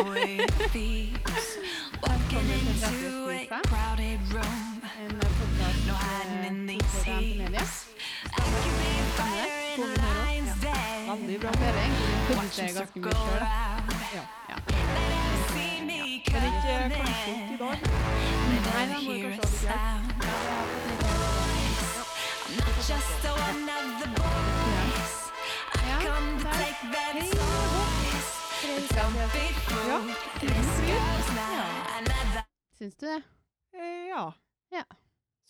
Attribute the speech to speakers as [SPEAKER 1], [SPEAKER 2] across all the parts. [SPEAKER 1] Ah, eh,
[SPEAKER 2] En podkast for media. Veldig bra serien. Produserer ganske mye sjøl. Ja. Ja. Men ikke kanskje ikke i dag. Nei, da må vi kanskje ha litt hjelp. Ja, der. Hei, Ja, tusen fint.
[SPEAKER 1] Syns du det?
[SPEAKER 2] Eh, ja.
[SPEAKER 1] Ja.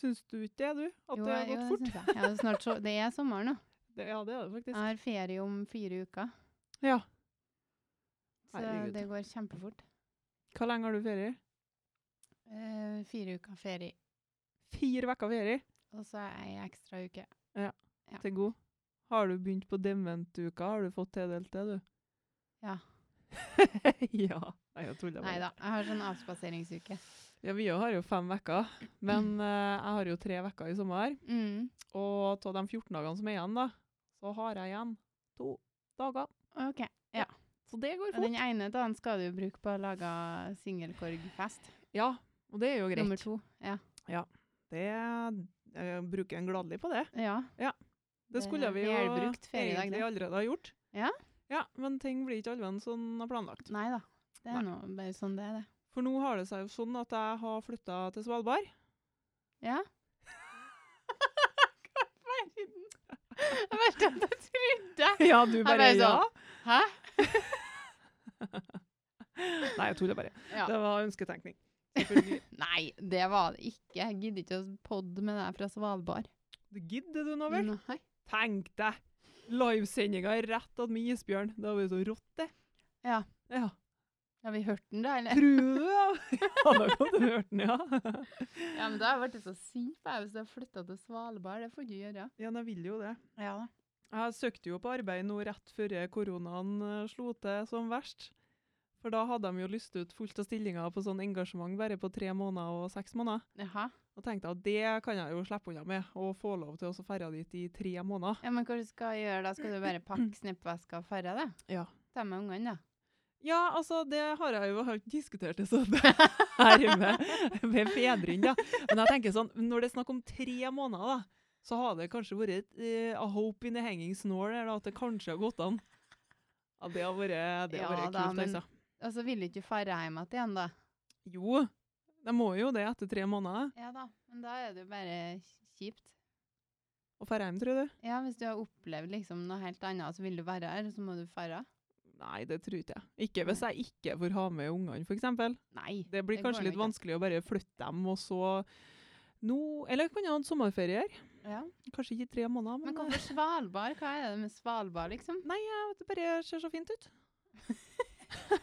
[SPEAKER 2] Syns du ikke det, du? At
[SPEAKER 1] Jo,
[SPEAKER 2] det har
[SPEAKER 1] jo,
[SPEAKER 2] gått
[SPEAKER 1] det
[SPEAKER 2] fort?
[SPEAKER 1] syns jeg. Ja, det, er snart så, det er sommer nå.
[SPEAKER 2] Det, ja, det er det
[SPEAKER 1] Jeg
[SPEAKER 2] faktisk.
[SPEAKER 1] har ferie om fire uker,
[SPEAKER 2] Ja.
[SPEAKER 1] så
[SPEAKER 2] Herregud.
[SPEAKER 1] det går kjempefort.
[SPEAKER 2] Hvor lenge har du ferie?
[SPEAKER 1] Eh, fire uker ferie,
[SPEAKER 2] Fire uker ferie.
[SPEAKER 1] og så er jeg ekstra uke. Ja.
[SPEAKER 2] Til god. Har du begynt på dementuka? Har du fått tildelt det, du?
[SPEAKER 1] Ja.
[SPEAKER 2] ja. Nei, jeg tuller
[SPEAKER 1] Nei
[SPEAKER 2] bare.
[SPEAKER 1] da, jeg har sånn avspaseringsuke.
[SPEAKER 2] Ja, vi jo har jo fem uker, men eh, jeg har jo tre uker i sommer.
[SPEAKER 1] Mm.
[SPEAKER 2] Og av de 14 dagene som er igjen, da, så har jeg igjen to dager.
[SPEAKER 1] Ok.
[SPEAKER 2] Så det går
[SPEAKER 1] Og
[SPEAKER 2] fort.
[SPEAKER 1] den ene dagen skal du jo bruke på å lage singelkorgfest.
[SPEAKER 2] Ja, og det er jo
[SPEAKER 1] Nummer
[SPEAKER 2] greit.
[SPEAKER 1] to. Ja.
[SPEAKER 2] Det jeg bruker en gladelig på det.
[SPEAKER 1] ja.
[SPEAKER 2] Det
[SPEAKER 1] Det
[SPEAKER 2] skulle
[SPEAKER 1] er
[SPEAKER 2] Eh, vi jo
[SPEAKER 1] velbrukt feriedag, det.
[SPEAKER 2] egentlig allerede ha gjort.
[SPEAKER 1] Ja.
[SPEAKER 2] Ja, Men ting blir ikke alven sånn planlagt.
[SPEAKER 1] Nei da. Det
[SPEAKER 2] Nei.
[SPEAKER 1] er nå bare sånn det er, det.
[SPEAKER 2] For nå har det seg jo sånn at jeg har flytta til Svalbard.
[SPEAKER 1] Ja. Hva i verden? Jeg vet at jeg trodde
[SPEAKER 2] Ja, du
[SPEAKER 1] bare
[SPEAKER 2] bare ja.
[SPEAKER 1] sånn, Hæ?
[SPEAKER 2] Nei, jeg tuller bare.
[SPEAKER 1] Ja.
[SPEAKER 2] Det var ønsketenkning. Selvfølgelig.
[SPEAKER 1] Nei, det var det ikke. Jeg gidder ikke å podde med deg fra Svalbard.
[SPEAKER 2] Det gidder du nå vel?
[SPEAKER 1] Nei.
[SPEAKER 2] Tenk deg! Livesendinga rett at med isbjørn. Det har vært så rått, det.
[SPEAKER 1] Ja.
[SPEAKER 2] ja.
[SPEAKER 1] Har vi hørt den, da? eller?
[SPEAKER 2] Tror du det? Ja, Ja, da kan du hørt den, ja.
[SPEAKER 1] Ja, men da har jeg blitt så sint på deg hvis du har flytta til Svalbard. Det får du gjøre.
[SPEAKER 2] Ja, jeg vil jo det.
[SPEAKER 1] Ja da.
[SPEAKER 2] Jeg søkte jo på arbeid nå rett før koronaen eh, slo til som verst. For da hadde de jo lyst ut fullt av stillinger på sånn engasjement bare på tre måneder og seks måneder.
[SPEAKER 1] Jaha.
[SPEAKER 2] Og tenkte jeg at det kan jeg jo slippe unna med, og få lov til å så ferde dit i tre måneder.
[SPEAKER 1] Ja, men hva du skal gjøre da? Skal du bare pakke snippveska og ferde, da?
[SPEAKER 2] Ja.
[SPEAKER 1] Ta med ungene, da.
[SPEAKER 2] Ja, altså, det har jeg jo har ikke diskutert det sånn her med, med fedren, da. Men jeg tenker sånn, når det er snakk om tre måneder, da, så har det kanskje vært et, eh, a hope in the hanging snore, der, da, at det kanskje har gått an. Ja, det har vært, det har
[SPEAKER 1] Ja
[SPEAKER 2] vært
[SPEAKER 1] da,
[SPEAKER 2] kult,
[SPEAKER 1] men-
[SPEAKER 2] altså.
[SPEAKER 1] Og så vil du ikke ferde hjem igjen, da.
[SPEAKER 2] Jo, de må jo det etter tre måneder.
[SPEAKER 1] Ja da, men da er det jo bare kjipt.
[SPEAKER 2] Og færre hjem, tror du?
[SPEAKER 1] Ja, hvis du har opplevd liksom noe helt annet, så vil du være her, så må du ferde.
[SPEAKER 2] Nei, det tror ikke jeg. Ikke hvis jeg ikke får ha med ungene, for eksempel.
[SPEAKER 1] Nei.
[SPEAKER 2] Det blir
[SPEAKER 1] Det går
[SPEAKER 2] kanskje litt
[SPEAKER 1] nok, ja.
[SPEAKER 2] vanskelig å bare flytte dem, og så... Nå, eller kan jeg ha en sommerferie her?
[SPEAKER 1] Ja.
[SPEAKER 2] Kanskje ikke i tre måneder, men...
[SPEAKER 1] Men hvorfor Svalbard? Hva er det med Svalbard, liksom?
[SPEAKER 2] Nei, jeg- det bare ser så fint ut.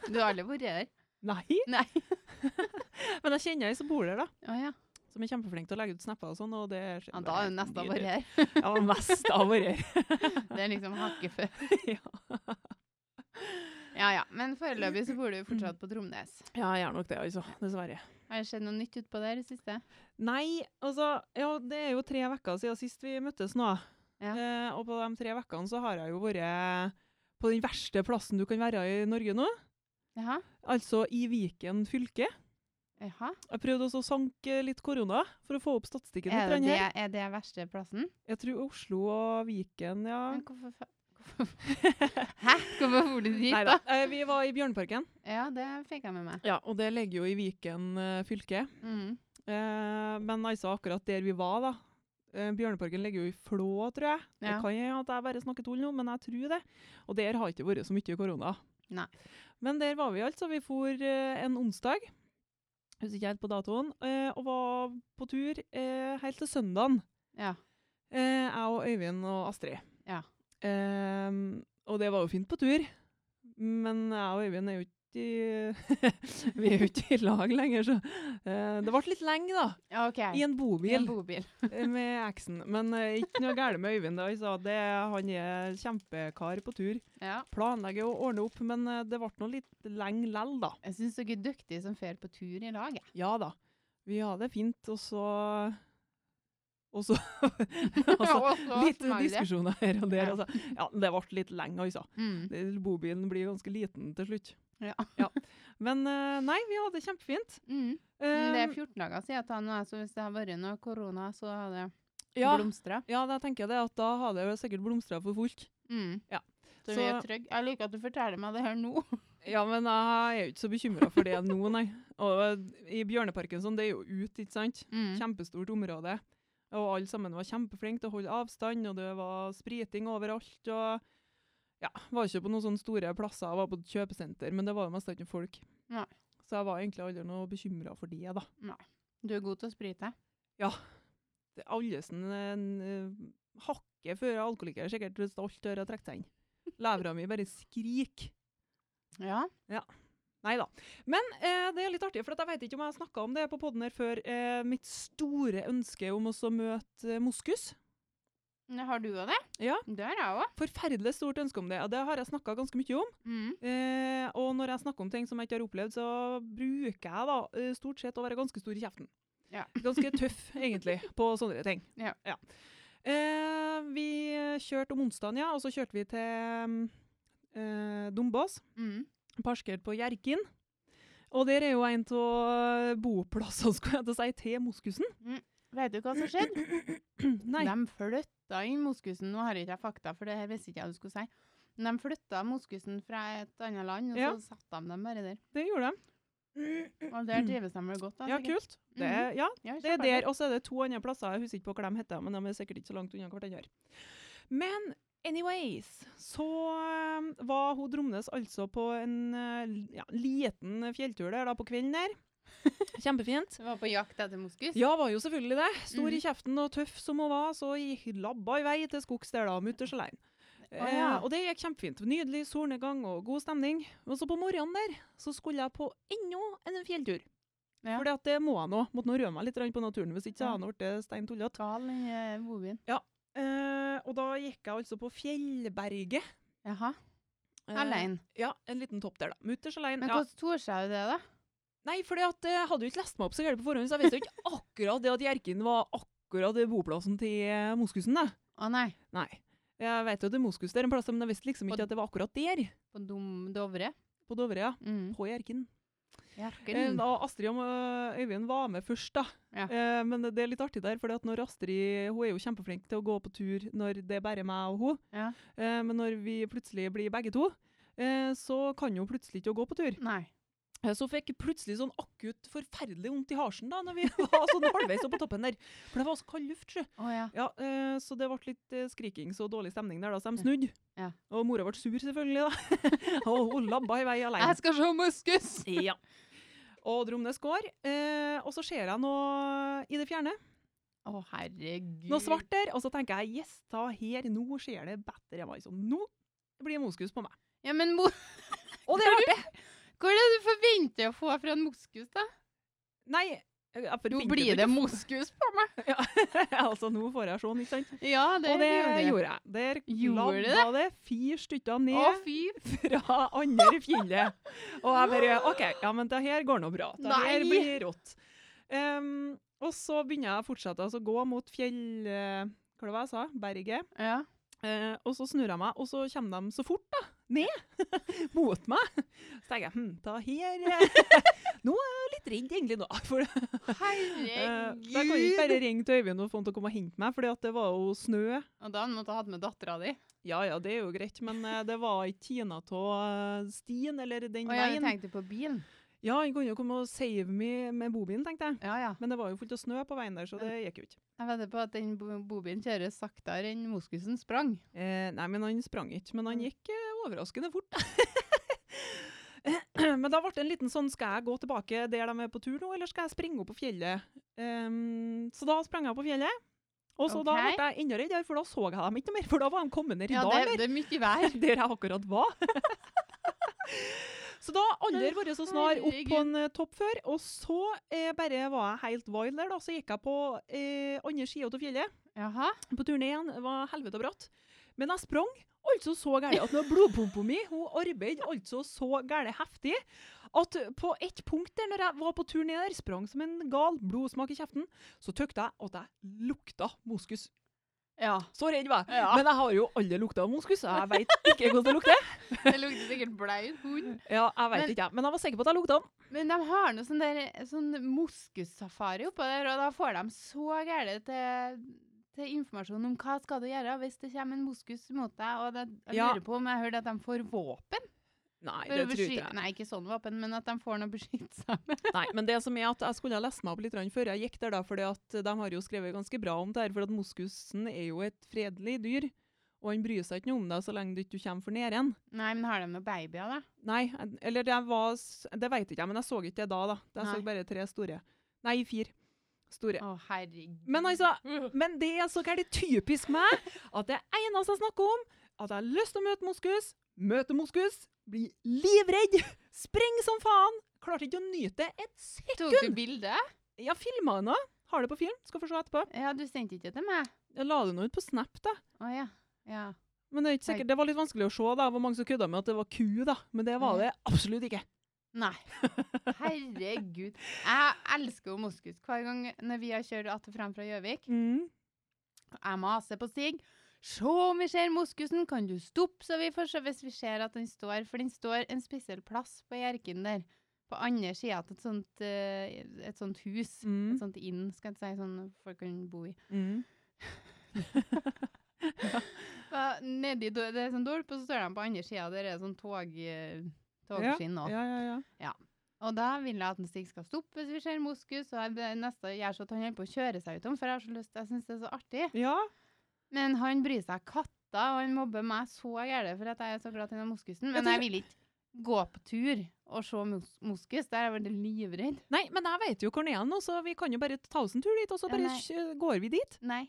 [SPEAKER 1] Du har aldri vært der?
[SPEAKER 2] Nei,
[SPEAKER 1] Nei.
[SPEAKER 2] men jeg kjenner ei som bor der, da.
[SPEAKER 1] Å ja.
[SPEAKER 2] Som er kjempeflink til å legge ut snapper og sånn. og det ser
[SPEAKER 1] ja. Da er
[SPEAKER 2] bare
[SPEAKER 1] du
[SPEAKER 2] helt
[SPEAKER 1] nesten
[SPEAKER 2] nydelig
[SPEAKER 1] bare her.
[SPEAKER 2] ut. Ja, mest av våre.
[SPEAKER 1] Det er liksom hakket før.
[SPEAKER 2] ja.
[SPEAKER 1] Ja ja. Men foreløpig så bor du jo fortsatt på Tromnes.
[SPEAKER 2] ja, jeg gjør nok det, altså. Dessverre.
[SPEAKER 1] Har det skjedd noe nytt utpå der i det siste?
[SPEAKER 2] Nei, altså Ja, det er jo tre uker siden sist vi møttes nå.
[SPEAKER 1] Ja.
[SPEAKER 2] Eh, og på de tre ukene så har jeg jo vært på den verste plassen du kan være i Norge nå.
[SPEAKER 1] Jaha?
[SPEAKER 2] Altså i Viken fylke.
[SPEAKER 1] Jaha?
[SPEAKER 2] Jeg prøvde også å sanke litt korona for å få opp statistikken
[SPEAKER 1] Er det,
[SPEAKER 2] litt.
[SPEAKER 1] det,
[SPEAKER 2] her.
[SPEAKER 1] er det verste plassen?
[SPEAKER 2] Jeg tror Oslo og Viken, ja.
[SPEAKER 1] Men hvorfor fa- hvorfor- Hæ? Hvorfor for du dit, da?
[SPEAKER 2] Neida, eh, Vi var i Bjørnparken,
[SPEAKER 1] Ja, det fikk jeg med meg.
[SPEAKER 2] ja, og det ligger jo i Viken eh, fylke.
[SPEAKER 1] Mm.
[SPEAKER 2] Eh, men altså akkurat der vi var, da. eh, Bjørneparken ligger jo i Flå, tror jeg. Det
[SPEAKER 1] Ja.
[SPEAKER 2] kan hende at jeg bare snakker tull nå, men jeg tror det. Og der har ikke vært så mye korona.
[SPEAKER 1] Nei.
[SPEAKER 2] Men der var vi altså. Vi for eh, en onsdag, husker ikke helt på datoen, eh, og var på tur eh, helt til søndagen.
[SPEAKER 1] Ja.
[SPEAKER 2] Eh, jeg og Øyvind og Astrid.
[SPEAKER 1] Ja.
[SPEAKER 2] Ehm, og det var jo fint på tur, men jeg og Øyvind er jo ikke i- Vi er jo ikke i lag lenger, så eh, Det ble litt lenge, da.
[SPEAKER 1] Ja, OK.
[SPEAKER 2] I en
[SPEAKER 1] I en
[SPEAKER 2] bobil
[SPEAKER 1] bobil.
[SPEAKER 2] eh, med eksen. Men eh, ikke noe galt med Øyvind. da. Jeg sa det, han er kjempekar på tur.
[SPEAKER 1] Ja.
[SPEAKER 2] Planlegger å ordne opp, men eh, det ble nå litt lenge lell, da.
[SPEAKER 1] Jeg syns dere er dyktige som drar på tur i lag. jeg.
[SPEAKER 2] Ja da. Vi hadde det fint, og så Og så altså,
[SPEAKER 1] Og så
[SPEAKER 2] Litt
[SPEAKER 1] smalt det.
[SPEAKER 2] diskusjoner her og der.
[SPEAKER 1] Ja.
[SPEAKER 2] Altså. Ja, det ble litt lenge, altså.
[SPEAKER 1] Mm.
[SPEAKER 2] Det- Bobilen blir ganske liten til slutt.
[SPEAKER 1] Ja.
[SPEAKER 2] Men eh, nei, vi hadde det kjempefint.
[SPEAKER 1] Mm. Men Det
[SPEAKER 2] Eh,
[SPEAKER 1] er 14 dager siden jeg tar noe, så hvis det har vært noe korona, så har det
[SPEAKER 2] ja,
[SPEAKER 1] blomstra.
[SPEAKER 2] ja, da tenker jeg det at da har det jo sikkert blomstra for folk.
[SPEAKER 1] Mm.
[SPEAKER 2] Ja.
[SPEAKER 1] Så, vi er
[SPEAKER 2] Så-
[SPEAKER 1] trygge. Jeg liker at du forteller meg det her nå.
[SPEAKER 2] Ja, men jeg er jo ikke så bekymra for det nå, nei. Og i Bjørneparken sånn, det er jo ut, ikke sant?
[SPEAKER 1] Mm.
[SPEAKER 2] Kjempestort område. Og alle sammen var kjempeflinke til å holde avstand, og det var spriting overalt. og ja, Var ikke på noen sånne store plasser, jeg var på et kjøpesenter, men det var jo mest ikke noe folk.
[SPEAKER 1] Nei.
[SPEAKER 2] Så jeg var egentlig aldri noe bekymra for det, da.
[SPEAKER 1] Du er god til å sprite.
[SPEAKER 2] Det er Allesen eh, hakket før alkoholiker sikkert stolt over å trekke seg inn. Levra mi bare skriker.
[SPEAKER 1] Ja.
[SPEAKER 2] Nei da. Men eh, det er litt artig, for at jeg vet ikke om jeg har snakka om det på poden her før. Eh, mitt store ønske om også å møte eh, moskus.
[SPEAKER 1] Men Har du òg det?
[SPEAKER 2] Ja.
[SPEAKER 1] Det har jeg òg.
[SPEAKER 2] Forferdelig stort ønske om det, og det har jeg snakka ganske mye om.
[SPEAKER 1] Mm.
[SPEAKER 2] Eh, og når jeg snakker om ting som jeg ikke har opplevd, så bruker jeg da eh, stort sett å være ganske stor i kjeften.
[SPEAKER 1] Ja.
[SPEAKER 2] Ganske tøff, egentlig, på sånne ting.
[SPEAKER 1] Ja.
[SPEAKER 2] Eh, vi kjørte om onsdagen, ja, og så kjørte vi til mm, eh, Dombås,
[SPEAKER 1] Mm.
[SPEAKER 2] parkert på Hjerkinn. Og der er jo en av boplassene, skulle jeg til å si, til moskusen.
[SPEAKER 1] Vet du hva som skjedde?
[SPEAKER 2] Nei.
[SPEAKER 1] De flytta inn moskusen. Nå har jeg ikke fakta, for det her visste ikke jeg du skulle si. Men de flytta moskusen fra et annet land, og
[SPEAKER 2] Ja.
[SPEAKER 1] så satte de dem bare der.
[SPEAKER 2] Det gjorde de.
[SPEAKER 1] Og der trives de vel godt, da.
[SPEAKER 2] Ja,
[SPEAKER 1] sikkert.
[SPEAKER 2] kult. Det, er- ja,
[SPEAKER 1] Ja,
[SPEAKER 2] Det er
[SPEAKER 1] kjempeartig.
[SPEAKER 2] der, og så er det to andre plasser. Jeg husker ikke på hva de heter, men de er sikkert ikke så langt unna hverandre. Men anyways, så um, var hun Dromnes altså på en uh, l- ja, liten fjelltur der da på kvelden der. Kjempefint.
[SPEAKER 1] Så var på jakt etter moskus?
[SPEAKER 2] Ja, var jo selvfølgelig det. Stor
[SPEAKER 1] Mhm.
[SPEAKER 2] i kjeften og tøff som hun var, så gikk labba i vei til skogs der da, mutters aleine.
[SPEAKER 1] Å, ja.
[SPEAKER 2] eh, og det gikk kjempefint. Nydelig solnedgang og god stemning. Og så på morgenen der så skulle jeg på enda en fjelltur.
[SPEAKER 1] Ja.
[SPEAKER 2] Fordi at det må jeg nå. Måtte nå røve meg litt grann på naturen, hvis ikke så
[SPEAKER 1] Ja.
[SPEAKER 2] hadde jeg blitt stein tullete.
[SPEAKER 1] Gal, den eh, bobien.
[SPEAKER 2] Eh, og da gikk jeg altså på Fjellberget.
[SPEAKER 1] Jaha.
[SPEAKER 2] Eh,
[SPEAKER 1] Alene.
[SPEAKER 2] Ja, en liten topp der, da. Mutters alene.
[SPEAKER 1] Men
[SPEAKER 2] Ja.
[SPEAKER 1] hvordan torde jeg det, da?
[SPEAKER 2] Nei, for jeg hadde jo ikke lest meg opp så gærent på forhånd, så jeg visste jo ikke akkurat det at Hjerkinn var akkurat det boplassen til eh, moskusen. da.
[SPEAKER 1] Å nei,
[SPEAKER 2] Nei. Jeg vet jo at det er moskus der en plass, men jeg visste liksom
[SPEAKER 1] Og-
[SPEAKER 2] ikke at det var akkurat der.
[SPEAKER 1] på dum Dovre.
[SPEAKER 2] På Dovre, ja.
[SPEAKER 1] Mm.
[SPEAKER 2] På Hjerkinn. Eh,
[SPEAKER 1] Jerken.
[SPEAKER 2] Da Astrid og eh, Øyvind var med først, da.
[SPEAKER 1] Ja.
[SPEAKER 2] Eh, Men det er litt artig der, for når Astrid hun er jo kjempeflink til å gå på tur når det er bare meg og hun,
[SPEAKER 1] Ja.
[SPEAKER 2] Eh, men når vi plutselig blir begge to, eh, så kan hun plutselig ikke å gå på tur.
[SPEAKER 1] Nei.
[SPEAKER 2] Eh, Så fikk jeg plutselig sånn akutt forferdelig vondt i halsen da, når vi var sånn halvveis oppe på toppen der. For det var så kald luft, sjø.
[SPEAKER 1] Å ja.
[SPEAKER 2] Ja, eh, så det ble litt eh, skrikings og dårlig stemning der, da, så de snudde.
[SPEAKER 1] Ja.
[SPEAKER 2] Og mora ble sur, selvfølgelig, da. og hun labba i vei alene.
[SPEAKER 1] Jeg skal se moskus!
[SPEAKER 2] Ja. Og Dromnes går, eh, og så ser jeg noe i det fjerne.
[SPEAKER 1] Å, herregud.
[SPEAKER 2] Noe svart der, og så tenker jeg yes, da her, nå skjer det bedre. Jeg var liksom, nå blir det moskus på meg.
[SPEAKER 1] Ja, men mo
[SPEAKER 2] Og det ble det!
[SPEAKER 1] hva er det du forventer å få fra en moskus, da?
[SPEAKER 2] Nei, jeg
[SPEAKER 1] Nå
[SPEAKER 2] forventer
[SPEAKER 1] blir det
[SPEAKER 2] ikke-
[SPEAKER 1] moskus på meg!
[SPEAKER 2] altså, nå får jeg sånn, ikke sant?
[SPEAKER 1] Ja, det,
[SPEAKER 2] og det
[SPEAKER 1] gjorde jeg.
[SPEAKER 2] gjorde jeg. Der
[SPEAKER 1] Gjorde du
[SPEAKER 2] labba det fire stykker ned
[SPEAKER 1] Å, fy.
[SPEAKER 2] fra andre fjellet. Og jeg bare OK, ja, men det her går nå bra. Det her
[SPEAKER 1] Nei.
[SPEAKER 2] blir rått. Ehm, og så begynner jeg å fortsette altså, å gå mot fjell... eh, Hva var det jeg sa? Berget.
[SPEAKER 1] Ja.
[SPEAKER 2] Eh, og så snur jeg meg, og så kommer de så fort, da. Ned. Mot meg. Så tenker jeg hm, da her eh, Nå er jeg litt redd, egentlig, nå. For, eh,
[SPEAKER 1] Herregud.
[SPEAKER 2] da kan jeg ikke bare ringe til Øyvind og få han til å komme og hente meg, for det var jo snø.
[SPEAKER 1] Og da måtte jeg hatt med dattera di.
[SPEAKER 2] Ja ja, det er jo greit, men eh, det var ikke Tina av eh, stien eller den
[SPEAKER 1] Og jeg
[SPEAKER 2] veien.
[SPEAKER 1] tenkte på bilen.
[SPEAKER 2] Ja, han kunne jo komme og save me med bobilen, tenkte jeg.
[SPEAKER 1] Ja, ja.
[SPEAKER 2] Men det var jo fullt av snø på veien der, så det gikk jo ikke.
[SPEAKER 1] Jeg vedder på at den bo- bobilen kjører saktere enn moskusen sprang.
[SPEAKER 2] Eh, nei, men han sprang ikke, men han gikk eh, overraskende fort. men da ble det en liten sånn Skal jeg gå tilbake der de er på tur nå, eller skal jeg springe opp på fjellet? Ehm, så da sprang jeg opp på fjellet. Og så da
[SPEAKER 1] Ok.
[SPEAKER 2] ble jeg enda reddere, for da så jeg dem ikke noe mer. For da var de kommet ned i
[SPEAKER 1] Ja,
[SPEAKER 2] dalen
[SPEAKER 1] det, det er mye vær.
[SPEAKER 2] der jeg akkurat var. så da har aldri vært så snar opp på en eh, topp før. Og så eh, bare var jeg helt wild der, da. Så gikk jeg på eh, andre sida av fjellet
[SPEAKER 1] Jaha.
[SPEAKER 2] på turen igjen. Det var helvete bratt. Men jeg sprang altså så gærent at når blodpumpa mi hun arbeidet altså så gærent heftig at på ett punkt der når jeg var på tur ned der, sprang som en gal, blodsmak i kjeften, så tykte jeg at jeg lukta moskus.
[SPEAKER 1] Ja.
[SPEAKER 2] Så redd var jeg.
[SPEAKER 1] ja.
[SPEAKER 2] Men jeg har jo aldri lukta av moskus, så jeg veit ikke hvordan det lukter.
[SPEAKER 1] det lukter sikkert blaut hund.
[SPEAKER 2] Ja, jeg vet
[SPEAKER 1] Men-
[SPEAKER 2] ikke, jeg. Men jeg var sikker på at jeg lukta den.
[SPEAKER 1] Men de har noe sånn, der, sånn moskussafari oppå der, og da får de så gærent til, til informasjon om hva skal du gjøre hvis det kommer en moskus mot deg. Og det, jeg
[SPEAKER 2] Ja.
[SPEAKER 1] lurer på om jeg hørte at de får våpen?
[SPEAKER 2] Nei,
[SPEAKER 1] for
[SPEAKER 2] det
[SPEAKER 1] å
[SPEAKER 2] tror ikke
[SPEAKER 1] besky-
[SPEAKER 2] jeg.
[SPEAKER 1] Nei, ikke sånn våpen, men at de får noe å beskytte seg med.
[SPEAKER 2] Nei, men det som er at jeg skulle ha lest meg opp litt grann før jeg gikk der, da, fordi at de har jo skrevet ganske bra om det her, for at moskusen er jo et fredelig dyr, og han bryr seg ikke noe om deg så lenge du ikke kommer for nær igjen.
[SPEAKER 1] Nei, men har de noen babyer, da?
[SPEAKER 2] Nei, jeg- eller det var s- Det veit ikke jeg, men jeg så ikke det da, da. Jeg
[SPEAKER 1] Nei.
[SPEAKER 2] så bare tre store. Nei, fire store.
[SPEAKER 1] Å, herregud.
[SPEAKER 2] Men altså, men det er så gærent typisk meg at det eneste jeg snakker om, at jeg har lyst til å møte moskus, møte moskus, bli livredd, spreng som faen. Klarte ikke å nyte det et sekund.
[SPEAKER 1] Tok du bilde?
[SPEAKER 2] Jeg filma den òg. Har det på film. Skal få se etterpå.
[SPEAKER 1] Ja, du sendte ikke til meg.
[SPEAKER 2] Jeg la det nå ut på Snap, da.
[SPEAKER 1] Å ja. ja.
[SPEAKER 2] Men det er ikke sikkert. Det var litt vanskelig å se. da. Det var mange som kødda med at det var ku, da. Men det var det absolutt ikke.
[SPEAKER 1] Nei. Herregud. Jeg elsker jo moskus. Hver gang når vi har kjørt att og fram fra Gjøvik,
[SPEAKER 2] Mm.
[SPEAKER 1] jeg maser på Stig. Se om vi ser moskusen, kan du stoppe så vi får se hvis vi ser at den står? For den står en spesiell plass på Hjerkinn der. På andre sida av et sånt, eh, et sånt hus. Et
[SPEAKER 2] Mm.
[SPEAKER 1] sånt inn, skal jeg ikke si, sånn folk kan bo i.
[SPEAKER 2] Mm.
[SPEAKER 1] Ja, Nedi do- det er sånn dolp, og så står de på andre sida der er det sånn tog, eh, togskinn òg.
[SPEAKER 2] Ja, ja, ja.
[SPEAKER 1] Og da vil jeg at en Stig skal stoppe hvis vi ser moskus, og jeg be- neste gjør så at han holder på å kjøre seg utom, for jeg har så lyst, jeg syns det er så artig.
[SPEAKER 2] Ja,
[SPEAKER 1] Men han bryr seg katter, og han mobber meg så gærent for at jeg er så glad i den moskusen.
[SPEAKER 2] Jeg
[SPEAKER 1] Men jeg
[SPEAKER 2] tror-
[SPEAKER 1] vil ikke gå på tur og se mos moskus, der er jeg veldig livredd.
[SPEAKER 2] Nei, men jeg vet jo hvor den er nå, så vi kan jo bare ta oss en tur dit, og så
[SPEAKER 1] Ja,
[SPEAKER 2] bare
[SPEAKER 1] nei.
[SPEAKER 2] kjø- går vi dit.
[SPEAKER 1] Nei.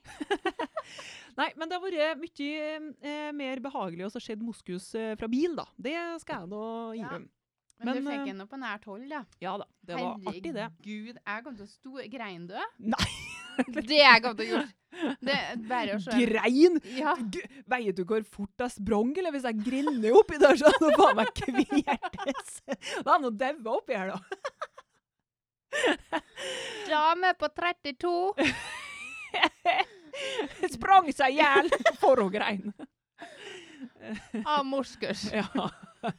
[SPEAKER 2] Nei, men det har vært mye eh, mer behagelig å se moskus eh, fra bil, da. Det skal jeg nå
[SPEAKER 1] Ja.
[SPEAKER 2] innrømme.
[SPEAKER 1] Men,
[SPEAKER 2] Men,
[SPEAKER 1] du fikk
[SPEAKER 2] eh,
[SPEAKER 1] henne på nært hold, da.
[SPEAKER 2] Ja. da, det var artig, det.
[SPEAKER 1] Herregud, jeg kom til å stå Grein du?
[SPEAKER 2] Nei,
[SPEAKER 1] Det jeg kom til å gjøre. Det er bare å se.
[SPEAKER 2] grein!
[SPEAKER 1] Ja.
[SPEAKER 2] G Veier du hvor fort jeg sprang, eller hvis jeg griner oppi der, så hadde faen meg kvertes. Da hadde jeg daua oppi her, da.
[SPEAKER 1] Dame på 32.
[SPEAKER 2] Sprang seg i hjel for å greine.
[SPEAKER 1] av morskurs.
[SPEAKER 2] Ja.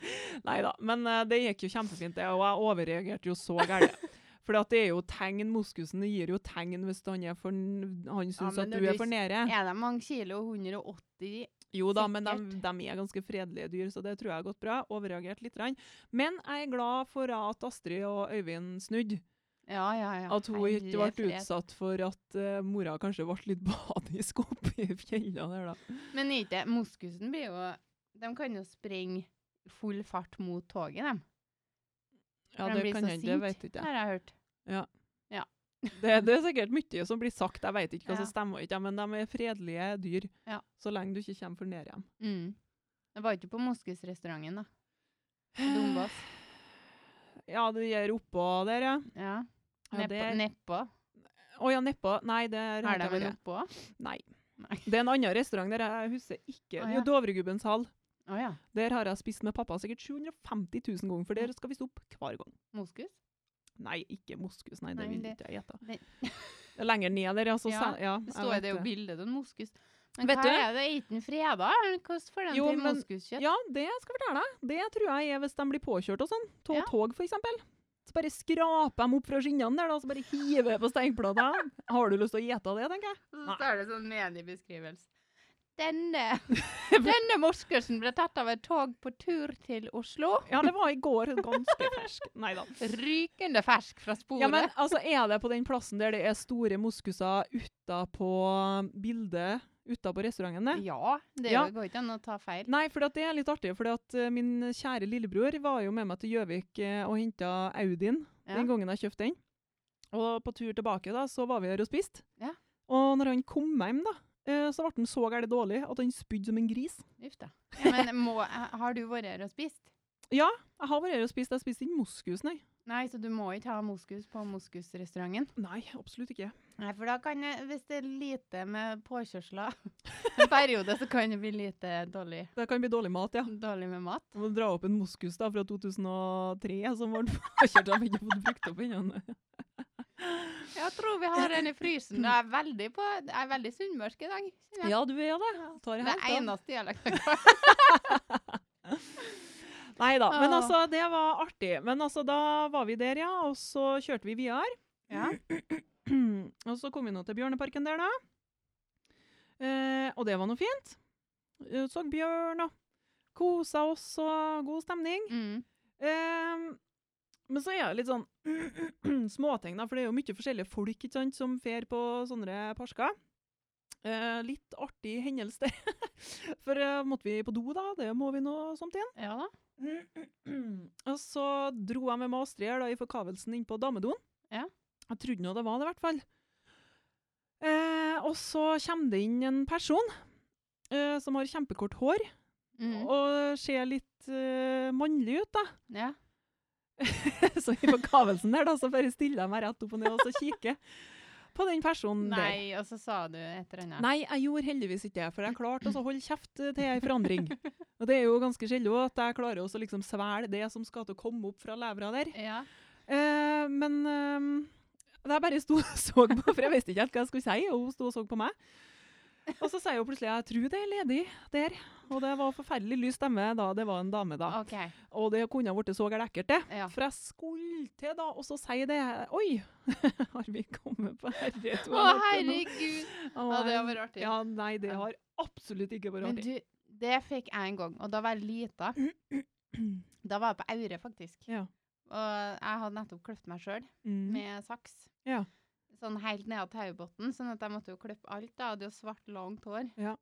[SPEAKER 2] Nei da. Men eh, det gikk jo kjempefint, det. Og jeg overreagerte jo så gærent. For det er jo tegn, moskusen gir jo tegn hvis han, er for, han syns
[SPEAKER 1] men
[SPEAKER 2] at
[SPEAKER 1] når
[SPEAKER 2] du
[SPEAKER 1] du
[SPEAKER 2] er for nede.
[SPEAKER 1] Er de mange kilo? 180?
[SPEAKER 2] Jo da, men de,
[SPEAKER 1] Sikkert.
[SPEAKER 2] de er ganske fredelige dyr, så det tror jeg har gått bra. Overreagert litt. grann. Men jeg er glad for at Astrid og Øyvind snudde.
[SPEAKER 1] Ja, ja, ja.
[SPEAKER 2] At hun ikke
[SPEAKER 1] Herre
[SPEAKER 2] ble
[SPEAKER 1] fred.
[SPEAKER 2] utsatt for at eh, mora kanskje ble litt badisk oppi fjellene der, da.
[SPEAKER 1] Men ikke, moskusen blir jo De kan jo springe full fart mot toget, dem.
[SPEAKER 2] Ja,
[SPEAKER 1] For de
[SPEAKER 2] det
[SPEAKER 1] blir
[SPEAKER 2] kan
[SPEAKER 1] så
[SPEAKER 2] hende, det
[SPEAKER 1] sint.
[SPEAKER 2] vet ikke jeg.
[SPEAKER 1] Har jeg hørt.
[SPEAKER 2] Det, det er sikkert mye som blir sagt, jeg vet ikke hva
[SPEAKER 1] Ja.
[SPEAKER 2] som stemmer, og ikke, men de er fredelige dyr
[SPEAKER 1] Ja.
[SPEAKER 2] så lenge du ikke kommer for nær dem.
[SPEAKER 1] Mm. Det var ikke på moskusrestauranten, da. Dombås.
[SPEAKER 2] Ja, det gjør oppå der, ja.
[SPEAKER 1] Ja.
[SPEAKER 2] ja
[SPEAKER 1] Nedpå.
[SPEAKER 2] det-
[SPEAKER 1] nedpå.
[SPEAKER 2] Å ja, nedpå. Nei, det har
[SPEAKER 1] Har
[SPEAKER 2] jeg
[SPEAKER 1] de en
[SPEAKER 2] vært.
[SPEAKER 1] oppå? Å
[SPEAKER 2] Nei.
[SPEAKER 1] Nei.
[SPEAKER 2] Det er en annen restaurant der, jeg husker ikke.
[SPEAKER 1] Å,
[SPEAKER 2] Det
[SPEAKER 1] ja.
[SPEAKER 2] er jo Dovregubbens hall.
[SPEAKER 1] ja.
[SPEAKER 2] Der har jeg spist med pappa sikkert 750 000 ganger, for der skal vi stoppe hver gang.
[SPEAKER 1] Moskus?
[SPEAKER 2] Nei, ikke moskus. Nei,
[SPEAKER 1] Nei,
[SPEAKER 2] det
[SPEAKER 1] men
[SPEAKER 2] vil
[SPEAKER 1] det-
[SPEAKER 2] ikke jeg gjette.
[SPEAKER 1] det-
[SPEAKER 2] Det er Lenger ned der, altså.
[SPEAKER 1] Ja,
[SPEAKER 2] sa- ja
[SPEAKER 1] Det
[SPEAKER 2] jeg
[SPEAKER 1] står
[SPEAKER 2] vet
[SPEAKER 1] jo det jo bilde av en moskus. Men
[SPEAKER 2] Vet
[SPEAKER 1] hva
[SPEAKER 2] du-
[SPEAKER 1] er det? Er ikke den freda? Hvordan får de
[SPEAKER 2] Jo,
[SPEAKER 1] til
[SPEAKER 2] men-
[SPEAKER 1] moskuskjøtt?
[SPEAKER 2] Ja, det skal jeg fortelle deg. Det tror jeg er hvis de blir påkjørt og sånn. Tå
[SPEAKER 1] Ja.
[SPEAKER 2] tog, for eksempel. Så bare skraper de opp fra skinnene der, da, så bare hiver jeg på steinplata. Har du lyst til å gjete det, tenker jeg?
[SPEAKER 1] Så
[SPEAKER 2] Nei.
[SPEAKER 1] står det sånn mediebeskrivelse. Denne, denne morskursen ble tatt av et tog på tur til Oslo.
[SPEAKER 2] Ja, det var i går. Ganske fersk. Nei da.
[SPEAKER 1] Rykende fersk fra sporet.
[SPEAKER 2] Ja, men altså, er det på den plassen der det er store moskuser utapå bildet, utapå restauranten? det?
[SPEAKER 1] Ja, det
[SPEAKER 2] Ja.
[SPEAKER 1] går ikke an å ta feil.
[SPEAKER 2] Nei, for det er litt artig. For uh, min kjære lillebror var jo med meg til Gjøvik eh, og henta Audien
[SPEAKER 1] Ja.
[SPEAKER 2] den gangen jeg kjøpte den. Og på tur tilbake da, så var vi her og spiste.
[SPEAKER 1] Ja.
[SPEAKER 2] Og når han kom hjem, da, eh, så ble han så gærent dårlig at han spydde som en gris.
[SPEAKER 1] Uff da. Ja, men må, eh, har du vært her og spist?
[SPEAKER 2] Jeg har vært her og spist, jeg spiste ikke moskus, nei.
[SPEAKER 1] Nei, så du må ikke ha moskus på moskusrestauranten.
[SPEAKER 2] Nei, absolutt ikke.
[SPEAKER 1] Nei, for da kan det, hvis det er lite med påkjørsler en periode, så kan det bli lite dårlig,
[SPEAKER 2] Det kan bli dårlig mat, ja.
[SPEAKER 1] dårlig med mat.
[SPEAKER 2] Jeg må dra opp en moskus da, fra 2003 som var påkjørt. Jeg har ikke fått brukt opp ennå.
[SPEAKER 1] Jeg tror vi har en i frysen. Jeg er veldig, på, jeg er veldig sunnmørsk i dag. kjenner jeg.
[SPEAKER 2] Ja, du er det. Tar
[SPEAKER 1] Det
[SPEAKER 2] helt
[SPEAKER 1] er
[SPEAKER 2] av.
[SPEAKER 1] eneste dialekten jeg kan.
[SPEAKER 2] Nei da. Men
[SPEAKER 1] Åh.
[SPEAKER 2] altså, det var artig. Men altså, da var vi der, ja. Og så kjørte vi videre.
[SPEAKER 1] Ja.
[SPEAKER 2] og så kom vi nå til Bjørneparken der, da. Eh, og det var noe fint. Eh, Så bjørn og kosa oss og god stemning.
[SPEAKER 1] Mm.
[SPEAKER 2] Ehm, men så er det litt sånn småting, da, for det er jo mye forskjellige folk ikke sant, som fer på sånne parsker. Eh, litt artig hendelse der. for eh, måtte vi på do, da? Det må vi nå somt igjen.
[SPEAKER 1] ja da.
[SPEAKER 2] og så dro jeg med meg Astrid her da, i forkavelsen inn på damedoen.
[SPEAKER 1] Ja.
[SPEAKER 2] Jeg trodde nå det var det, i hvert fall. Eh, og så kommer det inn en person eh, som har kjempekort hår
[SPEAKER 1] Mm.
[SPEAKER 2] og ser litt eh, mannlig ut, da.
[SPEAKER 1] Ja.
[SPEAKER 2] Så i forkavelsen der, da, så bare stiller jeg meg rett opp og ned og så kikker på den personen der.
[SPEAKER 1] Nei, og så sa du et eller annet.
[SPEAKER 2] Nei, jeg gjorde heldigvis ikke det, for jeg klarte å holde kjeft eh, til ei forandring. Og det er jo ganske sjelden også at jeg klarer også å liksom svelge det som skal til å komme opp fra levra der.
[SPEAKER 1] Ja.
[SPEAKER 2] Eh, men eh, jeg bare sto og så på, for jeg visste ikke helt hva jeg skulle si, og hun sto og så på meg. Og så sier hun plutselig jeg tror det er ledig der. Og det var forferdelig lys stemme da det var en dame, da.
[SPEAKER 1] OK.
[SPEAKER 2] Og det kunne ha blitt så gærent ekkelt, det.
[SPEAKER 1] Ja.
[SPEAKER 2] For jeg skulle til da, og så sier det Oi! har vi kommet på herreto?
[SPEAKER 1] Å, herregud! Ja, det har vært artig.
[SPEAKER 2] Ja, nei, det
[SPEAKER 1] Ja.
[SPEAKER 2] har absolutt ikke vært
[SPEAKER 1] Men
[SPEAKER 2] artig.
[SPEAKER 1] du, det fikk jeg en gang, og da var jeg lita. Da var jeg på Aure, faktisk.
[SPEAKER 2] Ja.
[SPEAKER 1] Og jeg hadde nettopp klippet meg sjøl
[SPEAKER 2] Mm.
[SPEAKER 1] med saks.
[SPEAKER 2] Ja.
[SPEAKER 1] Sånn helt ned av taubunnen, sånn at jeg måtte jo klippe alt. Jeg hadde jo svart, langt hår.
[SPEAKER 2] Ja.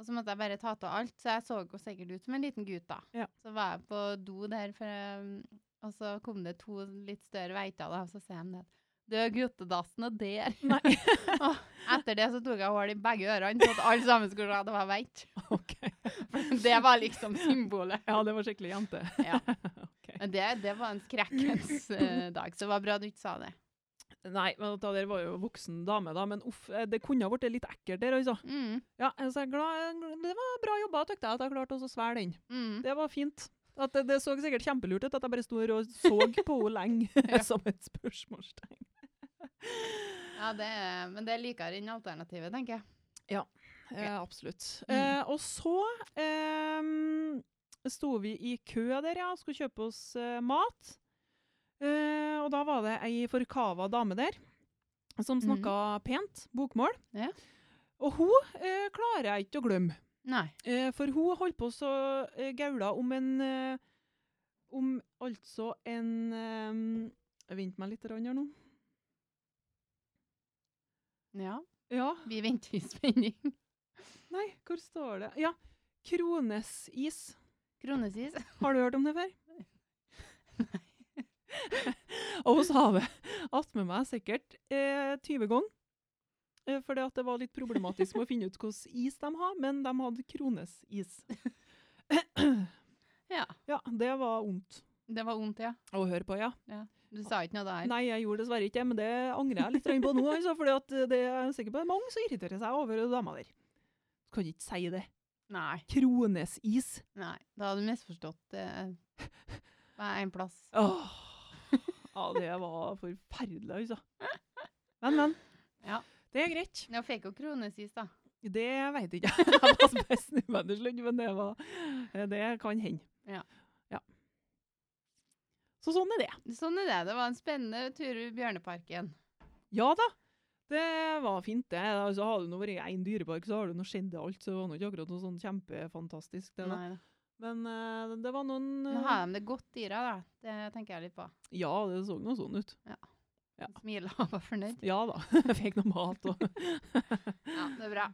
[SPEAKER 1] Og så måtte jeg bare ta av alt, så jeg så jo sikkert ut som en liten gutt, da.
[SPEAKER 2] Ja.
[SPEAKER 1] Så var jeg på do der, for, um, og så kom det to litt større veiter, da, og så sier de det. Du er guttedassen, og der.
[SPEAKER 2] Nei,
[SPEAKER 1] Etter det så tok jeg hull i begge ørene, så at alle sammen skulle se at jeg var veit.
[SPEAKER 2] OK.
[SPEAKER 1] Det var liksom symbolet.
[SPEAKER 2] Ja, det var skikkelig jente.
[SPEAKER 1] Ja.
[SPEAKER 2] Ok.
[SPEAKER 1] Men det, det var en skrekkens eh, dag, så det var bra du ikke sa det.
[SPEAKER 2] Nei, men det der var jo voksen dame, da. Men uff, eh, det kunne ha blitt litt ekkelt der, altså.
[SPEAKER 1] Mm,
[SPEAKER 2] Ja, så jeg er glad, det var bra jobba, tykte jeg, at jeg klarte å svelge den.
[SPEAKER 1] mm.
[SPEAKER 2] Det var fint. At det, det så sikkert kjempelurt ut at jeg bare sto her og så på henne lenge som et spørsmålstegn.
[SPEAKER 1] Ja, det, er- men det er likere enn alternativet, tenker jeg.
[SPEAKER 2] Eh, absolutt.
[SPEAKER 1] Mm.
[SPEAKER 2] Eh, og så ehm, sto vi i kø der, ja, og skulle kjøpe oss eh, mat. Eh, og da var det ei forkava dame der som
[SPEAKER 1] Mhm.
[SPEAKER 2] snakka pent bokmål.
[SPEAKER 1] Ja.
[SPEAKER 2] Og hun eh, klarer jeg ikke å glemme.
[SPEAKER 1] Nei.
[SPEAKER 2] Eh, for hun holdt på så eh, gaula om en eh, Om altså en eh, Vent meg litt rann her nå.
[SPEAKER 1] Ja,
[SPEAKER 2] Ja,
[SPEAKER 1] vi venter i spenning.
[SPEAKER 2] nei, hvor står det Ja, kronesis.
[SPEAKER 1] Kronesis.
[SPEAKER 2] Har du hørt om det før? Og hun sa det attmed meg sikkert eh, 20 ganger. Eh, fordi at det var litt problematisk med å finne ut hvilken is de har, men de hadde kronesis.
[SPEAKER 1] Ja,
[SPEAKER 2] Ja, det var vondt
[SPEAKER 1] det var vondt, ja.
[SPEAKER 2] å høre på, ja.
[SPEAKER 1] Du sa ikke noe der.
[SPEAKER 2] Nei, jeg gjorde dessverre ikke det, men det angrer jeg litt grann på nå. Altså, fordi at eh, det er jeg sikker på det er mange som irriterer seg over dama der. Kan ikke si det.
[SPEAKER 1] Nei.
[SPEAKER 2] Kronesis.
[SPEAKER 1] Nei. Da hadde du misforstått eh, hva er en plass.
[SPEAKER 2] Åh. Ja, det var forferdelig, altså. Men, men.
[SPEAKER 1] Ja.
[SPEAKER 2] Det er greit.
[SPEAKER 1] Jeg fikk jo kronesis, da.
[SPEAKER 2] Det veit ikke jeg. Jeg var best nødvendig slutt, men det, var, eh, det kan hende.
[SPEAKER 1] Ja.
[SPEAKER 2] ja. Så sånn er det.
[SPEAKER 1] Sånn er det. Det var en spennende tur i Bjørneparken.
[SPEAKER 2] Ja da. Det var fint, det. Altså, har du nå vært i én dyrepark, så har du nå skjedd det alt. Så det var nå ikke akkurat noe sånn kjempefantastisk. Det, da.
[SPEAKER 1] Nei da.
[SPEAKER 2] Men eh, det var noen
[SPEAKER 1] Men
[SPEAKER 2] eh,
[SPEAKER 1] har de det godt dyra, da? Det tenker jeg litt på.
[SPEAKER 2] Ja, det så nå sånn ut. Ja.
[SPEAKER 1] Smila og var fornøyd.
[SPEAKER 2] Ja da. Fikk noe mat og
[SPEAKER 1] Ja, det er bra.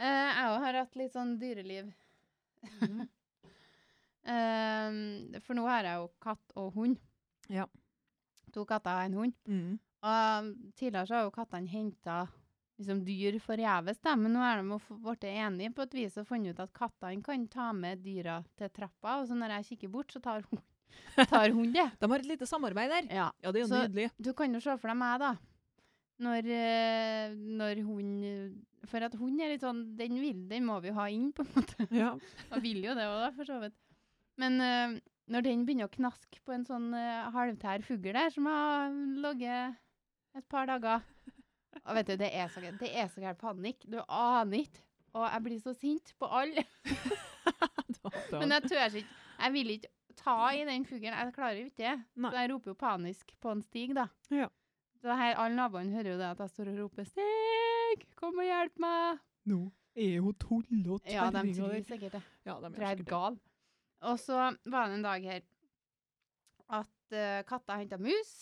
[SPEAKER 1] Eh, jeg òg har hatt litt sånn dyreliv. Eh, for nå har jeg jo katt og hund.
[SPEAKER 2] Ja.
[SPEAKER 1] To katter og en hund.
[SPEAKER 2] mm.
[SPEAKER 1] Og um, tidligere så har jo kattene henta liksom, dyr forgjeves, da, men nå er de jo f- blitt enige på et vis og funnet ut at kattene kan ta med dyra til trappa, og så når jeg kikker bort, så tar hun, tar hun det.
[SPEAKER 2] De har et lite samarbeid der.
[SPEAKER 1] Ja.
[SPEAKER 2] Ja, det er jo
[SPEAKER 1] Så-
[SPEAKER 2] nydelig.
[SPEAKER 1] Du kan jo se for deg meg, da. Når, eh, når hun For at hun er litt sånn Den vil, den må vi jo ha inn, på en måte.
[SPEAKER 2] Ja.
[SPEAKER 1] Og vil jo det òg, da, for så vidt. Men eh, når den begynner å knaske på en sånn eh, halvtær fugl der, som har ligget et par dager. Og vet du, det er så gæ- det er så gæren panikk. Du aner ikke. Og jeg blir så sint på alle. Men jeg tør altså ikke. Jeg vil ikke ta i den fuglen. Jeg klarer jo ikke det.
[SPEAKER 2] Nei.
[SPEAKER 1] Så jeg roper jo panisk på en stig, da.
[SPEAKER 2] Ja.
[SPEAKER 1] Så det her, Alle naboene hører jo det at jeg står og roper 'Stig, kom og hjelp meg'.
[SPEAKER 2] Nå er hun tullete.
[SPEAKER 1] Ja, de
[SPEAKER 2] kjerringa
[SPEAKER 1] tror
[SPEAKER 2] der.
[SPEAKER 1] sikkert det.
[SPEAKER 2] Ja, de
[SPEAKER 1] Tror jeg er
[SPEAKER 2] sikkert
[SPEAKER 1] helt
[SPEAKER 2] det.
[SPEAKER 1] gal. Og så var det en dag her at eh, katta henta mus.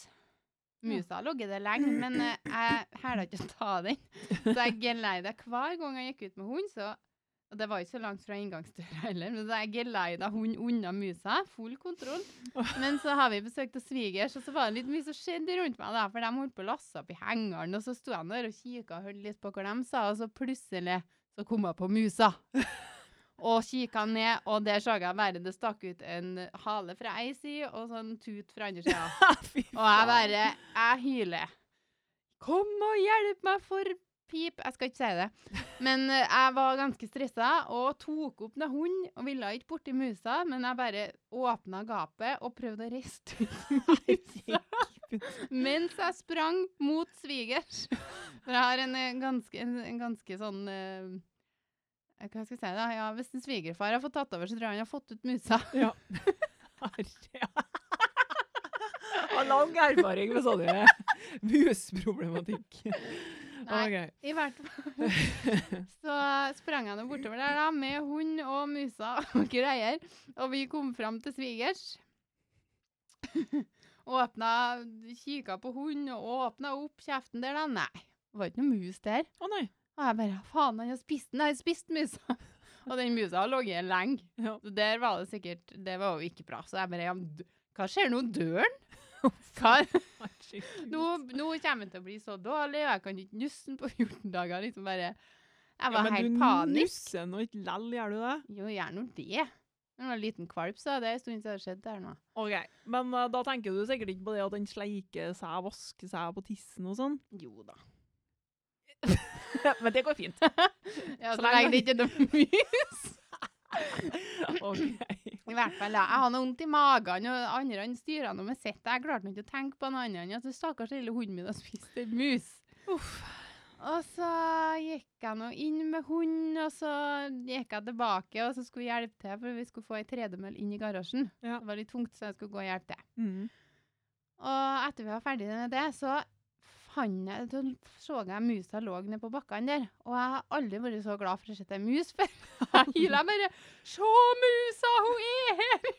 [SPEAKER 1] Musa har ligget der lenge, men eh, jeg hæla ikke å ta den. Så jeg geleida hver gang jeg gikk ut med hund. Så, og det var ikke så langt fra inngangsdøra heller, men så jeg geleida hund unna musa. Full kontroll. Men så har vi besøkt av svigers, og så var det litt mye som skjedde rundt meg, da, for de holdt på å lasse opp i hengeren, og så sto jeg der og kikka og hørte litt på hva de sa, og så plutselig så kom jeg på musa. Og kikka ned, og der så jeg bare det stakk ut en hale fra ei side og sånn tut fra andre sida.
[SPEAKER 2] Fy
[SPEAKER 1] Og jeg
[SPEAKER 2] faen.
[SPEAKER 1] bare Jeg hyler. Kom og hjelp meg for pip. Jeg skal ikke si det. Men eh, jeg var ganske stressa og tok opp en hund og ville ikke borti musa, men jeg bare åpna gapet og prøvde å riste ut musa mens jeg sprang mot svigers. For jeg har en eh, ganske, en, en ganske sånn eh, Hva skal jeg si, da? Ja, hvis en svigerfar har fått tatt over, så tror jeg han har fått ut musa.
[SPEAKER 2] Ja. Herre. Har lang erfaring med sånne musproblematikk.
[SPEAKER 1] Nei. I hvert fall. Så sprang jeg nå bortover der, da, med hund og musa og greier. Og vi kom fram til svigers. Åpna Kikka på hund og åpna opp kjeften der, da. Nei, det var ikke noe mus der.
[SPEAKER 2] Å nei.
[SPEAKER 1] Og jeg bare Faen, han har spist den. Jeg har spist musa. Og den musa har ligget lenge.
[SPEAKER 2] Ja.
[SPEAKER 1] Så der var det sikkert Det var jo ikke bra. Så jeg bare ja, men d- Hva skjer nå? Dør han? Hva?
[SPEAKER 2] herregud.
[SPEAKER 1] nå, nå kommer han til å bli så dårlig, og jeg kan ikke nusse den på 14 dager. Liksom bare, jeg
[SPEAKER 2] Ja,
[SPEAKER 1] var
[SPEAKER 2] men
[SPEAKER 1] helt
[SPEAKER 2] du
[SPEAKER 1] panisk.
[SPEAKER 2] nusser nå ikke lell, gjør du det?
[SPEAKER 1] Jo, gjør nå det. Når det var en liten kvalp, så er det en stund siden det har skjedd der nå.
[SPEAKER 2] Ok, Men eh, da tenker du sikkert ikke på det at den sleiker seg, vasker seg på tissen og sånn?
[SPEAKER 1] Jo da.
[SPEAKER 2] men det går fint.
[SPEAKER 1] Ja,
[SPEAKER 2] Så
[SPEAKER 1] så
[SPEAKER 2] lenge
[SPEAKER 1] lenge det ikke er noe mye.
[SPEAKER 2] Ok.
[SPEAKER 1] I hvert fall, ja. Jeg har noe vondt i magen, og det andre han styrer noe med sitt. Jeg klarte nå ikke å tenke på noe annet enn at den stakkars lille hunden min har spist en mus.
[SPEAKER 2] Uff.
[SPEAKER 1] Og så gikk jeg nå inn med hund, og så gikk jeg tilbake, og så skulle jeg hjelpe til, for vi skulle få ei tredemøll inn i garasjen.
[SPEAKER 2] Ja.
[SPEAKER 1] Det var litt tungt, så jeg skulle gå og hjelpe til.
[SPEAKER 2] Mm.
[SPEAKER 1] Og etter vi var ferdige med det, så fant jeg, så, så jeg musa lå nede på bakkene der. Og jeg har aldri vært så glad for å se en mus før. Jeg hyla bare 'Se musa, hun er her!'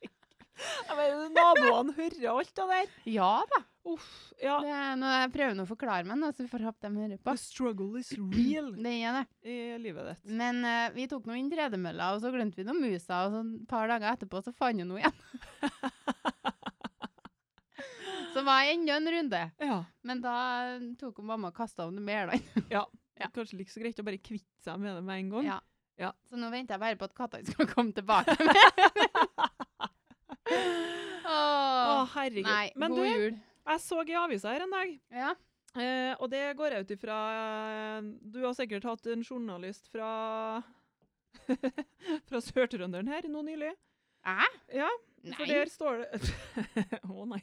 [SPEAKER 2] Jeg mener, Naboene hører alt det der.
[SPEAKER 1] Ja da.
[SPEAKER 2] Uff. Ja.
[SPEAKER 1] Det er noe jeg prøver nå å forklare meg, nå, så vi får håpe de hører på.
[SPEAKER 2] The struggle is real
[SPEAKER 1] Det er det.
[SPEAKER 2] i livet ditt.
[SPEAKER 1] Men eh, vi tok nå inn tredemølla, og så glemte vi noen musa, og så et par dager etterpå så fant hun henne igjen. Så var jeg enda en runde.
[SPEAKER 2] Ja.
[SPEAKER 1] Men da tok hun mamma og kasta henne med Erland. Ja.
[SPEAKER 2] Kanskje like så greit å bare kvitte seg med det med en gang.
[SPEAKER 1] Ja.
[SPEAKER 2] Ja.
[SPEAKER 1] Så nå venter jeg bare på at kattene skal komme tilbake.
[SPEAKER 2] Å,
[SPEAKER 1] Åh,
[SPEAKER 2] herregud.
[SPEAKER 1] nei,
[SPEAKER 2] Men
[SPEAKER 1] god
[SPEAKER 2] du,
[SPEAKER 1] jul.
[SPEAKER 2] jeg så i avisa her en dag,
[SPEAKER 1] Ja.
[SPEAKER 2] eh, og det går jeg ut ifra eh, Du har sikkert hatt en journalist fra fra Sør-Trønderen her nå nylig.
[SPEAKER 1] Æ?
[SPEAKER 2] Ja, for
[SPEAKER 1] Nei.
[SPEAKER 2] der står det Å nei.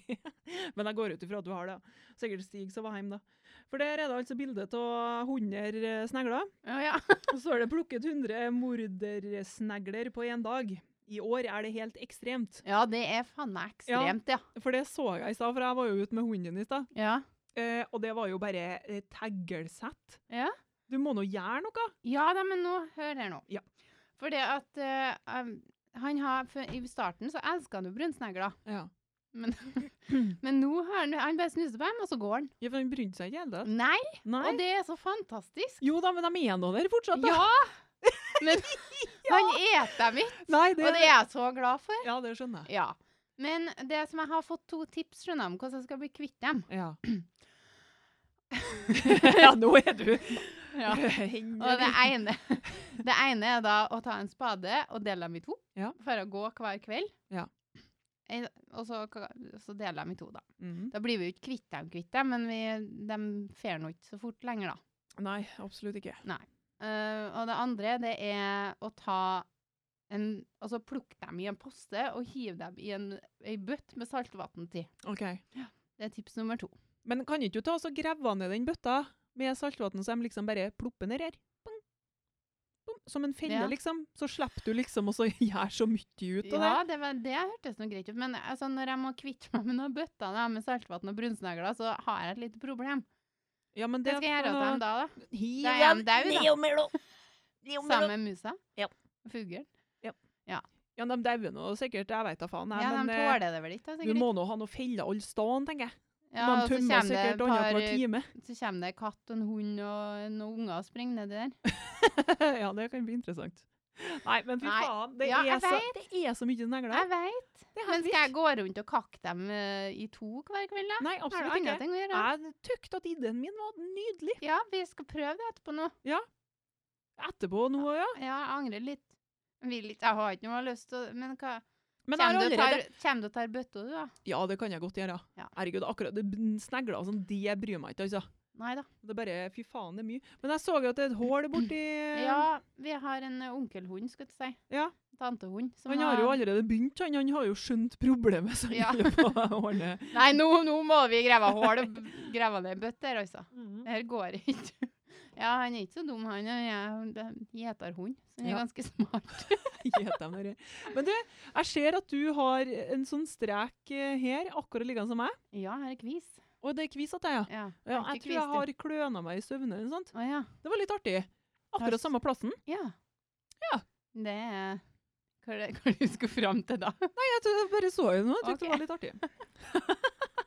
[SPEAKER 2] Men jeg går ut ifra at du har det. ja. Sikkert Stig som var hjemme, da. For der er det altså bilde av 100 eh, snegler.
[SPEAKER 1] Å, ja.
[SPEAKER 2] Og så er det plukket 100 mordersnegler på én dag. I år er det helt ekstremt.
[SPEAKER 1] ja, det er faen meg ekstremt, ja.
[SPEAKER 2] For det så jeg i stad, for jeg var jo ute med hunden din i stad.
[SPEAKER 1] Ja.
[SPEAKER 2] Eh, og det var jo bare eh, teglsett.
[SPEAKER 1] Ja.
[SPEAKER 2] Du må nå gjøre noe.
[SPEAKER 1] Ja, da, men nå, hør her nå.
[SPEAKER 2] Ja.
[SPEAKER 1] For det at eh, um, han har, for I starten så elska han jo brunsnegler,
[SPEAKER 2] Ja.
[SPEAKER 1] men nå har han, han bare snuser på dem, og så går han.
[SPEAKER 2] for han brydde seg ikke i det hele tatt.
[SPEAKER 1] Nei,
[SPEAKER 2] Nei.
[SPEAKER 1] og det er så fantastisk.
[SPEAKER 2] Jo da, men de er nå der fortsatt, da.
[SPEAKER 1] Ja! Men han eter dem ikke,
[SPEAKER 2] Nei,
[SPEAKER 1] og det er jeg så glad for.
[SPEAKER 2] Ja, det skjønner jeg.
[SPEAKER 1] Ja. Men det som jeg har fått to tips skjønner jeg, om hvordan jeg skal bli kvitt dem.
[SPEAKER 2] Ja. ja, nå er du
[SPEAKER 1] Ja. Og det ene, det ene er da å ta en spade og dele dem i to.
[SPEAKER 2] Ja.
[SPEAKER 1] For å gå hver kveld.
[SPEAKER 2] Ja.
[SPEAKER 1] En- Og så, så dele dem i to, da.
[SPEAKER 2] Mhm.
[SPEAKER 1] Da blir vi jo ikke kvitt dem, kvitt dem, men vi, de fer nå ikke så fort lenger, da.
[SPEAKER 2] Nei, absolutt ikke.
[SPEAKER 1] Eh, og det andre, det er å ta en Altså plukke dem i en poste og hive dem i en, ei bøtt med saltvann til.
[SPEAKER 2] OK.
[SPEAKER 1] Det er tips nummer to.
[SPEAKER 2] Men kan ikke du ta oss og grave ned den bøtta med saltvann, så de liksom bare plopper ned her? Bang. Bom. Som en felle,
[SPEAKER 1] Ja.
[SPEAKER 2] liksom. Så slipper du liksom å så gjøre så mye ut av
[SPEAKER 1] Ja, det, var, det hørtes noe greit ut. Men altså, når jeg må kvitte meg med noen bøtter da, med saltvann og brunsnegler, så har jeg et lite problem.
[SPEAKER 2] det. Ja, men
[SPEAKER 1] Det skal jeg gjøre til dem da, da.
[SPEAKER 2] Hiv
[SPEAKER 1] Da er jeg dau, da.
[SPEAKER 2] mellom.
[SPEAKER 1] Sammen med musa.
[SPEAKER 2] Ja.
[SPEAKER 1] Fuglen.
[SPEAKER 2] Ja, de dauer nå sikkert, jeg veit da faen. Jeg,
[SPEAKER 1] Ja, de
[SPEAKER 2] men eh,
[SPEAKER 1] tåler det vel ikke, da,
[SPEAKER 2] du
[SPEAKER 1] sikkert.
[SPEAKER 2] må nå ha noen feller alle steder, tenker jeg.
[SPEAKER 1] Ja,
[SPEAKER 2] Man
[SPEAKER 1] og så
[SPEAKER 2] tømmer
[SPEAKER 1] kommer det
[SPEAKER 2] sikkert
[SPEAKER 1] et par,
[SPEAKER 2] annenhver time.
[SPEAKER 1] så kommer det en katt og en hund og noen unger og springer nedi der.
[SPEAKER 2] ja, det kan bli interessant. Nei, men fy
[SPEAKER 1] Nei.
[SPEAKER 2] faen. Det,
[SPEAKER 1] Ja, jeg
[SPEAKER 2] er, så, det er så mye negler.
[SPEAKER 1] Jeg veit.
[SPEAKER 2] Det er
[SPEAKER 1] Men
[SPEAKER 2] helt
[SPEAKER 1] skal jeg
[SPEAKER 2] vilt.
[SPEAKER 1] gå rundt og kakke dem eh, i to hver kveld, da?
[SPEAKER 2] Nei,
[SPEAKER 1] Har du
[SPEAKER 2] absolutt
[SPEAKER 1] andre
[SPEAKER 2] ikke.
[SPEAKER 1] ting å gjøre?
[SPEAKER 2] Jeg tykte at ideen min var nydelig.
[SPEAKER 1] Ja, vi skal prøve det etterpå nå.
[SPEAKER 2] Etterpå nå, ja.
[SPEAKER 1] Ja, jeg angrer litt. Jeg Vil ikke, jeg har ikke noe lyst til å Men hva Kommer
[SPEAKER 2] Men jeg har
[SPEAKER 1] du og
[SPEAKER 2] allerede
[SPEAKER 1] tar, kjem du og tar bøtta, du, da?
[SPEAKER 2] Ja, det kan jeg godt gjøre.
[SPEAKER 1] Ja.
[SPEAKER 2] Herregud, akkurat det snegler og sånn, det bryr meg ikke, altså.
[SPEAKER 1] Nei da.
[SPEAKER 2] Det er bare Fy faen, det er mye. Men jeg så jo at det er et hull borti
[SPEAKER 1] Ja, vi har en eh, onkelhund, skal jeg si.
[SPEAKER 2] Eh. Ja.
[SPEAKER 1] Tantehund. som
[SPEAKER 2] Han har jo
[SPEAKER 1] har-
[SPEAKER 2] allerede begynt, han. Han har jo skjønt problemet, så han
[SPEAKER 1] Ja.
[SPEAKER 2] holder på å ordne
[SPEAKER 1] Nei, nå, nå må vi grave hull og b- grave ned en bøtte her, altså. Det her går ikke. Ja, han er ikke så dum, han. Han er en gjeterhund, så han er
[SPEAKER 2] Ja.
[SPEAKER 1] ganske smart.
[SPEAKER 2] Gjet dem dere. Men du, jeg ser at du har en sånn strek eh, her, akkurat liggende som meg.
[SPEAKER 1] Ja, her er kvis.
[SPEAKER 2] Og det er kvis at jeg, ja.
[SPEAKER 1] Ja,
[SPEAKER 2] ja.
[SPEAKER 1] er
[SPEAKER 2] Jeg
[SPEAKER 1] ikke
[SPEAKER 2] tror jeg
[SPEAKER 1] kvis,
[SPEAKER 2] har kløna meg i søvne eller noe sånt.
[SPEAKER 1] du. Å ja.
[SPEAKER 2] Det var litt artig.
[SPEAKER 1] Har-
[SPEAKER 2] Akkurat samme plassen.
[SPEAKER 1] Ja.
[SPEAKER 2] Ja.
[SPEAKER 1] Det er hva er det hva er det du skulle fram til da?
[SPEAKER 2] Jeg tror jeg bare så jo noe, jeg syntes det
[SPEAKER 1] Ok.
[SPEAKER 2] var litt artig.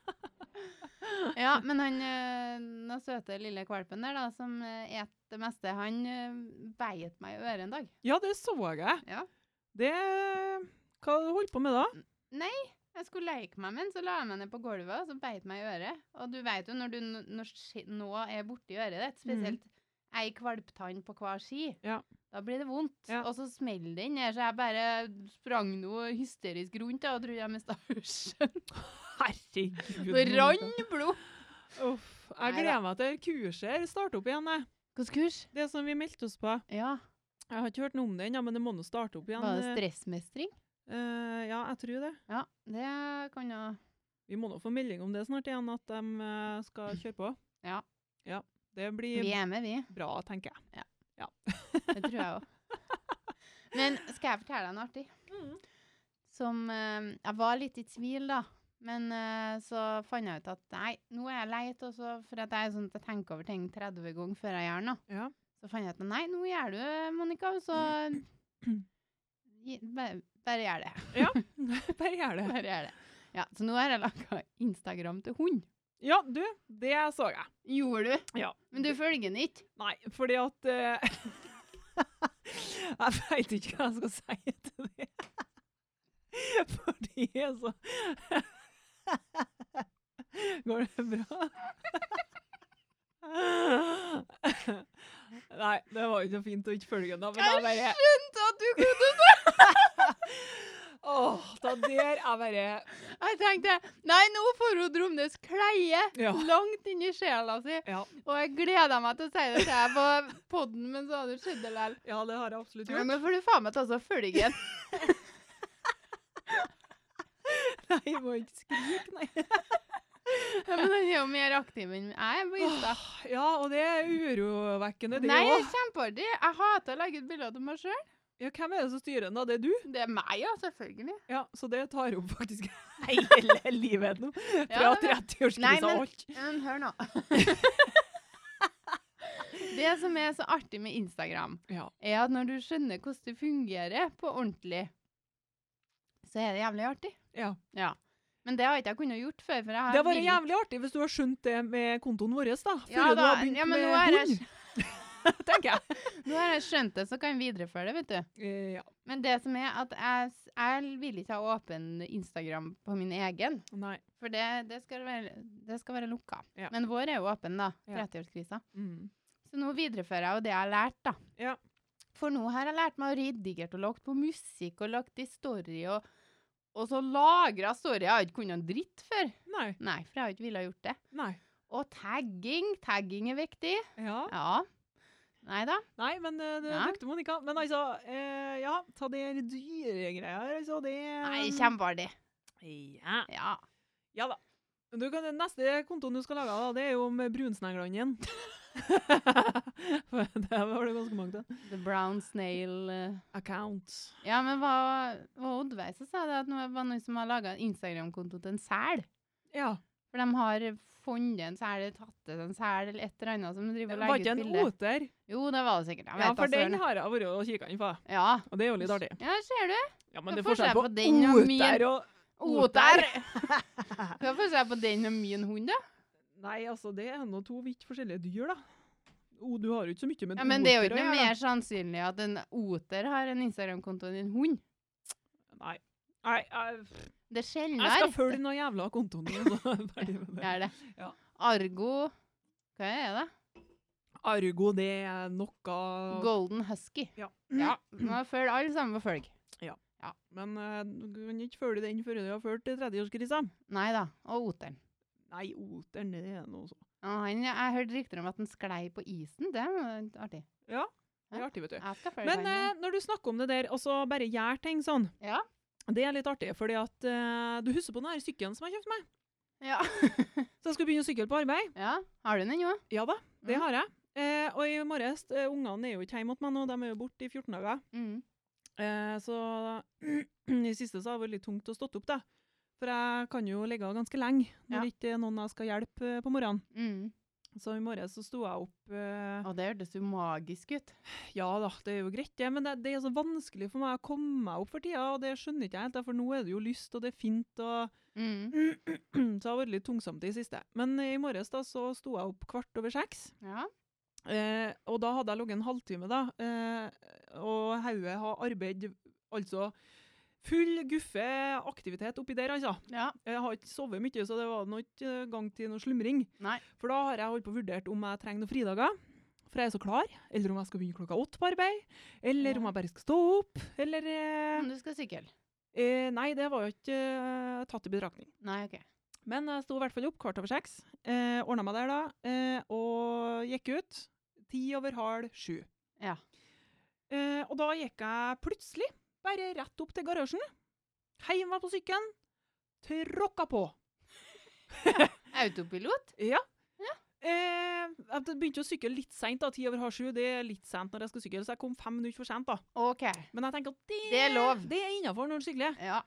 [SPEAKER 1] Ja, men han øh, den søte lille kvalpen der, da, som øh, et det meste, han øh, beit meg i øret en dag.
[SPEAKER 2] Ja, det så jeg.
[SPEAKER 1] Ja.
[SPEAKER 2] Det Hva holdt du på med da?
[SPEAKER 1] Jeg skulle leke meg med den, så la jeg meg ned på gulvet, og så beit meg i øret. Og du vet jo når du n- når ski- nå er borti øret ditt, spesielt ei kvalptann på hver ski,
[SPEAKER 2] Ja.
[SPEAKER 1] da blir det vondt.
[SPEAKER 2] Ja.
[SPEAKER 1] Og så smeller det inn her, så jeg bare sprang noe hysterisk rundt da, og trodde jeg mista hørselen.
[SPEAKER 2] Herregud.
[SPEAKER 1] Det rann blod!
[SPEAKER 2] Uff. Jeg
[SPEAKER 1] Nei da.
[SPEAKER 2] gleder meg til kurset her starter opp igjen. jeg.
[SPEAKER 1] Hvilket kurs?
[SPEAKER 2] Det som vi meldte oss på.
[SPEAKER 1] Ja.
[SPEAKER 2] Jeg har ikke hørt noe om det ennå, men det må nå starte opp igjen.
[SPEAKER 1] Var det stressmestring?
[SPEAKER 2] Eh, ja, jeg tror det.
[SPEAKER 1] Ja, det kan jo
[SPEAKER 2] Vi må nå få melding om det snart igjen, at de eh, skal kjøre på.
[SPEAKER 1] Ja.
[SPEAKER 2] Ja, Det blir
[SPEAKER 1] Vi er med, vi.
[SPEAKER 2] bra, tenker jeg.
[SPEAKER 1] Det tror jeg òg. Men skal jeg fortelle deg en artig? Som eh, Jeg var litt i tvil, da. Men eh, så fant jeg ut at nei, nå er jeg leit, og så for at jeg er sånn at jeg tenker over ting 30 ganger før jeg gjør noe.
[SPEAKER 2] Ja.
[SPEAKER 1] Så fant jeg ut at nei, nå gjør du det, Monica, og så Mm. gi- bare, bare gjør det.
[SPEAKER 2] Bare gjør det.
[SPEAKER 1] Bare gjør det. Ja, så nå har jeg laga Instagram til hund.
[SPEAKER 2] Ja, du, det så jeg.
[SPEAKER 1] Gjorde du?
[SPEAKER 2] Ja.
[SPEAKER 1] Men du følger den ikke?
[SPEAKER 2] Nei, fordi at eh, Jeg veit ikke hva jeg skal si til det. Fordi jeg så Går det bra? Nei, det var jo ikke så fint å ikke følge den, da. Men jeg bare
[SPEAKER 1] skjønte at du kunne
[SPEAKER 2] Åh, da der er bare
[SPEAKER 1] Jeg tenkte Nei, nå får hun Dromnes kleie
[SPEAKER 2] Ja.
[SPEAKER 1] langt inn i sjela si.
[SPEAKER 2] Ja.
[SPEAKER 1] Og jeg gleder meg til å si det til deg på podden, men så har du skjedd det likevel.
[SPEAKER 2] Ja, det har jeg
[SPEAKER 1] Ja,
[SPEAKER 2] absolutt gjort.
[SPEAKER 1] men får du faen meg ta så følgen.
[SPEAKER 2] Nei, jeg må ikke skrike, nei.
[SPEAKER 1] Ja, men den er jo mer aktiv enn jeg er på Insta.
[SPEAKER 2] Ja, og det er urovekkende, det
[SPEAKER 1] Nei,
[SPEAKER 2] òg.
[SPEAKER 1] kjempeartig. Jeg hater å legge ut bilder av meg sjøl.
[SPEAKER 2] Ja, hvem er det som styrer den, da? Det er du?
[SPEAKER 1] Det er meg, ja, selvfølgelig.
[SPEAKER 2] Ja, så det tar opp faktisk hele livet nå. Fra
[SPEAKER 1] Ja, det er-
[SPEAKER 2] 30-årskrisa
[SPEAKER 1] Nei,
[SPEAKER 2] og
[SPEAKER 1] men-
[SPEAKER 2] alt.
[SPEAKER 1] Men hør nå. Det som er så artig med Instagram,
[SPEAKER 2] Ja.
[SPEAKER 1] er at når du skjønner hvordan det fungerer på ordentlig, så er det jævlig artig.
[SPEAKER 2] ja.
[SPEAKER 1] Men det har ikke jeg kunnet gjort før. For jeg har
[SPEAKER 2] Det hadde vært
[SPEAKER 1] villet-
[SPEAKER 2] jævlig artig hvis du har skjønt det med kontoen vår, da. Før
[SPEAKER 1] Ja,
[SPEAKER 2] du har
[SPEAKER 1] da,
[SPEAKER 2] begynt
[SPEAKER 1] ja, men nå er
[SPEAKER 2] med
[SPEAKER 1] jeg-
[SPEAKER 2] hund, tenker jeg.
[SPEAKER 1] Nå har jeg skjønt det, så kan jeg videreføre det, vet du.
[SPEAKER 2] Eh, ja.
[SPEAKER 1] Men det som er at jeg, s- jeg vil ikke ha åpen Instagram på min egen.
[SPEAKER 2] Nei.
[SPEAKER 1] For det, det, skal, være, det skal være lukka.
[SPEAKER 2] Ja.
[SPEAKER 1] Men vår er jo åpen, da.
[SPEAKER 2] Ja.
[SPEAKER 1] 30-årskrisa.
[SPEAKER 2] Mm.
[SPEAKER 1] Så nå viderefører jeg jo det jeg har lært, da.
[SPEAKER 2] Ja.
[SPEAKER 1] For nå har jeg lært meg å redigere og lagt på musikk og lagt i story og og så lagra story. Jeg har ikke kunnet en dritt før.
[SPEAKER 2] Nei.
[SPEAKER 1] Nei, for jeg har ikke villet ha gjort det.
[SPEAKER 2] Nei.
[SPEAKER 1] Og tagging. Tagging er viktig.
[SPEAKER 2] Ja.
[SPEAKER 1] Ja. Nei da.
[SPEAKER 2] Nei, men eh, du
[SPEAKER 1] Nei.
[SPEAKER 2] brukte Monica. Men altså, eh, ja, ta det dyregreia her, altså. Det
[SPEAKER 1] Nei, kjempeartig.
[SPEAKER 2] Ja.
[SPEAKER 1] Ja.
[SPEAKER 2] ja da. Men du kan, neste kontoen du skal lage, da, det er jo med brunsneglene igjen. For det var det ganske mange av.
[SPEAKER 1] The brown snail. eh.
[SPEAKER 2] Accounts.
[SPEAKER 1] Ja, men hva var Oddveig som sa det? At det var noen som har laga en Instagram-konto til en sel?
[SPEAKER 2] Ja.
[SPEAKER 1] For de har funnet en sel, eller tatt ut en sel, eller et eller annet som driver og
[SPEAKER 2] Var
[SPEAKER 1] legger ut
[SPEAKER 2] ikke en
[SPEAKER 1] bilde.
[SPEAKER 2] oter?
[SPEAKER 1] Jo, det var det sikkert. Jeg vet altså,
[SPEAKER 2] Ja, for
[SPEAKER 1] da
[SPEAKER 2] den
[SPEAKER 1] søren.
[SPEAKER 2] har jeg vært og kikka inn på.
[SPEAKER 1] Ja.
[SPEAKER 2] Og det er jo litt artig.
[SPEAKER 1] ja, ser du?
[SPEAKER 2] Ja,
[SPEAKER 1] Hva
[SPEAKER 2] men det er
[SPEAKER 1] får
[SPEAKER 2] forskjell
[SPEAKER 1] jeg
[SPEAKER 2] på
[SPEAKER 1] på den og min?
[SPEAKER 2] oter og
[SPEAKER 1] Oter! Hva får jeg på den og min hund, da?
[SPEAKER 2] Nei, altså, det er nå to vidt forskjellige dyr, da. O, du har jo ikke så mye med
[SPEAKER 1] Ja, men det er jo
[SPEAKER 2] oter å
[SPEAKER 1] ikke noe
[SPEAKER 2] gjøre, da.
[SPEAKER 1] mer sannsynlig at en oter har en Instagram-konto enn en hund.
[SPEAKER 2] Nei. Nei, jeg,
[SPEAKER 1] Det er sjeldnere.
[SPEAKER 2] jeg skal følge den jævla kontoen din. så er jeg ferdig med
[SPEAKER 1] Det
[SPEAKER 2] det.
[SPEAKER 1] er det.
[SPEAKER 2] Ja.
[SPEAKER 1] Argo Hva er det?
[SPEAKER 2] Argo, det er noe
[SPEAKER 1] Golden Husky.
[SPEAKER 2] Ja.
[SPEAKER 1] ja. Må følge alle sammen på følg.
[SPEAKER 2] Men eh, du kan ikke følge den før du har ført 30-årskrisa.
[SPEAKER 1] Nei da. Og oteren.
[SPEAKER 2] Nei, oteren, det er noe så
[SPEAKER 1] Ja, Han, jeg hørte rykter om at han sklei på isen. Det var artig.
[SPEAKER 2] Det er artig, vet du.
[SPEAKER 1] Jeg skal følge han.
[SPEAKER 2] Men
[SPEAKER 1] ja.
[SPEAKER 2] eh, når du snakker om det der, og så bare gjør ting sånn
[SPEAKER 1] Ja.
[SPEAKER 2] Det er litt artig, fordi at eh, du husker på den her sykkelen som jeg kjøpte meg?
[SPEAKER 1] Ja.
[SPEAKER 2] Så jeg skulle begynne å sykle på arbeid.
[SPEAKER 1] ja. Har du den ennå?
[SPEAKER 2] Ja da, det
[SPEAKER 1] Mhm.
[SPEAKER 2] har jeg. Eh, og i morges eh, Ungene er jo ikke hjemme hos meg nå, de er jo borte i 14 dager.
[SPEAKER 1] Mm.
[SPEAKER 2] Eh, så i siste så har det vært litt tungt å stått opp, da. For jeg kan jo ligge ganske lenge når
[SPEAKER 1] Ja.
[SPEAKER 2] det ikke er noen jeg skal hjelpe eh, på morgenen.
[SPEAKER 1] Mm.
[SPEAKER 2] Så i morges så sto jeg opp eh,
[SPEAKER 1] Og det hørtes jo magisk ut.
[SPEAKER 2] Ja da, det er jo greit, det, men det, det er så vanskelig for meg å komme meg opp for tida, og det skjønner ikke jeg helt, da, for nå er det jo lyst, og det er fint, og
[SPEAKER 1] Mm.
[SPEAKER 2] Så det har vært litt tungsomt i siste. Men eh, i morges da, så sto jeg opp kvart over seks.
[SPEAKER 1] Ja.
[SPEAKER 2] Eh, og da hadde jeg ligget en halvtime, da. Eh, og hodet har arbeidet altså full guffe aktivitet oppi der, altså.
[SPEAKER 1] ja.
[SPEAKER 2] Jeg har ikke sovet mye, så det var nå ikke eh, gang til noe slumring.
[SPEAKER 1] Nei.
[SPEAKER 2] For da har jeg holdt på og vurdert om jeg trenger noen fridager. For jeg er så klar. Eller om jeg skal begynne klokka åtte på arbeid. Eller om
[SPEAKER 1] Ja.
[SPEAKER 2] jeg bare skal stå opp. Eller eh,
[SPEAKER 1] Men du skal sykle?
[SPEAKER 2] eh, Nei, det var jo ikke eh, tatt i betraktning.
[SPEAKER 1] Nei, OK.
[SPEAKER 2] Men jeg sto i hvert fall opp kvart over seks. Eh, Ordna meg der da, eh, og gikk ut ti over halv sju.
[SPEAKER 1] Ja.
[SPEAKER 2] Eh, og da gikk jeg plutselig bare rett opp til garasjen, heiv meg på sykkelen, tråkka på.
[SPEAKER 1] Autopilot?
[SPEAKER 2] Eh, jeg begynte å sykle litt seint, da. Ti over halv sju, det er litt sent når jeg skal sykle, så jeg kom fem minutter for sent, da.
[SPEAKER 1] OK.
[SPEAKER 2] Men jeg tenker at det,
[SPEAKER 1] Det er lov.
[SPEAKER 2] Det er innafor når du sykler.
[SPEAKER 1] Ja.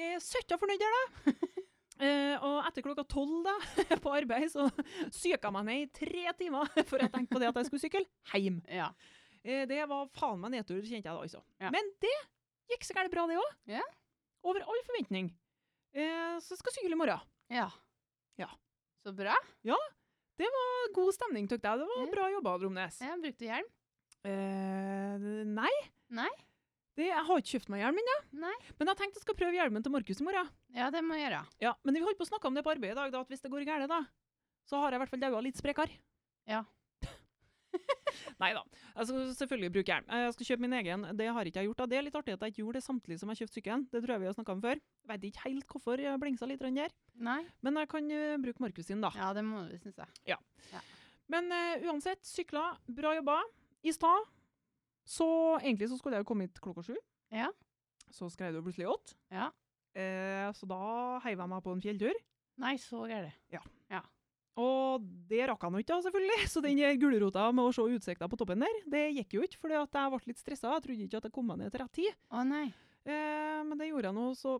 [SPEAKER 2] eh, søtta fornøyd der, da. Eh, og etter klokka tolv da, på arbeid så syka jeg meg ned i tre timer for jeg tenkte på det at jeg skulle sykle hjem.
[SPEAKER 1] ja.
[SPEAKER 2] Eh, det var faen meg nedtur, kjente jeg da. altså.
[SPEAKER 1] Ja.
[SPEAKER 2] Men det gikk så gærent bra, det òg.
[SPEAKER 1] Ja.
[SPEAKER 2] Over all forventning. Eh, så skal jeg sykle i morgen.
[SPEAKER 1] Ja.
[SPEAKER 2] Ja.
[SPEAKER 1] Så bra.
[SPEAKER 2] Det var God stemning, tykte jeg. Det var
[SPEAKER 1] Ja.
[SPEAKER 2] bra jobba, Dromnes.
[SPEAKER 1] Ja, brukte du hjelm?
[SPEAKER 2] Eh, nei.
[SPEAKER 1] Nei?
[SPEAKER 2] Det, jeg har ikke kjøpt meg hjelm ennå.
[SPEAKER 1] Nei.
[SPEAKER 2] Men jeg tenkte jeg skal prøve hjelmen til Markus i morgen.
[SPEAKER 1] Ja, det må jeg gjøre.
[SPEAKER 2] Ja, men vi holdt på å snakke om det på arbeid i dag, da, at hvis det går gærent, da, så har jeg i hvert fall daua litt sprekere.
[SPEAKER 1] Ja.
[SPEAKER 2] Nei da. Jeg skal selvfølgelig bruke hjelm. Eh, Jeg skal kjøpe min egen. Det har ikke jeg gjort. da. Det er litt artig at jeg ikke gjorde det samtidig som jeg kjøpte sykkelen. Det tror jeg vi har snakka om før. Vet ikke helt hvorfor jeg blingsa litt grann der.
[SPEAKER 1] Nei?
[SPEAKER 2] Men jeg kan eh, bruke Markus sin, da.
[SPEAKER 1] Ja, det må du, syns jeg.
[SPEAKER 2] Men eh, uansett, sykla. Bra jobba. I stad så egentlig så skulle jeg jo komme hit klokka sju.
[SPEAKER 1] Ja.
[SPEAKER 2] Så skrev det jo plutselig åtte.
[SPEAKER 1] Ja.
[SPEAKER 2] Eh, så da heiv jeg meg på en fjelltur.
[SPEAKER 1] Nei, så gærent.
[SPEAKER 2] Og det rakk han jo ikke, da, selvfølgelig. Så den der gulrota med å se utsikta på toppen der, det gikk jo ikke. For jeg ble litt stressa. Jeg trodde ikke at jeg kom meg ned til rett tid.
[SPEAKER 1] Å nei.
[SPEAKER 2] Eh, men det gjorde jeg nå, så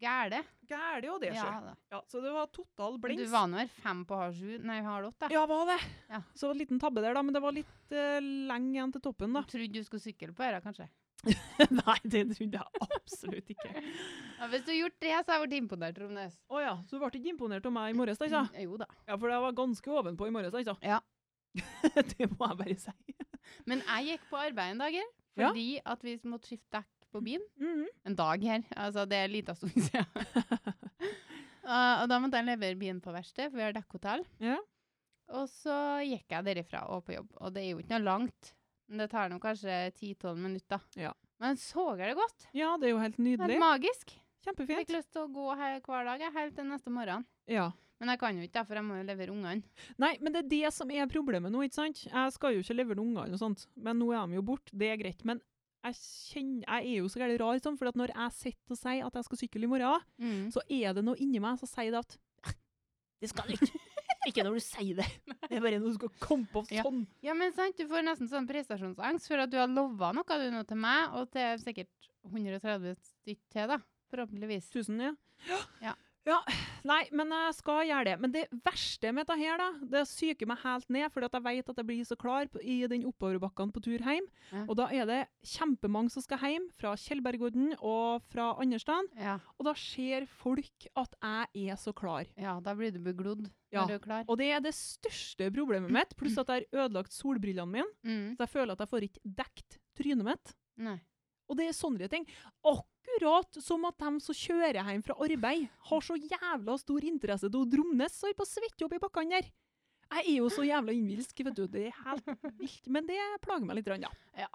[SPEAKER 1] Gæle.
[SPEAKER 2] gæli jo det
[SPEAKER 1] Ja
[SPEAKER 2] skjer. Ja.
[SPEAKER 1] da.
[SPEAKER 2] så det var total
[SPEAKER 1] Du
[SPEAKER 2] blings.
[SPEAKER 1] var nå vel fem på halv sju? Nei, halv åtte?
[SPEAKER 2] Ja, var det.
[SPEAKER 1] Ja.
[SPEAKER 2] Så en liten tabbe der, da. Men det var litt eh, lenge igjen til toppen, da.
[SPEAKER 1] Du trodde du skulle sykle på øra, kanskje?
[SPEAKER 2] Nei, det trodde jeg absolutt ikke.
[SPEAKER 1] Ja, hvis du hadde gjort det, så hadde jeg vært imponert, Romnes.
[SPEAKER 2] Å ja, så du ble ikke imponert av meg i morges, da, ikke sant?
[SPEAKER 1] Mm, Jo da.
[SPEAKER 2] Ja, for jeg var ganske ovenpå i morges, da, ikke sant?
[SPEAKER 1] Ja.
[SPEAKER 2] det må jeg bare si.
[SPEAKER 1] Men jeg gikk på arbeid en dag her,
[SPEAKER 2] Ja.
[SPEAKER 1] fordi at vi måtte skifte dekk på bilen.
[SPEAKER 2] Mhm.
[SPEAKER 1] En dag her. Altså, det er en liten stund siden. Uh, og da måtte jeg levere bilen på verksted, for vi har dekkhotell.
[SPEAKER 2] Ja.
[SPEAKER 1] Og så gikk jeg derifra og på jobb. Og det er jo ikke noe langt. Men det tar nå kanskje 10-12 minutter.
[SPEAKER 2] Ja.
[SPEAKER 1] Men så jeg det godt.
[SPEAKER 2] ja, det er jo helt
[SPEAKER 1] Det er
[SPEAKER 2] nydelig.
[SPEAKER 1] magisk. Jeg
[SPEAKER 2] Kjempefint.
[SPEAKER 1] fikk lyst til å gå her hver dag jeg, helt til neste morgen.
[SPEAKER 2] Ja.
[SPEAKER 1] Men jeg kan jo ikke, da, for jeg må jo levere ungene.
[SPEAKER 2] Nei, men det er det som er problemet nå, ikke sant? Jeg skal jo ikke levere noen unger eller noe sånt, men nå er de jo borte, det er greit. Men jeg, kjenner, jeg er jo så gærent rar sånn, for at
[SPEAKER 1] Mm.
[SPEAKER 2] når jeg sitter og sier at jeg skal sykle i morgen, så er det noe inni meg som sier det at Det skal du ikke. Ikke når du sier det. Det er bare noe du skal komme på
[SPEAKER 1] Ja.
[SPEAKER 2] sånn.
[SPEAKER 1] Ja, men sant, du får nesten sånn prestasjonsangst for at du har lova noe du nå til meg, og til sikkert 130 stykk til, da. Forhåpentligvis.
[SPEAKER 2] Tusen, ja.
[SPEAKER 1] Ja.
[SPEAKER 2] Ja, Nei, men jeg skal gjøre det. Men det verste med dette her, da, det psyker meg helt ned, fordi at jeg vet at jeg blir så klar på, i den oppoverbakken på tur hjem.
[SPEAKER 1] Ja.
[SPEAKER 2] Og da er det kjempemange som skal hjem, fra Tjeldbergodden og fra andre steder.
[SPEAKER 1] Ja,
[SPEAKER 2] Og da ser folk at jeg er så klar.
[SPEAKER 1] ja, da blir du beglodd
[SPEAKER 2] Ja.
[SPEAKER 1] når du er klar.
[SPEAKER 2] Og det er det største problemet mitt, pluss at jeg har ødelagt solbrillene mine.
[SPEAKER 1] Mm.
[SPEAKER 2] Så jeg føler at jeg får ikke dekt trynet mitt.
[SPEAKER 1] Nei.
[SPEAKER 2] Og det er sånne ting. Akkurat som at de som kjører hjem fra arbeid, har så jævla stor interesse til å dromnes og holder på å svette opp i bakkene der. Jeg er jo så jævla innbilsk, vet du. Det er helt vilt. Men det plager meg litt, grann, ja.
[SPEAKER 1] Ja.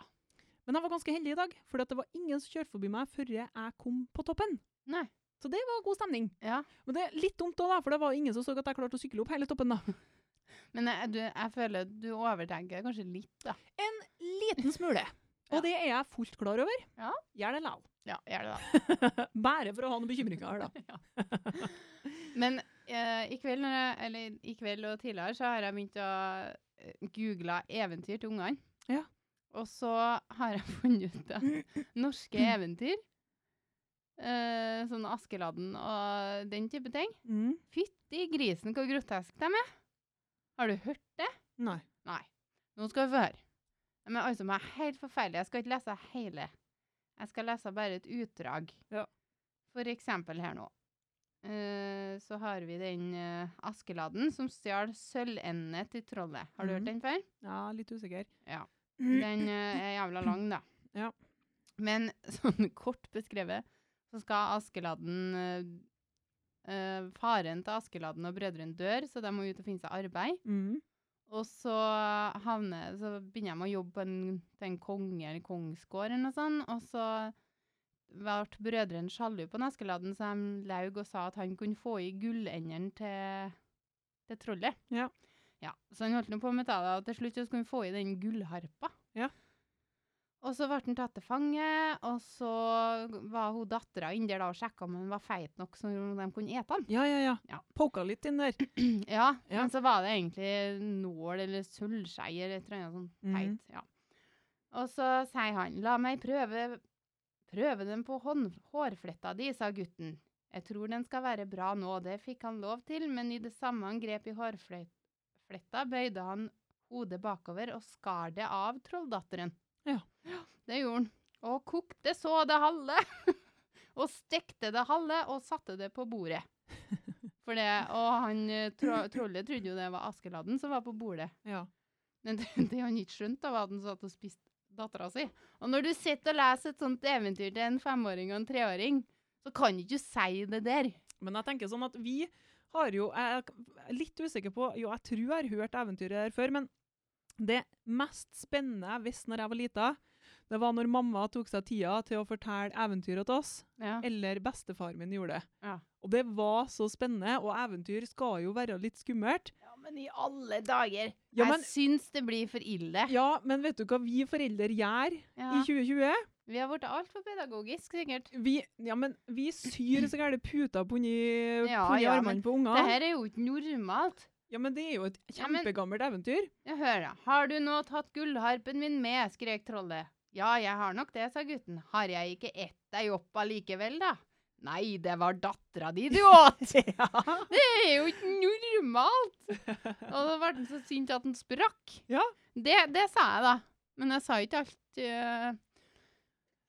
[SPEAKER 2] Men jeg var ganske heldig i dag, for det var ingen som kjørte forbi meg før jeg kom på toppen.
[SPEAKER 1] Nei.
[SPEAKER 2] Så det var god stemning.
[SPEAKER 1] Ja.
[SPEAKER 2] Men det er litt dumt òg, da, for det var ingen som så at jeg klarte å sykle opp hele toppen, da.
[SPEAKER 1] Men jeg, du, jeg føler du overtenker det kanskje litt, da.
[SPEAKER 2] En liten smule.
[SPEAKER 1] Ja.
[SPEAKER 2] Og det er jeg fullt klar over.
[SPEAKER 1] Ja.
[SPEAKER 2] Gjør det lal.
[SPEAKER 1] Ja, gjør det, da.
[SPEAKER 2] Bare for å ha noen bekymringer, da.
[SPEAKER 1] Men eh, i, kveld, når jeg- eller, i kveld og tidligere så har jeg begynt å eh, google eventyr til ungene.
[SPEAKER 2] Ja.
[SPEAKER 1] Og så har jeg funnet ut at norske eventyr, eh, sånn Askeladden og den type ting
[SPEAKER 2] Mm.
[SPEAKER 1] Fytti grisen, hvor grotesk de er! Har du hørt det?
[SPEAKER 2] Nei.
[SPEAKER 1] Nei. Nå skal vi få høre. Men altså, de er helt forferdelige. Jeg skal ikke lese hele. Jeg skal lese bare et utdrag.
[SPEAKER 2] Ja.
[SPEAKER 1] For eksempel her nå. Eh, så har vi den eh, Askeladden som stjal sølvendene til trollet. Har du
[SPEAKER 2] Mhm.
[SPEAKER 1] hørt den før?
[SPEAKER 2] Ja, litt usikker.
[SPEAKER 1] Ja. Den eh, er jævla lang, da.
[SPEAKER 2] Mm. Ja.
[SPEAKER 1] Men sånn kort beskrevet, så skal Askeladden eh, eh, Faren til Askeladden og brødrene dør, så de må ut og finne seg arbeid.
[SPEAKER 2] Mm.
[SPEAKER 1] Og så, havner, så begynner jeg med å jobbe på en, til en konge eller kongsgård eller noe sånt. Og så ble brødrene sjalu på Neskeladden, så de laug og sa at han kunne få i gullendene til, til trollet.
[SPEAKER 2] Ja.
[SPEAKER 1] Ja, Så han holdt nå på med det, og til slutt så skulle han få i den gullharpa.
[SPEAKER 2] Ja.
[SPEAKER 1] Og så ble han tatt til fange, og så var hun dattera inni der da og sjekka om han var feit nok så de kunne ete han.
[SPEAKER 2] Ja, ja, ja.
[SPEAKER 1] Ja.
[SPEAKER 2] Poka litt inn der.
[SPEAKER 1] Ja,
[SPEAKER 2] Ja.
[SPEAKER 1] men så var det egentlig nål eller sølvskei eller et eller annet sånt
[SPEAKER 2] Mhm.
[SPEAKER 1] teit. Ja. Og så sier han, la meg prøve, prøve den på hånd, hårfletta di, sa gutten. Jeg tror den skal være bra nå, det fikk han lov til, men i det samme han grep i hårfletta, bøyde han hodet bakover og skar det av trolldatteren.
[SPEAKER 2] Ja.
[SPEAKER 1] Det gjorde han. Og kokte så det halve, og stekte det halve, og satte det på bordet. For det, og han, eh, tro, trollet trodde jo det var Askeladden som var på bordet.
[SPEAKER 2] Ja.
[SPEAKER 1] Men det, det han ikke skjønte, da, var at han satt og spiste dattera si. Og når du sitter og leser et sånt eventyr til en femåring og en treåring, så kan du ikke si det der.
[SPEAKER 2] Men jeg tenker sånn at vi har jo Jeg er litt usikker på Jo, jeg tror jeg har hørt eventyret her før, men det mest spennende jeg visste når jeg var lita, det var når mamma tok seg tida til å fortelle eventyret til oss.
[SPEAKER 1] Ja.
[SPEAKER 2] Eller bestefaren min gjorde det.
[SPEAKER 1] Ja.
[SPEAKER 2] Og det var så spennende, og eventyr skal jo være litt skummelt.
[SPEAKER 1] men i alle dager!
[SPEAKER 2] Ja, men,
[SPEAKER 1] Jeg syns det blir for ille.
[SPEAKER 2] ja, men vet du hva vi foreldre gjør i
[SPEAKER 1] Ja.
[SPEAKER 2] 2020?
[SPEAKER 1] Vi har blitt altfor pedagogisk, sikkert.
[SPEAKER 2] Vi, ja, men vi syr så gærne puter på inni
[SPEAKER 1] Ja,
[SPEAKER 2] ja,
[SPEAKER 1] ja, men
[SPEAKER 2] armene på ungene.
[SPEAKER 1] Det her er jo ikke normalt.
[SPEAKER 2] Ja, men det er jo et
[SPEAKER 1] Ja, men-
[SPEAKER 2] kjempegammelt eventyr.
[SPEAKER 1] Jeg hører. Har du nå tatt gullharpen min med? skrek trollet. Ja, jeg har nok det, sa gutten. Har jeg ikke ett deg opp allikevel, da? Nei, det var dattera di du åt!
[SPEAKER 2] ja.
[SPEAKER 1] Det er jo ikke normalt! Og da ble han så sint at han sprakk.
[SPEAKER 2] Ja.
[SPEAKER 1] Det, det sa jeg, da. Men jeg sa ikke alt eh,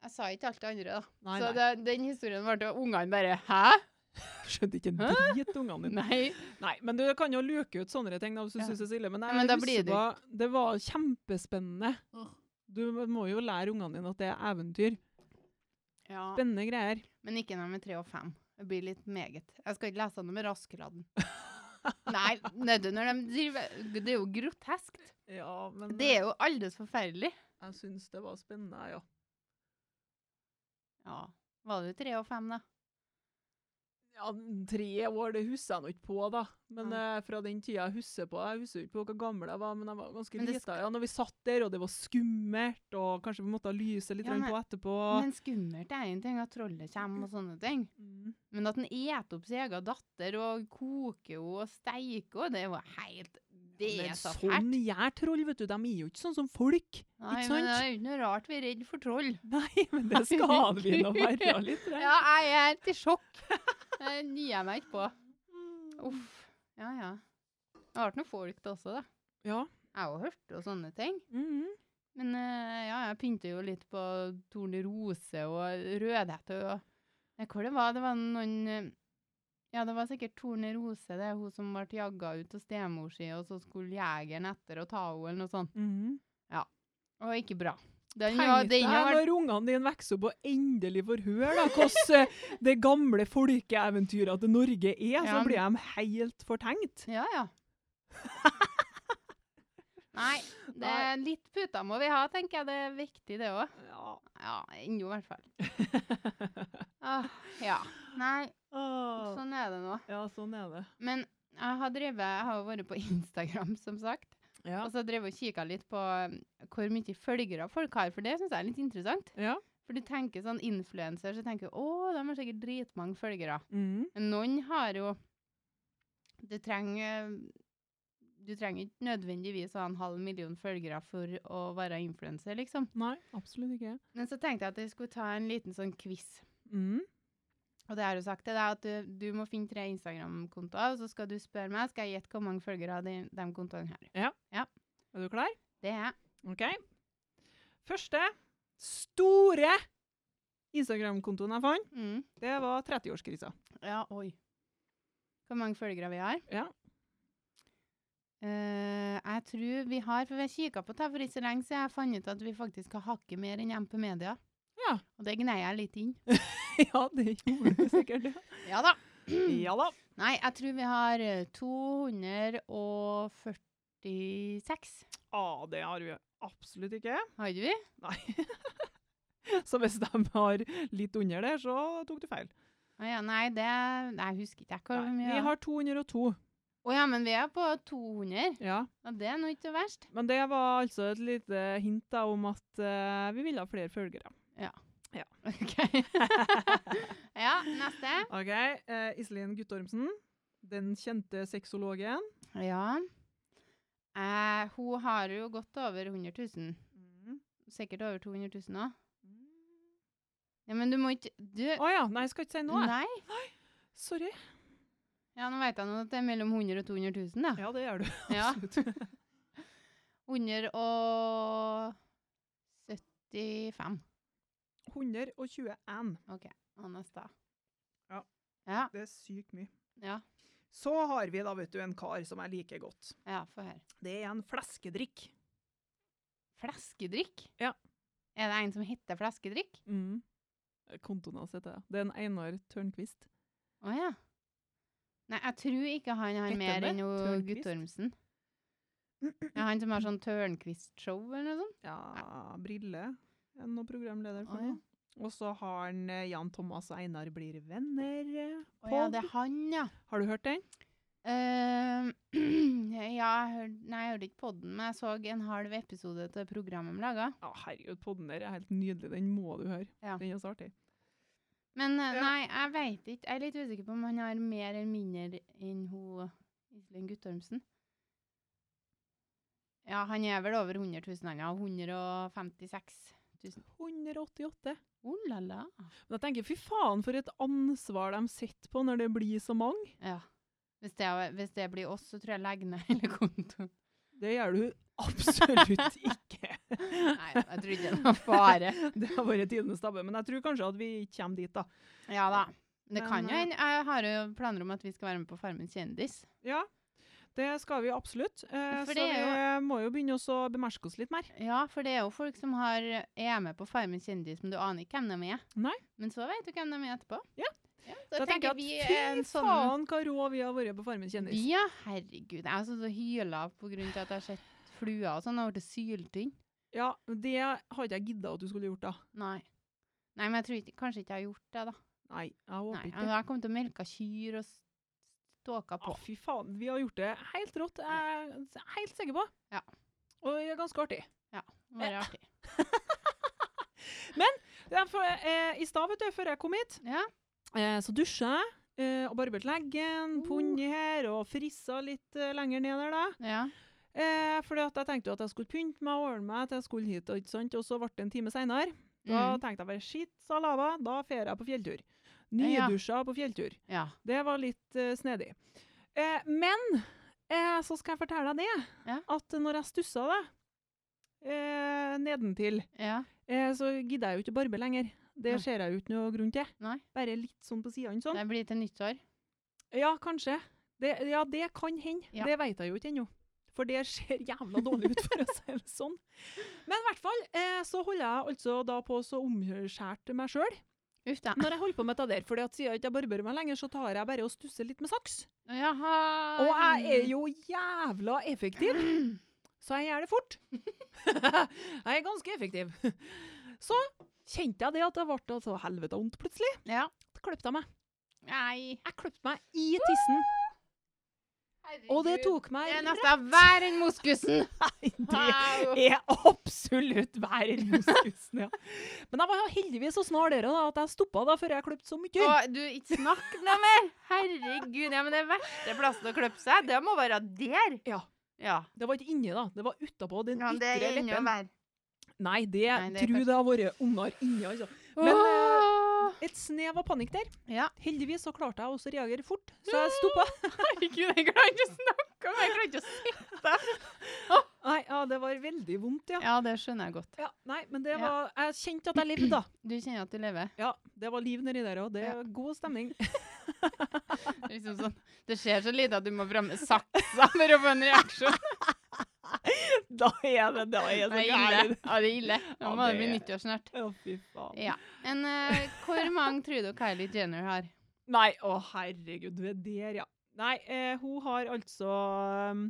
[SPEAKER 1] Jeg sa ikke alt det andre, da.
[SPEAKER 2] Nei,
[SPEAKER 1] så
[SPEAKER 2] nei.
[SPEAKER 1] Det, den historien ble til ungene bare Hæ?
[SPEAKER 2] Skjønte ikke en
[SPEAKER 1] Hæ?
[SPEAKER 2] drit, ungene dine.
[SPEAKER 1] Nei.
[SPEAKER 2] Nei, men du kan jo luke ut sånne ting da, hvis du
[SPEAKER 1] Ja.
[SPEAKER 2] synes det er så ille. Men,
[SPEAKER 1] Ja,
[SPEAKER 2] jeg
[SPEAKER 1] men da
[SPEAKER 2] husker
[SPEAKER 1] blir det
[SPEAKER 2] hva- det var kjempespennende. Du må jo lære ungene dine at det er eventyr.
[SPEAKER 1] Ja.
[SPEAKER 2] Spennende greier.
[SPEAKER 1] Men ikke nummer tre og fem. Det blir litt meget. Jeg skal ikke lese noe med Raskeladden. Nei, vet du, når de driver Det er jo groteskt.
[SPEAKER 2] Ja, men
[SPEAKER 1] Det er jo aldeles forferdelig.
[SPEAKER 2] jeg syns det var spennende, ja.
[SPEAKER 1] Ja. Var det jo tre og fem, da?
[SPEAKER 2] ja, tre år, det husker jeg nå ikke på, da. Men eh, fra den tida jeg husker på Jeg husker ikke på hvor gammel jeg var, men jeg var ganske
[SPEAKER 1] Men det
[SPEAKER 2] lita. Ja, når vi satt der, og det var skummelt, og kanskje vi måtte ha lyset litt
[SPEAKER 1] Ja,
[SPEAKER 2] grann
[SPEAKER 1] men-
[SPEAKER 2] på etterpå.
[SPEAKER 1] Men skummelt er en ting, at trollet kommer og sånne ting.
[SPEAKER 2] Mm.
[SPEAKER 1] Men at han eter opp sin egen datter og koker henne og steiker henne, det er jo helt Det er
[SPEAKER 2] Men
[SPEAKER 1] så
[SPEAKER 2] sånn
[SPEAKER 1] fælt.
[SPEAKER 2] gjør troll, vet du. De er jo ikke sånn som folk.
[SPEAKER 1] Nei, men
[SPEAKER 2] ikke sant?
[SPEAKER 1] det er jo ikke noe rart vi er redd for troll.
[SPEAKER 2] Nei, men det skal vi nå være litt. tror jeg.
[SPEAKER 1] Ja, jeg er helt i sjokk. Det gir jeg meg ikke på. Uff. Ja, ja. Det har vært noen folk det også, da.
[SPEAKER 2] Ja.
[SPEAKER 1] Jeg har jo hørt og sånne ting.
[SPEAKER 2] Mhm.
[SPEAKER 1] Men eh, ja, jeg pynter jo litt på tornerose og rødhette og Nei, Hvor det var det? var noen eh, Ja, det var sikkert tornerose. Det er hun som ble jaga ut av stemor si, og så skulle jegeren etter og ta henne, eller noe sånt.
[SPEAKER 2] Mhm.
[SPEAKER 1] Og ikke bra. Den, ja,
[SPEAKER 2] Tenk deg
[SPEAKER 1] den har vært
[SPEAKER 2] når ungene dine vokser opp og endelig får høre da, hvordan eh, det gamle folkeeventyret til Norge er, så
[SPEAKER 1] Ja.
[SPEAKER 2] blir de helt fortenkt.
[SPEAKER 1] Ja, ja. Nei, det
[SPEAKER 2] Nei.
[SPEAKER 1] er litt puter må vi ha, tenker jeg. Det er viktig, det òg.
[SPEAKER 2] Ja.
[SPEAKER 1] Ja, ennå, i hvert fall. Ah, ja. Nei,
[SPEAKER 2] Åh.
[SPEAKER 1] sånn er det nå.
[SPEAKER 2] Ja, sånn er det.
[SPEAKER 1] Men jeg har drevet, jeg har jo vært på Instagram, som sagt.
[SPEAKER 2] Ja.
[SPEAKER 1] Og så drev jeg og kikka litt på um, hvor mye følgere folk har, for det syns jeg er litt interessant.
[SPEAKER 2] Ja.
[SPEAKER 1] For du tenker sånn influenser, så tenker du å, de har sikkert dritmange følgere.
[SPEAKER 2] Mhm.
[SPEAKER 1] Men noen har jo Du trenger um, Du trenger ikke nødvendigvis å ha en halv million følgere for å være influenser, liksom.
[SPEAKER 2] Nei, absolutt ikke.
[SPEAKER 1] Men så tenkte jeg at jeg skulle ta en liten sånn quiz.
[SPEAKER 2] Mhm.
[SPEAKER 1] Og det har jo sagt til deg at du, du må finne tre Instagram-kontoer, og så skal du spørre meg skal jeg gjette hvor mange følgere de, de kontoene her.
[SPEAKER 2] Er du klar?
[SPEAKER 1] Det er
[SPEAKER 2] Ok. Første store Instagram-kontoen jeg fant,
[SPEAKER 1] mm.
[SPEAKER 2] det var 30-årskrisa.
[SPEAKER 1] Ja, oi. Hvor mange følgere vi har?
[SPEAKER 2] Ja.
[SPEAKER 1] Eh, jeg tror vi har, for vi kikka på det for ikke så lenge siden, jeg fant ut at vi faktisk har hakket mer enn MP Media.
[SPEAKER 2] Ja.
[SPEAKER 1] Og det gneier jeg litt inn.
[SPEAKER 2] ja, det gjorde du sikkert. ja.
[SPEAKER 1] Ja da.
[SPEAKER 2] Ja da.
[SPEAKER 1] Nei, jeg tror vi har eh, 246.
[SPEAKER 2] Ah, det har vi absolutt ikke.
[SPEAKER 1] Har ikke vi?
[SPEAKER 2] Så hvis de har litt under det, så tok du feil.
[SPEAKER 1] Å ja, nei, det nei, Jeg husker ikke jeg hvor
[SPEAKER 2] Nei,
[SPEAKER 1] mye.
[SPEAKER 2] vi har 202.
[SPEAKER 1] Å ja, men vi er på 200.
[SPEAKER 2] Ja.
[SPEAKER 1] Og det er nå ikke så verst.
[SPEAKER 2] Men det var altså et lite hint da, om at eh, vi ville ha flere følgere.
[SPEAKER 1] Ok. ja, neste.
[SPEAKER 2] OK. eh, Iselin Guttormsen, den kjente sexologen.
[SPEAKER 1] Ja. Eh, hun har jo gått over 100 000.
[SPEAKER 2] Mm.
[SPEAKER 1] Sikkert over 200 000 òg. Ja, men du må ikke Du
[SPEAKER 2] Å ja. Nei, jeg skal ikke si noe. jeg.
[SPEAKER 1] Nei.
[SPEAKER 2] Sorry.
[SPEAKER 1] Ja, nå vet jeg nå at det er mellom 100 000 og 200 000, da.
[SPEAKER 2] Ja, det gjør du.
[SPEAKER 1] Ja.
[SPEAKER 2] Absolutt.
[SPEAKER 1] 175.
[SPEAKER 2] 121.
[SPEAKER 1] OK. Og neste.
[SPEAKER 2] Ja.
[SPEAKER 1] Ja.
[SPEAKER 2] Det er sykt mye.
[SPEAKER 1] Ja,
[SPEAKER 2] Så har vi da, vet du, en kar som jeg liker godt.
[SPEAKER 1] ja få høre.
[SPEAKER 2] Det er en fleskedrikk.
[SPEAKER 1] Fleskedrikk?
[SPEAKER 2] Ja.
[SPEAKER 1] Er det en som heter fleskedrikk?
[SPEAKER 2] Mm. Kontoen hans heter det. Det er en Einar Tørnquist.
[SPEAKER 1] Å ja. Nei, jeg tror ikke han har
[SPEAKER 2] Heter han
[SPEAKER 1] mer
[SPEAKER 2] det?
[SPEAKER 1] enn jo
[SPEAKER 2] Tørnquist?
[SPEAKER 1] Guttormsen. Ja, han som har sånn Tørnquist-show eller noe sånt?
[SPEAKER 2] Ja, Brille er nå programleder for
[SPEAKER 1] Å, ja.
[SPEAKER 2] noe. Og så har han eh, Jan Thomas og Einar blir venner. eh,
[SPEAKER 1] Å ja,
[SPEAKER 2] pod.
[SPEAKER 1] det er han, ja.
[SPEAKER 2] Har du hørt den?
[SPEAKER 1] Ehm, ja, jeg hørte, nei, jeg hørte ikke podden, men jeg så en halv episode til programmet de laga.
[SPEAKER 2] Ja, herregud, podden der er helt nydelig. Den må du høre.
[SPEAKER 1] Ja.
[SPEAKER 2] Den er så artig.
[SPEAKER 1] Men eh,
[SPEAKER 2] Ja.
[SPEAKER 1] nei, jeg veit ikke. Jeg er litt usikker på om han har mer eller mindre enn hun Iselin Guttormsen. Ja, han er vel over 100 000, han. Ja, 156 000.
[SPEAKER 2] 188.
[SPEAKER 1] Oh la la.
[SPEAKER 2] Men jeg tenker, fy faen, for et ansvar de sitter på når det blir så mange.
[SPEAKER 1] Ja. Hvis det, er- hvis det blir oss, så tror jeg jeg legger ned hele kontoen.
[SPEAKER 2] Det gjør du absolutt ikke.
[SPEAKER 1] Nei, jeg tror ikke det var fare.
[SPEAKER 2] Det har vært tidenes tabbe, men jeg tror kanskje at vi ikke kommer dit, da.
[SPEAKER 1] Ja da. Det
[SPEAKER 2] Men,
[SPEAKER 1] kan jo
[SPEAKER 2] eh,
[SPEAKER 1] hende. Jeg har jo planer om at vi skal være med på Farmen kjendis.
[SPEAKER 2] Ja, det skal vi absolutt. Eh,
[SPEAKER 1] For
[SPEAKER 2] så
[SPEAKER 1] det
[SPEAKER 2] vi
[SPEAKER 1] er
[SPEAKER 2] må jo begynne også å bemerke oss litt mer.
[SPEAKER 1] Ja, for det er jo folk som har, er med på Farmen kjendis, men du aner ikke hvem de er.
[SPEAKER 2] Nei.
[SPEAKER 1] Men så vet du hvem de er etterpå.
[SPEAKER 2] Ja.
[SPEAKER 1] da, tenker jeg vi er en
[SPEAKER 2] fy
[SPEAKER 1] sånn
[SPEAKER 2] faen, hva rå vi har vært på Farmen kjendis.
[SPEAKER 1] Ja, herregud. Jeg har så hyla på grunn til at jeg har sett fluer og sånn. Jeg har blitt syltynn.
[SPEAKER 2] Ja, det hadde jeg gidda at du skulle gjort, da.
[SPEAKER 1] Nei. Nei, men jeg tror ikke, kanskje ikke jeg har gjort det, da.
[SPEAKER 2] Nei, jeg håper
[SPEAKER 1] Nei,
[SPEAKER 2] ikke
[SPEAKER 1] jeg kom til å melke kyr og s- ståka
[SPEAKER 2] Å,
[SPEAKER 1] på.
[SPEAKER 2] fy faen, vi har gjort det helt rått. Jeg er helt sikker på.
[SPEAKER 1] Ja.
[SPEAKER 2] Og det er ganske artig.
[SPEAKER 1] Det var artig.
[SPEAKER 2] Det er for, eh, I stad, vet du, før jeg kom hit,
[SPEAKER 1] Ja.
[SPEAKER 2] eh, så dusja jeg. Eh, og barbert leggen, på
[SPEAKER 1] Oh.
[SPEAKER 2] under her, og frissa litt eh, lenger ned der, da.
[SPEAKER 1] ja.
[SPEAKER 2] Eh, fordi at jeg tenkte jo at jeg skulle pynte meg og ordne meg til jeg skulle hit, og, ikke sant? og så ble det en time seinere. Da
[SPEAKER 1] Mm.
[SPEAKER 2] tenkte jeg bare shit, sa lava, da drar jeg på fjelltur.
[SPEAKER 1] Ja.
[SPEAKER 2] Nydusja på fjelltur.
[SPEAKER 1] ja.
[SPEAKER 2] Det var litt eh, snedig. Eh, men eh, så skal jeg fortelle deg det,
[SPEAKER 1] Ja.
[SPEAKER 2] at når jeg stussa det eh, nedentil,
[SPEAKER 1] Ja.
[SPEAKER 2] eh, så gidder jeg jo ikke å barbe lenger. Det
[SPEAKER 1] Nei.
[SPEAKER 2] ser jeg jo ikke noe grunn til.
[SPEAKER 1] Nei.
[SPEAKER 2] Bare litt sånn på sidene sånn.
[SPEAKER 1] Det blir til nyttår.
[SPEAKER 2] Ja, kanskje. Det, ja, det kan hende.
[SPEAKER 1] Ja.
[SPEAKER 2] Det veit jeg jo ikke ennå. For det ser jævla dårlig ut, for å si det sånn. Men i hvert fall eh, så holder jeg altså da på så omskjært meg sjøl
[SPEAKER 1] Uff da.
[SPEAKER 2] når jeg holder på med det der. For siden jeg ikke barberer meg lenger, så tar jeg bare og stusser litt med saks.
[SPEAKER 1] Jaha.
[SPEAKER 2] Og jeg er jo jævla effektiv, så jeg gjør det fort. jeg er ganske effektiv. Så kjente jeg det at det ble så helvete vondt plutselig.
[SPEAKER 1] Ja.
[SPEAKER 2] Da kløpte jeg meg.
[SPEAKER 1] Nei.
[SPEAKER 2] Jeg kløpte meg i tissen, og det tok
[SPEAKER 1] Det
[SPEAKER 2] meg
[SPEAKER 1] er nesten verre enn moskusen.
[SPEAKER 2] Nei, det
[SPEAKER 1] Au.
[SPEAKER 2] er absolutt verre enn moskusen, ja. Men jeg var jo heldigvis så snar dere da, at jeg stoppa da før jeg kløpte så mye.
[SPEAKER 1] Å, du, ikke snakk noe mer! Herregud, ja, men det verste plassen å klippe seg, det må være der.
[SPEAKER 2] Ja.
[SPEAKER 1] Ja,
[SPEAKER 2] Det var ikke inni, da. Det var utapå den
[SPEAKER 1] ja det
[SPEAKER 2] ytre
[SPEAKER 1] er enda
[SPEAKER 2] leppen.
[SPEAKER 1] verre.
[SPEAKER 2] Nei, det,
[SPEAKER 1] Nei, det er
[SPEAKER 2] tror
[SPEAKER 1] kanskje-
[SPEAKER 2] det har vært unger inni, altså. Men,
[SPEAKER 1] Åh!
[SPEAKER 2] Et snev av panikk der.
[SPEAKER 1] Ja.
[SPEAKER 2] Heldigvis så klarte jeg også å reagere fort, så jeg stoppa.
[SPEAKER 1] Herregud, jeg klarer ikke å snakke om det. Jeg klarer ikke å si
[SPEAKER 2] Nei, ja, det var veldig vondt, ja.
[SPEAKER 1] Ja, det skjønner jeg godt.
[SPEAKER 2] ja nei, men det
[SPEAKER 1] Ja.
[SPEAKER 2] var Jeg kjente at jeg levde, da.
[SPEAKER 1] Du kjenner at du lever.
[SPEAKER 2] Ja, det var liv nedi der òg. Det
[SPEAKER 1] Ja.
[SPEAKER 2] var god stemning.
[SPEAKER 1] Det er Liksom sånn. Det skjer så lite at du må framme saksa for å få en reaksjon.
[SPEAKER 2] da er det da er
[SPEAKER 1] Det er ille. Ja, det er ille.
[SPEAKER 2] Ja,
[SPEAKER 1] Nå må det
[SPEAKER 2] det
[SPEAKER 1] bli
[SPEAKER 2] er-
[SPEAKER 1] nyttår snart.
[SPEAKER 2] Å, fy faen.
[SPEAKER 1] Ja. Men eh, hvor mange tror du Kylie Jenner har?
[SPEAKER 2] Nei, å herregud, du er der, ja. Nei, eh, hun har altså um,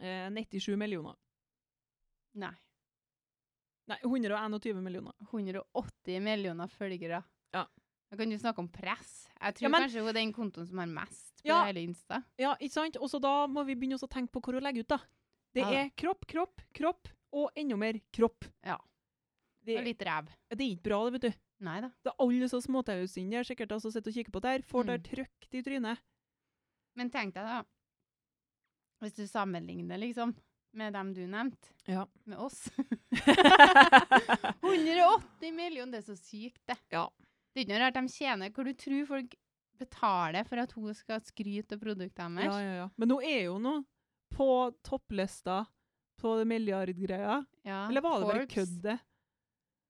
[SPEAKER 2] eh, 97 millioner.
[SPEAKER 1] Nei.
[SPEAKER 2] Nei, 121 millioner.
[SPEAKER 1] 180 millioner følgere.
[SPEAKER 2] Ja.
[SPEAKER 1] Da kan du snakke om press. Jeg tror
[SPEAKER 2] Ja, men-
[SPEAKER 1] kanskje hun er den kontoen som har mest på
[SPEAKER 2] Ja.
[SPEAKER 1] hele Insta.
[SPEAKER 2] Ja, ikke sant? Og så da må vi begynne også å tenke på hvor hun legger ut, da. Det
[SPEAKER 1] Ja.
[SPEAKER 2] er kropp, kropp, kropp, og enda mer kropp.
[SPEAKER 1] Ja.
[SPEAKER 2] Det,
[SPEAKER 1] Og litt ræv.
[SPEAKER 2] det er ikke bra, det, vet du.
[SPEAKER 1] Nei da.
[SPEAKER 2] Det er alle så småtausene der sikkert altså, sitter og kikker på det her, får det
[SPEAKER 1] Mm.
[SPEAKER 2] trøkt i trynet.
[SPEAKER 1] Men tenk deg, da. Hvis du sammenligner liksom med dem du nevnte,
[SPEAKER 2] Ja.
[SPEAKER 1] med oss 180 millioner, det er så sykt, det.
[SPEAKER 2] Ja.
[SPEAKER 1] Det er ikke noe rart de tjener hvor du tror folk betaler for at hun skal skryte av produktet
[SPEAKER 2] ja,
[SPEAKER 1] hennes.
[SPEAKER 2] ja, ja. Men hun er jo nå på topplista på det milliardgreia.
[SPEAKER 1] Ja,
[SPEAKER 2] Eller var det bare
[SPEAKER 1] Forbes.
[SPEAKER 2] køddet?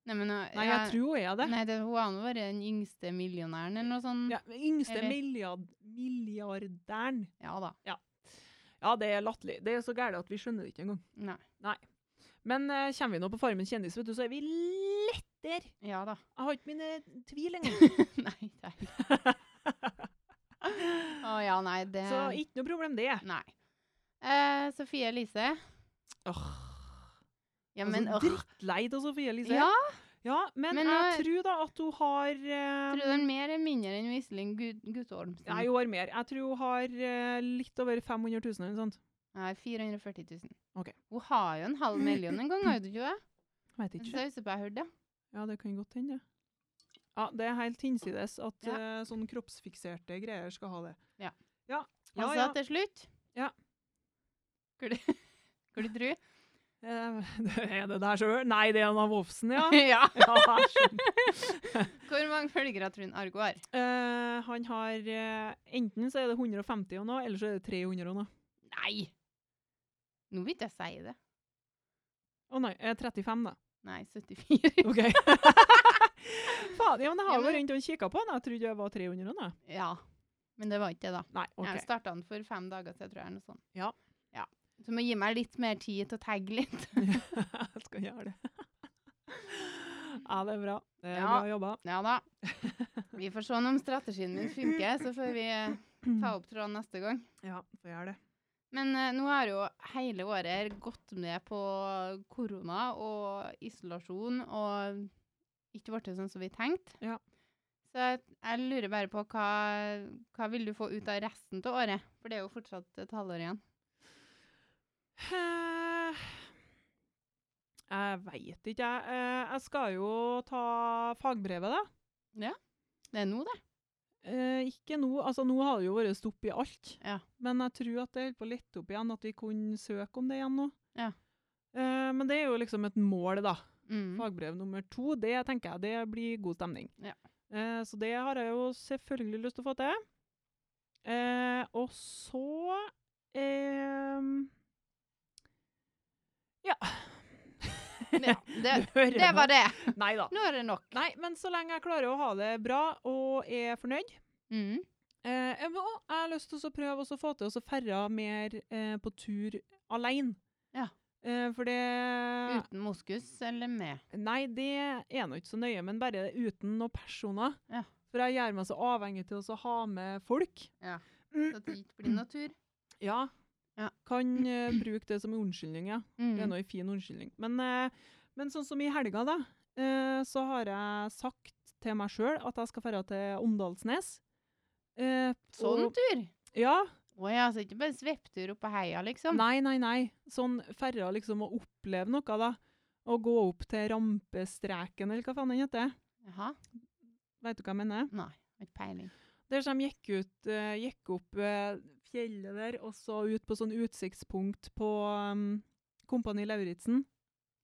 [SPEAKER 1] Nei, men, uh,
[SPEAKER 2] Nei, jeg tror hun er det.
[SPEAKER 1] Nei, det, hun har nå vært den yngste millionæren eller noe sånt.
[SPEAKER 2] Ja, men yngste
[SPEAKER 1] Eller-
[SPEAKER 2] milliard, milliardæren.
[SPEAKER 1] Ja da.
[SPEAKER 2] Ja, det er latterlig. Det er så gærent at vi skjønner det ikke engang.
[SPEAKER 1] Nei.
[SPEAKER 2] Men eh, kommer vi nå på Farmen kjendis, vet du, så er vi lett der.
[SPEAKER 1] Ja da.
[SPEAKER 2] Jeg har ikke mine eh, tvil engang.
[SPEAKER 1] nei, nei. Å ja, nei, det
[SPEAKER 2] Så ikke noe problem, det.
[SPEAKER 1] Nei. Eh, Sofie Elise.
[SPEAKER 2] Åh,
[SPEAKER 1] Ja,
[SPEAKER 2] altså,
[SPEAKER 1] men åh.
[SPEAKER 2] Drittlei av Sofie Elise.
[SPEAKER 1] Ja,
[SPEAKER 2] Ja, men,
[SPEAKER 1] Men
[SPEAKER 2] jeg
[SPEAKER 1] nå-
[SPEAKER 2] tror da at hun har
[SPEAKER 1] tror
[SPEAKER 2] eh,
[SPEAKER 1] du den mer eller mindre enn Wislin Gut- Guttormsen?
[SPEAKER 2] Nei, hun har mer. Jeg tror hun har eh, litt over 500 000 eller noe sånt.
[SPEAKER 1] Nei, 440 000.
[SPEAKER 2] Ok.
[SPEAKER 1] Hun har jo en halv million en gang, har hun ikke det?
[SPEAKER 2] Vet
[SPEAKER 1] Jeg
[SPEAKER 2] ikke.
[SPEAKER 1] synes jeg bare hørte det.
[SPEAKER 2] Ja, det kan godt hende. det. Ja, det er helt hinsides at
[SPEAKER 1] Ja.
[SPEAKER 2] eh, sånn kroppsfikserte greier skal ha det.
[SPEAKER 1] Ja. Altså
[SPEAKER 2] Ja, ja.
[SPEAKER 1] Og så
[SPEAKER 2] ja.
[SPEAKER 1] til slutt
[SPEAKER 2] Ja.
[SPEAKER 1] Hvor du, hvor du tror?
[SPEAKER 2] Eh, er det der sjøl? Nei, det er en av Wolfsen, ja.
[SPEAKER 1] ja.
[SPEAKER 2] ja jeg skjønner.
[SPEAKER 1] Hvor mange følgere tror du Argo har?
[SPEAKER 2] Eh, han har eh, Enten så er det 150 og noe, eller så er det 300 og noe.
[SPEAKER 1] Nei! Nå vil ikke jeg si det.
[SPEAKER 2] Å nei, eh, 35, da.
[SPEAKER 1] Nei, 74.
[SPEAKER 2] OK. Faen,
[SPEAKER 1] Ja,
[SPEAKER 2] ja, men jeg har jo
[SPEAKER 1] men-
[SPEAKER 2] vært rundt og kikka på den. Jeg trodde jeg var 300 og noe.
[SPEAKER 1] Ja. Men det var ikke det, da.
[SPEAKER 2] Nei, OK.
[SPEAKER 1] Jeg starta den for fem dager siden, tror jeg. eller Noe sånt.
[SPEAKER 2] Ja.
[SPEAKER 1] ja. Så må gi meg litt mer tid til å tagge litt.
[SPEAKER 2] Jeg skal gjøre det. Ja, det er bra. Det er
[SPEAKER 1] Ja.
[SPEAKER 2] bra jobba.
[SPEAKER 1] Ja da. Vi får se om strategien min funker, så får vi eh, ta opp tråden neste gang.
[SPEAKER 2] Ja, får gjøre det.
[SPEAKER 1] Men eh, nå har jo hele året her gått med på korona og isolasjon og ikke blitt sånn som vi tenkte.
[SPEAKER 2] Ja.
[SPEAKER 1] Så jeg, jeg lurer bare på hva, hva vil du få ut av resten av året? For det er jo fortsatt et halvår igjen.
[SPEAKER 2] Eh, Jeg veit ikke, jeg. Eh, Jeg skal jo ta fagbrevet, da.
[SPEAKER 1] Det er nå, det.
[SPEAKER 2] Eh, ikke nå. Altså, nå har det jo vært stopp i alt.
[SPEAKER 1] Ja.
[SPEAKER 2] Men jeg tror at det holder på å lette opp igjen, at vi kunne søke om det igjen nå.
[SPEAKER 1] Ja.
[SPEAKER 2] Eh, men det er jo liksom et mål, da.
[SPEAKER 1] Mm.
[SPEAKER 2] Fagbrev nummer to, det tenker jeg det blir god stemning.
[SPEAKER 1] Ja.
[SPEAKER 2] Eh, så det har jeg jo selvfølgelig lyst til å få til. Eh, og så eh, Ja.
[SPEAKER 1] Ja, det,
[SPEAKER 2] Du hører
[SPEAKER 1] det var det.
[SPEAKER 2] Nei da.
[SPEAKER 1] Nå er det nok.
[SPEAKER 2] Nei, men så lenge jeg klarer å ha det bra og er fornøyd
[SPEAKER 1] Mm.
[SPEAKER 2] Eh, jeg må- jeg har lyst til å prøve også å få til å ferde mer eh, på tur alene.
[SPEAKER 1] Ja.
[SPEAKER 2] Eh, for det
[SPEAKER 1] Uten moskus eller med.
[SPEAKER 2] Nei, det er nå ikke så nøye, men bare uten noen personer.
[SPEAKER 1] Ja.
[SPEAKER 2] For jeg gjør meg så avhengig til også å ha med folk.
[SPEAKER 1] Så at det ikke blir noe tur.
[SPEAKER 2] Ja.
[SPEAKER 1] Ja.
[SPEAKER 2] Kan eh, bruke det som unnskyldning, ja. Det er
[SPEAKER 1] Mm.
[SPEAKER 2] nå en fin unnskyldning. Men, eh, men sånn som i helga, da, eh, så har jeg sagt til meg sjøl at jeg skal dra til Åndalsnes. Eh,
[SPEAKER 1] Sånn
[SPEAKER 2] og-
[SPEAKER 1] tur!
[SPEAKER 2] Ja.
[SPEAKER 1] Å ja, så ikke bare svepptur oppå heia, liksom.
[SPEAKER 2] Nei, nei, nei. Sånn færre liksom å oppleve noe, da. Å gå opp til rampestreken, eller hva faen den heter.
[SPEAKER 1] Jaha.
[SPEAKER 2] Vet du hva jeg mener?
[SPEAKER 1] Nei, har ikke peiling.
[SPEAKER 2] Der som de gikk, ut, eh, gikk opp eh, fjellet der, og så ut på sånn utsiktspunkt på um, Kompani Lauritzen.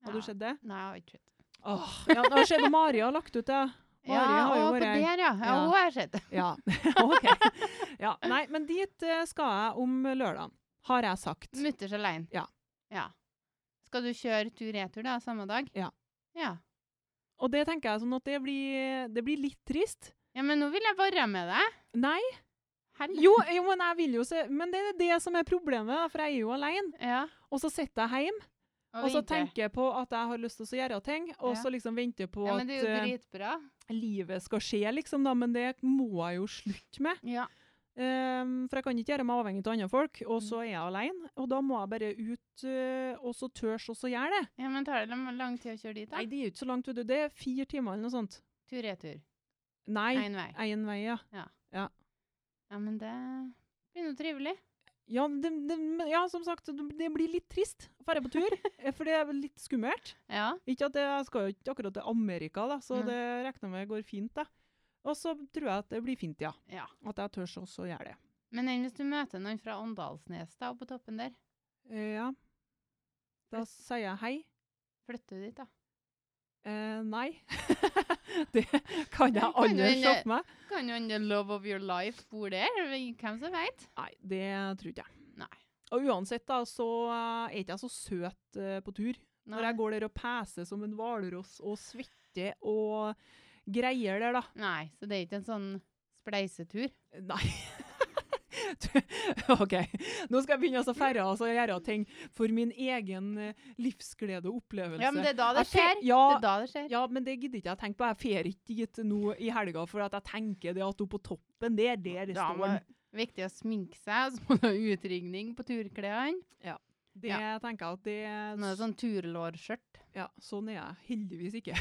[SPEAKER 2] Har du
[SPEAKER 1] Ja.
[SPEAKER 2] sett det?
[SPEAKER 1] Nei, jeg har ikke sett.
[SPEAKER 2] Åh, ja, det har skjedd, og Mari har lagt ut det. Mari
[SPEAKER 1] Ja,
[SPEAKER 2] har
[SPEAKER 1] å,
[SPEAKER 2] jo
[SPEAKER 1] for
[SPEAKER 2] vært her.
[SPEAKER 1] der, ja. Ja,
[SPEAKER 2] Ja.
[SPEAKER 1] hun har jeg sett.
[SPEAKER 2] Ja, ok. Ja, nei, men dit eh, skal jeg om lørdagen, har jeg sagt.
[SPEAKER 1] Mutters alene.
[SPEAKER 2] Ja.
[SPEAKER 1] ja. Skal du kjøre tur-retur da, samme dag?
[SPEAKER 2] Ja.
[SPEAKER 1] ja.
[SPEAKER 2] Og det tenker jeg sånn at det blir, det blir litt trist.
[SPEAKER 1] Ja, men nå vil jeg være med deg.
[SPEAKER 2] Nei,
[SPEAKER 1] Hel-
[SPEAKER 2] Jo, jo, men jeg vil jo se Men det er det som er problemet, da, for jeg er jo alene.
[SPEAKER 1] Ja.
[SPEAKER 2] Og så sitter jeg hjemme og så
[SPEAKER 1] vente.
[SPEAKER 2] tenker jeg på at jeg har lyst til å gjøre ting, og
[SPEAKER 1] Ja.
[SPEAKER 2] så liksom venter jeg på
[SPEAKER 1] ja, men
[SPEAKER 2] at
[SPEAKER 1] det er jo
[SPEAKER 2] eh,
[SPEAKER 1] dritbra.
[SPEAKER 2] livet skal skje, liksom, da. Men det må jeg jo slutte med.
[SPEAKER 1] Ja.
[SPEAKER 2] Ehm, for jeg kan ikke gjøre meg avhengig av andre folk, og så er jeg alene. Og da må jeg bare ut eh, og så tørs også gjøre det.
[SPEAKER 1] ja, men tar det lang, lang tid å kjøre dit, da?
[SPEAKER 2] Nei, det er jo ikke så langt, vet du. Det er fire timer eller noe sånt.
[SPEAKER 1] Tur-retur.
[SPEAKER 2] Nei,
[SPEAKER 1] Én vei.
[SPEAKER 2] én vei, ja.
[SPEAKER 1] Ja, men det blir noe trivelig.
[SPEAKER 2] Ja, det, det, men ja, som sagt, det blir litt trist å dra på tur, eh, for det er litt skummelt.
[SPEAKER 1] Ja.
[SPEAKER 2] Ikke at det, Jeg skal jo ikke akkurat til Amerika, da, så
[SPEAKER 1] Nei.
[SPEAKER 2] det regner med går fint. da. Og så tror jeg at det blir fint, ja.
[SPEAKER 1] ja.
[SPEAKER 2] At jeg tør også å gjøre det.
[SPEAKER 1] Men enn hvis du møter noen fra Åndalsnes da, oppe på toppen der?
[SPEAKER 2] Eh, ja. Da sier jeg hei.
[SPEAKER 1] Flytter du dit, da?
[SPEAKER 2] Eh, nei. det kan jeg
[SPEAKER 1] Ja, kan du
[SPEAKER 2] aldri
[SPEAKER 1] en-
[SPEAKER 2] se for meg.
[SPEAKER 1] Kan jo the love of your life bo der? Hvem som veit?
[SPEAKER 2] Nei, det tror ikke jeg.
[SPEAKER 1] Nei.
[SPEAKER 2] Og uansett, da, så eh, er ikke jeg så søt eh, på tur. Når jeg går der og peser som en hvalross og svetter og greier der, da.
[SPEAKER 1] Nei, så det er ikke en sånn spleisetur.
[SPEAKER 2] Nei. Du- OK. Nå skal jeg begynne å færre og så gjøre ting for min egen eh, livsglede og opplevelse.
[SPEAKER 1] Ja, men det er da det
[SPEAKER 2] Jeg fer-
[SPEAKER 1] skjer.
[SPEAKER 2] Ja,
[SPEAKER 1] Det er da det skjer.
[SPEAKER 2] ja, men det gidder ikke jeg tenke på. Jeg fer ikke dit nå i helga, for at jeg tenker det at oppe på toppen der, der
[SPEAKER 1] Da
[SPEAKER 2] står
[SPEAKER 1] må
[SPEAKER 2] den.
[SPEAKER 1] viktig å sminke seg, så må du ha utrygning på turklærne.
[SPEAKER 2] Det tenker jeg at det
[SPEAKER 1] Nå er det sånn turlårskjørt.
[SPEAKER 2] Ja, sånn er jeg heldigvis ikke.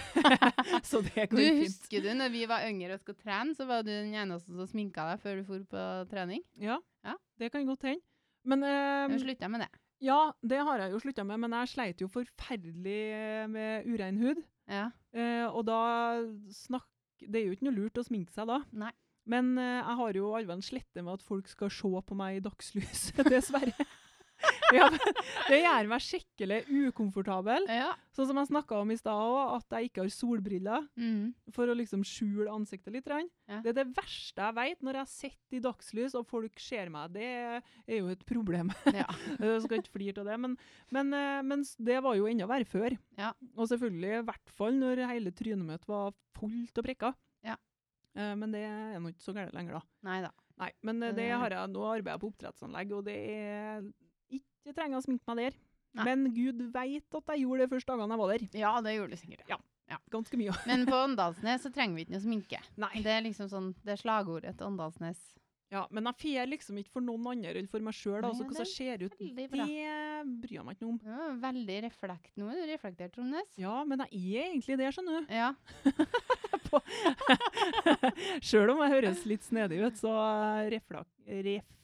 [SPEAKER 2] så det
[SPEAKER 1] Du
[SPEAKER 2] går fint.
[SPEAKER 1] husker du når vi var yngre og skulle trene, så var du den eneste som sminka deg før du dro på trening?
[SPEAKER 2] Ja,
[SPEAKER 1] Ja.
[SPEAKER 2] det kan godt hende. Men eh,
[SPEAKER 1] Nå slutta jeg med det.
[SPEAKER 2] ja, det har jeg jo slutta med, men jeg sleit jo forferdelig eh, med urein hud.
[SPEAKER 1] Ja.
[SPEAKER 2] Eh, og da snakk, Det er jo ikke noe lurt å sminke seg da.
[SPEAKER 1] Nei.
[SPEAKER 2] Men eh, jeg har jo alven slette med at folk skal se på meg i dagslys, dessverre. ja, men det gjør meg skikkelig ukomfortabel.
[SPEAKER 1] Ja.
[SPEAKER 2] Sånn som jeg snakka om i stad òg, at jeg ikke har solbriller
[SPEAKER 1] Mm.
[SPEAKER 2] for å liksom skjule ansiktet litt. grann.
[SPEAKER 1] Ja.
[SPEAKER 2] Det er det verste jeg vet når jeg sitter i dagslys og folk ser meg. Det er jo et problem.
[SPEAKER 1] ja.
[SPEAKER 2] Jeg skal ikke flire av det, men, men, eh, men s- det var jo enda verre før.
[SPEAKER 1] Ja.
[SPEAKER 2] Og selvfølgelig, i hvert fall når hele trynet mitt var fullt av prikker.
[SPEAKER 1] Ja.
[SPEAKER 2] Eh, Men det er nå ikke så gærent lenger, da.
[SPEAKER 1] Nei da.
[SPEAKER 2] Nei, men eh,
[SPEAKER 1] Det-
[SPEAKER 2] det har jeg, nå arbeider jeg på oppdrettsanlegg, og det er ikke trenger å sminke meg der.
[SPEAKER 1] Nei.
[SPEAKER 2] Men gud veit at jeg gjorde det første dagene jeg var der.
[SPEAKER 1] Ja, det gjorde du sikkert.
[SPEAKER 2] Ganske mye.
[SPEAKER 1] Men på Åndalsnes så trenger vi ikke noe sminke.
[SPEAKER 2] Nei.
[SPEAKER 1] Det er liksom sånn, det er slagordet til Åndalsnes.
[SPEAKER 2] Ja, men jeg fer liksom ikke for noen andre enn for meg sjøl.
[SPEAKER 1] Nei,
[SPEAKER 2] Altså,
[SPEAKER 1] ja,
[SPEAKER 2] hva som ser ut, det
[SPEAKER 1] veldig bra.
[SPEAKER 2] bryr jeg meg ikke noe om.
[SPEAKER 1] Det var veldig reflekt. Nå er du reflektert, Tromnes.
[SPEAKER 2] Ja, men jeg er egentlig det, skjønner du.
[SPEAKER 1] Ja.
[SPEAKER 2] På- Sjøl om jeg høres litt snedig ut, så eh, reflak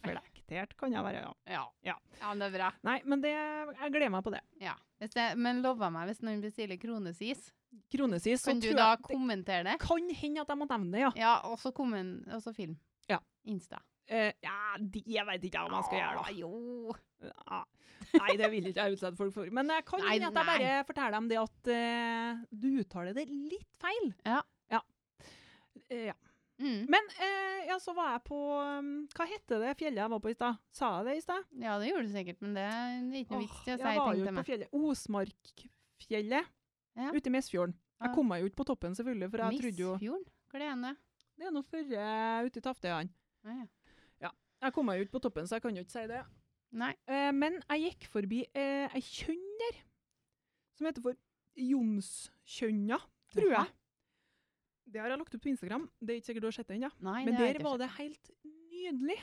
[SPEAKER 2] reflektert kan jeg være, ja.
[SPEAKER 1] Ja.
[SPEAKER 2] Ja.
[SPEAKER 1] men det er bra.
[SPEAKER 2] Nei, men det, jeg gleder meg på det.
[SPEAKER 1] Ja. Hvis det, men lova meg hvis noen bestiller kronesis,
[SPEAKER 2] Kronesis, så
[SPEAKER 1] kan du
[SPEAKER 2] tror
[SPEAKER 1] da
[SPEAKER 2] jeg det
[SPEAKER 1] kommentere det?
[SPEAKER 2] kan hende at jeg må nevne det, ja.
[SPEAKER 1] Ja, og så kommen- og så film.
[SPEAKER 2] Ja.
[SPEAKER 1] Insta.
[SPEAKER 2] Eh, ja, det vet ikke jeg om jeg skal gjøre, da.
[SPEAKER 1] Ah, Jo.
[SPEAKER 2] Ja. Nei, det vil ikke jeg utsette folk for. Men jeg kan
[SPEAKER 1] Nei,
[SPEAKER 2] hende at jeg
[SPEAKER 1] nei.
[SPEAKER 2] bare forteller dem det at eh, du uttaler det litt feil.
[SPEAKER 1] Ja.
[SPEAKER 2] Ja. Eh, ja.
[SPEAKER 1] Mm.
[SPEAKER 2] Men eh, ja, så var jeg på um, Hva heter det fjellet jeg var på i stad? Sa jeg det i stad?
[SPEAKER 1] Ja, det gjorde du sikkert, men det er ikke noe vits i å
[SPEAKER 2] Åh,
[SPEAKER 1] si,
[SPEAKER 2] jeg var jo
[SPEAKER 1] tenkte jeg
[SPEAKER 2] ikke på
[SPEAKER 1] meg.
[SPEAKER 2] fjellet. Osmarkfjellet
[SPEAKER 1] Ja.
[SPEAKER 2] ute i Mesfjorden. Jeg
[SPEAKER 1] Ja.
[SPEAKER 2] kom meg jo ikke på toppen, selvfølgelig, for jeg trodde jo
[SPEAKER 1] Misfjorden? Hvor er den, da?
[SPEAKER 2] Det er nå førre ute i Taftøyene.
[SPEAKER 1] Ah, ja.
[SPEAKER 2] Jeg kom meg jo ikke på toppen, så jeg kan jo ikke si det.
[SPEAKER 1] Nei.
[SPEAKER 2] Eh, men jeg gikk forbi eh, ei kjønn der, som heter for Jonskjønna, tror
[SPEAKER 1] Jaha.
[SPEAKER 2] jeg. Det har jeg lagt ut på Instagram. Det er ikke sikkert du har sett det ennå.
[SPEAKER 1] Nei,
[SPEAKER 2] Men
[SPEAKER 1] det har
[SPEAKER 2] der
[SPEAKER 1] jeg ikke
[SPEAKER 2] var
[SPEAKER 1] sett.
[SPEAKER 2] det helt nydelig.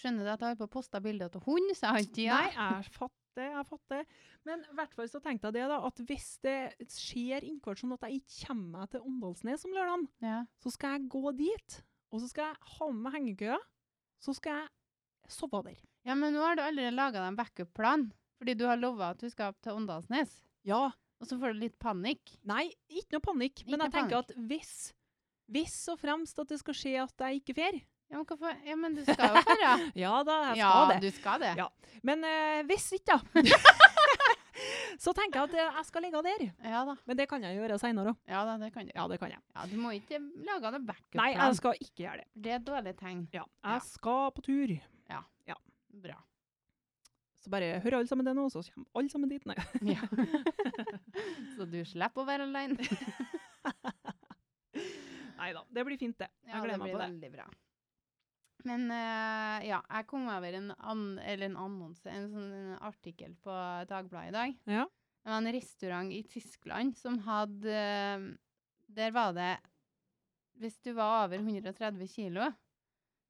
[SPEAKER 1] Skjønner du at jeg har på posta bilder til hund, så jeg har ikke tida?
[SPEAKER 2] Nei, jeg fatter, jeg fatter. Men i hvert fall så tenkte jeg det, da, at hvis det skjer innkort sånn at jeg ikke kommer meg til Åndalsnes om lørdagen,
[SPEAKER 1] Ja.
[SPEAKER 2] så skal jeg gå dit, og så skal jeg ha med meg hengekøya, så skal jeg sove der.
[SPEAKER 1] ja, men nå har du allerede laga deg en backup-plan, fordi du har lova at du skal opp til Åndalsnes.
[SPEAKER 2] Ja,
[SPEAKER 1] Og så får du litt panikk.
[SPEAKER 2] Nei, ikke noe panikk. men
[SPEAKER 1] noe
[SPEAKER 2] jeg tenker at hvis, hvis og fremst at det skal skje at jeg ikke fer
[SPEAKER 1] Ja, men, hvorfor? Ja, men du skal jo føre.
[SPEAKER 2] Ja da, jeg
[SPEAKER 1] ja,
[SPEAKER 2] skal det.
[SPEAKER 1] du skal det.
[SPEAKER 2] Ja. Men eh, hvis ikke, da. så tenker jeg at eh, jeg skal ligge der.
[SPEAKER 1] Ja da.
[SPEAKER 2] Men det kan jeg gjøre seinere òg.
[SPEAKER 1] Ja altså- da, det kan du.
[SPEAKER 2] Ja, det kan jeg.
[SPEAKER 1] Ja, du må ikke lage noen
[SPEAKER 2] Nei, jeg
[SPEAKER 1] backup-plan.
[SPEAKER 2] skal ikke gjøre det.
[SPEAKER 1] Det er et dårlig tegn.
[SPEAKER 2] Ja,
[SPEAKER 1] Ja.
[SPEAKER 2] jeg skal på tur.
[SPEAKER 1] Bra.
[SPEAKER 2] Så bare hør alle sammen det nå, så kommer alle sammen dit. Nei.
[SPEAKER 1] Ja. så du slipper å være alene.
[SPEAKER 2] da, det blir fint, det. Jeg gleder meg på det.
[SPEAKER 1] blir veldig bra. Men eh, ja, jeg kom over en, an, eller en annonse, en sånn en artikkel på Dagbladet i dag.
[SPEAKER 2] Ja.
[SPEAKER 1] Det var en restaurant i Tyskland som hadde eh, Der var det Hvis du var over 130 kilo,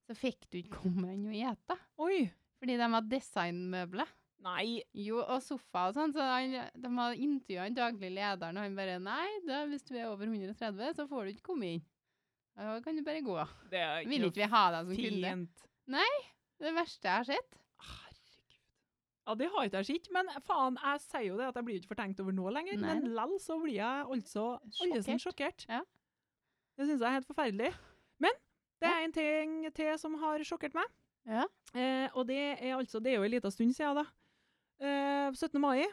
[SPEAKER 1] så fikk du ikke komme inn og ete.
[SPEAKER 2] Oi!
[SPEAKER 1] Fordi de hadde designmøbler.
[SPEAKER 2] Nei,
[SPEAKER 1] Jo, og sofa og sånn. Så han, de hadde intervjua han daglig lederen, og han bare Nei, da, hvis du er over 130, så får du ikke komme inn. Da kan du bare gå.
[SPEAKER 2] det er
[SPEAKER 1] Vil ikke vi ha deg som kunde?
[SPEAKER 2] fint.
[SPEAKER 1] Det verste jeg har sett.
[SPEAKER 2] Herregud. Ja, det har ikke jeg sett, men faen, jeg sier jo det at jeg blir ikke fortenkt over nå lenger,
[SPEAKER 1] Nei
[SPEAKER 2] men lell så blir jeg altså oljesen sjokkert.
[SPEAKER 1] Ja.
[SPEAKER 2] Det synes jeg er helt forferdelig. Men det er en ting til som har sjokkert meg,
[SPEAKER 1] Ja.
[SPEAKER 2] eh, og det er altså, det er jo en liten stund siden da, eh, 17. mai.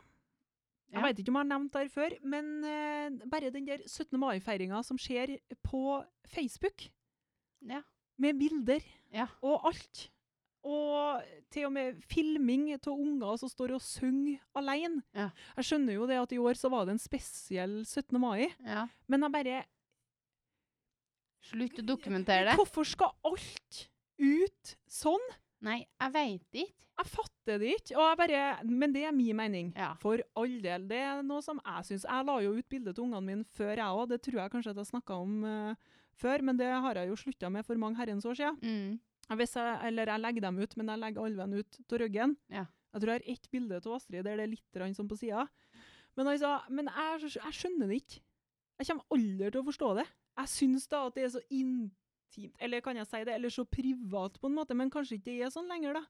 [SPEAKER 2] Jeg
[SPEAKER 1] Ja.
[SPEAKER 2] vet ikke om jeg har nevnt det her før, men eh, bare den der 17. mai-feiringen som skjer på Facebook,
[SPEAKER 1] Ja.
[SPEAKER 2] med bilder
[SPEAKER 1] Ja.
[SPEAKER 2] og alt. Og til og med filming av unger som står og synger alene.
[SPEAKER 1] Ja.
[SPEAKER 2] Jeg skjønner jo det at i år så var det en spesiell 17. mai,
[SPEAKER 1] ja.
[SPEAKER 2] men jeg bare
[SPEAKER 1] Slutt å dokumentere det.
[SPEAKER 2] Hvorfor skal alt ut sånn?
[SPEAKER 1] Nei, jeg veit ikke.
[SPEAKER 2] Jeg fatter det ikke. Og jeg bare, men det er min mening.
[SPEAKER 1] Ja.
[SPEAKER 2] For all del. Det er noe som jeg syns Jeg la jo ut bilde til ungene mine før, jeg òg. Det tror jeg kanskje at jeg snakka om eh, før, men det har jeg jo slutta med for mange herrens år siden.
[SPEAKER 1] Mm.
[SPEAKER 2] Hvis jeg, eller jeg legger dem ut, men jeg legger alven ut av ryggen.
[SPEAKER 1] Ja.
[SPEAKER 2] Jeg tror jeg har ett bilde av Astrid der det er litt grann sånn på sida. Men, altså, men jeg, jeg skjønner det ikke. Jeg kommer aldri til å forstå det. Jeg syns da at det er så intimt, eller kan jeg si det, eller så privat på en måte, men kanskje ikke det er sånn lenger, da.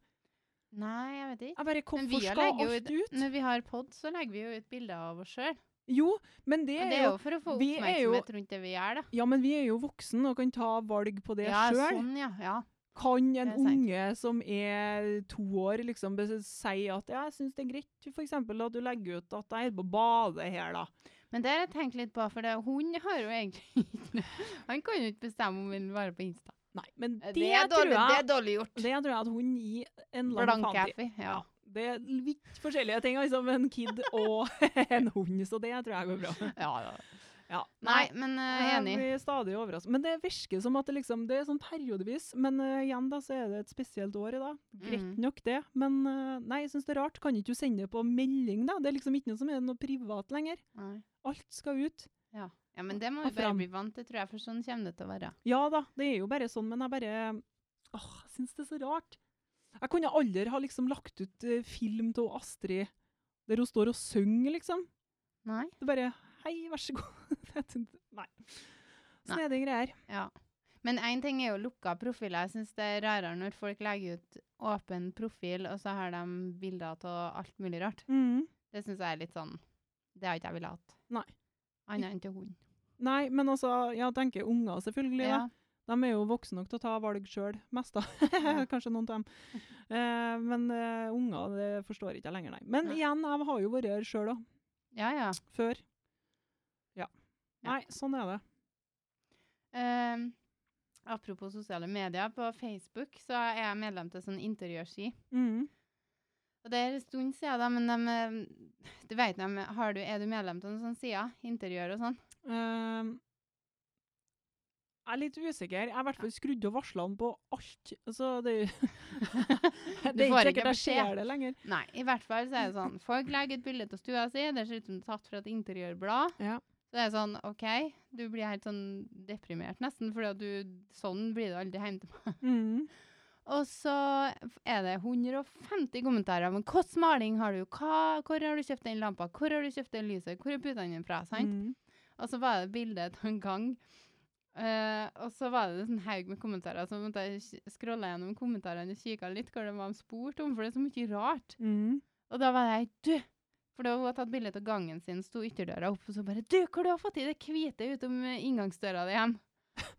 [SPEAKER 1] Nei, jeg vet ikke.
[SPEAKER 2] Jeg bare,
[SPEAKER 1] Men
[SPEAKER 2] Hvorfor
[SPEAKER 1] vi
[SPEAKER 2] skal
[SPEAKER 1] legger jo
[SPEAKER 2] alt ut?
[SPEAKER 1] Når vi har pod, så legger vi jo ut bilder av oss sjøl.
[SPEAKER 2] Jo, men det
[SPEAKER 1] Men
[SPEAKER 2] er
[SPEAKER 1] det er
[SPEAKER 2] jo
[SPEAKER 1] jo for å få
[SPEAKER 2] vi er jo-
[SPEAKER 1] oppmerksomhet rundt det vi gjør, da.
[SPEAKER 2] Ja, men vi er jo voksne og kan ta valg på det
[SPEAKER 1] Ja,
[SPEAKER 2] sjøl.
[SPEAKER 1] sånn, ja. ja.
[SPEAKER 2] Kan en
[SPEAKER 1] Det er sant.
[SPEAKER 2] unge som er to år, liksom bes- si at ja, jeg syns det er greit for eksempel, at du legger ut at jeg er på badet her, da?
[SPEAKER 1] Men det har jeg tenkt litt på, for det, hun har jo egentlig ikke noe- Han kan jo ikke bestemme om han vil være på Insta.
[SPEAKER 2] Nei, men det, tror
[SPEAKER 1] dårlig, Eh, det
[SPEAKER 2] jeg
[SPEAKER 1] er dårlig gjort.
[SPEAKER 2] det tror jeg at hun gir en lang
[SPEAKER 1] Blank
[SPEAKER 2] faen i.
[SPEAKER 1] happy. Ja.
[SPEAKER 2] Ja. Det er litt forskjellige ting, altså, med en kid og en hund, så det tror jeg går bra.
[SPEAKER 1] Ja, ja.
[SPEAKER 2] Ja.
[SPEAKER 1] Nei, men eh, jeg er enig.
[SPEAKER 2] Jeg blir stadig overrasket. Men det virker som at det liksom, det er sånn periodevis. Men eh, igjen da, så er det et spesielt år i dag. Greit
[SPEAKER 1] Mm.
[SPEAKER 2] nok det. Men eh, nei, jeg synes det er rart. Kan ikke du sende det på melding da? Det er liksom ikke noe som er noe privat lenger.
[SPEAKER 1] Nei.
[SPEAKER 2] Alt skal ut.
[SPEAKER 1] Ja, men det må
[SPEAKER 2] Og
[SPEAKER 1] vi bare
[SPEAKER 2] fram.
[SPEAKER 1] bli vant til, tror jeg, for sånn kommer det til å være.
[SPEAKER 2] Ja da, det er jo bare sånn, men jeg bare, åh, jeg synes det er så rart. Jeg kunne aldri ha liksom lagt ut eh, film til Astrid, der hun står og synger liksom.
[SPEAKER 1] Nei?
[SPEAKER 2] Sånn Det er bare, hei, vær så god. Jeg tenkte, nei. Snedig greier.
[SPEAKER 1] Ja. Men én ting er jo lukka profiler. Jeg syns det er rarere når folk legger ut åpen profil, og så har de bilder av alt mulig rart.
[SPEAKER 2] Mm.
[SPEAKER 1] Det syns jeg er litt sånn Det har ikke jeg villet hatt.
[SPEAKER 2] Nei.
[SPEAKER 1] Annet enn til hund.
[SPEAKER 2] Nei, men altså, jeg tenker unger selvfølgelig.
[SPEAKER 1] Ja.
[SPEAKER 2] da. De er jo voksne nok til å ta valg sjøl, mest da. Kanskje noen av dem. Eh, men eh, unger det forstår ikke jeg lenger, nei. Men
[SPEAKER 1] Nei.
[SPEAKER 2] igjen, jeg har jo vært her sjøl òg.
[SPEAKER 1] ja, ja.
[SPEAKER 2] Før. Ja.
[SPEAKER 1] Ja.
[SPEAKER 2] Nei, sånn er det.
[SPEAKER 1] Ehm, apropos sosiale medier. På Facebook så er jeg medlem til sånn interiørski.
[SPEAKER 2] Mm.
[SPEAKER 1] Og det er en stund siden, da, men de, eh, du vet, de, har du, er du medlem til en sånn side? Interiør og sånn?
[SPEAKER 2] Ehm, jeg er litt usikker. Jeg er i hvert fall skrudd av varslene på alt. Altså, det,
[SPEAKER 1] får
[SPEAKER 2] det er ikke
[SPEAKER 1] ikke
[SPEAKER 2] sikkert jeg
[SPEAKER 1] beskjed.
[SPEAKER 2] ser det lenger.
[SPEAKER 1] Nei, i hvert fall så er det sånn Folk legger et bilde av stua si, det ser ut som det er tatt fra et interiørblad.
[SPEAKER 2] Ja.
[SPEAKER 1] Så det er sånn, OK, du blir helt sånn deprimert nesten, for sånn blir det aldri hjemme til meg.
[SPEAKER 2] Mm.
[SPEAKER 1] Og så f- er det 150 kommentarer. Men hvordan maling har du? Hva, hvor har du kjøpt den lampa? Hvor har du kjøpt det lyset? Hvor er putene dine fra? Sant?
[SPEAKER 2] Mm.
[SPEAKER 1] Og så var det bilde av en gang. Eh, og så var det en sånn haug med kommentarer, så måtte jeg scrolle gjennom kommentarene og kikke litt hva det var de spurte om, for det er så mye rart.
[SPEAKER 2] Mm.
[SPEAKER 1] Og da var jeg Du! For da hadde hun tatt bilde av gangen sin, sto ytterdøra opp, og så bare Du, hvor du har fått i det hvite utom eh, inngangsdøra di hjem?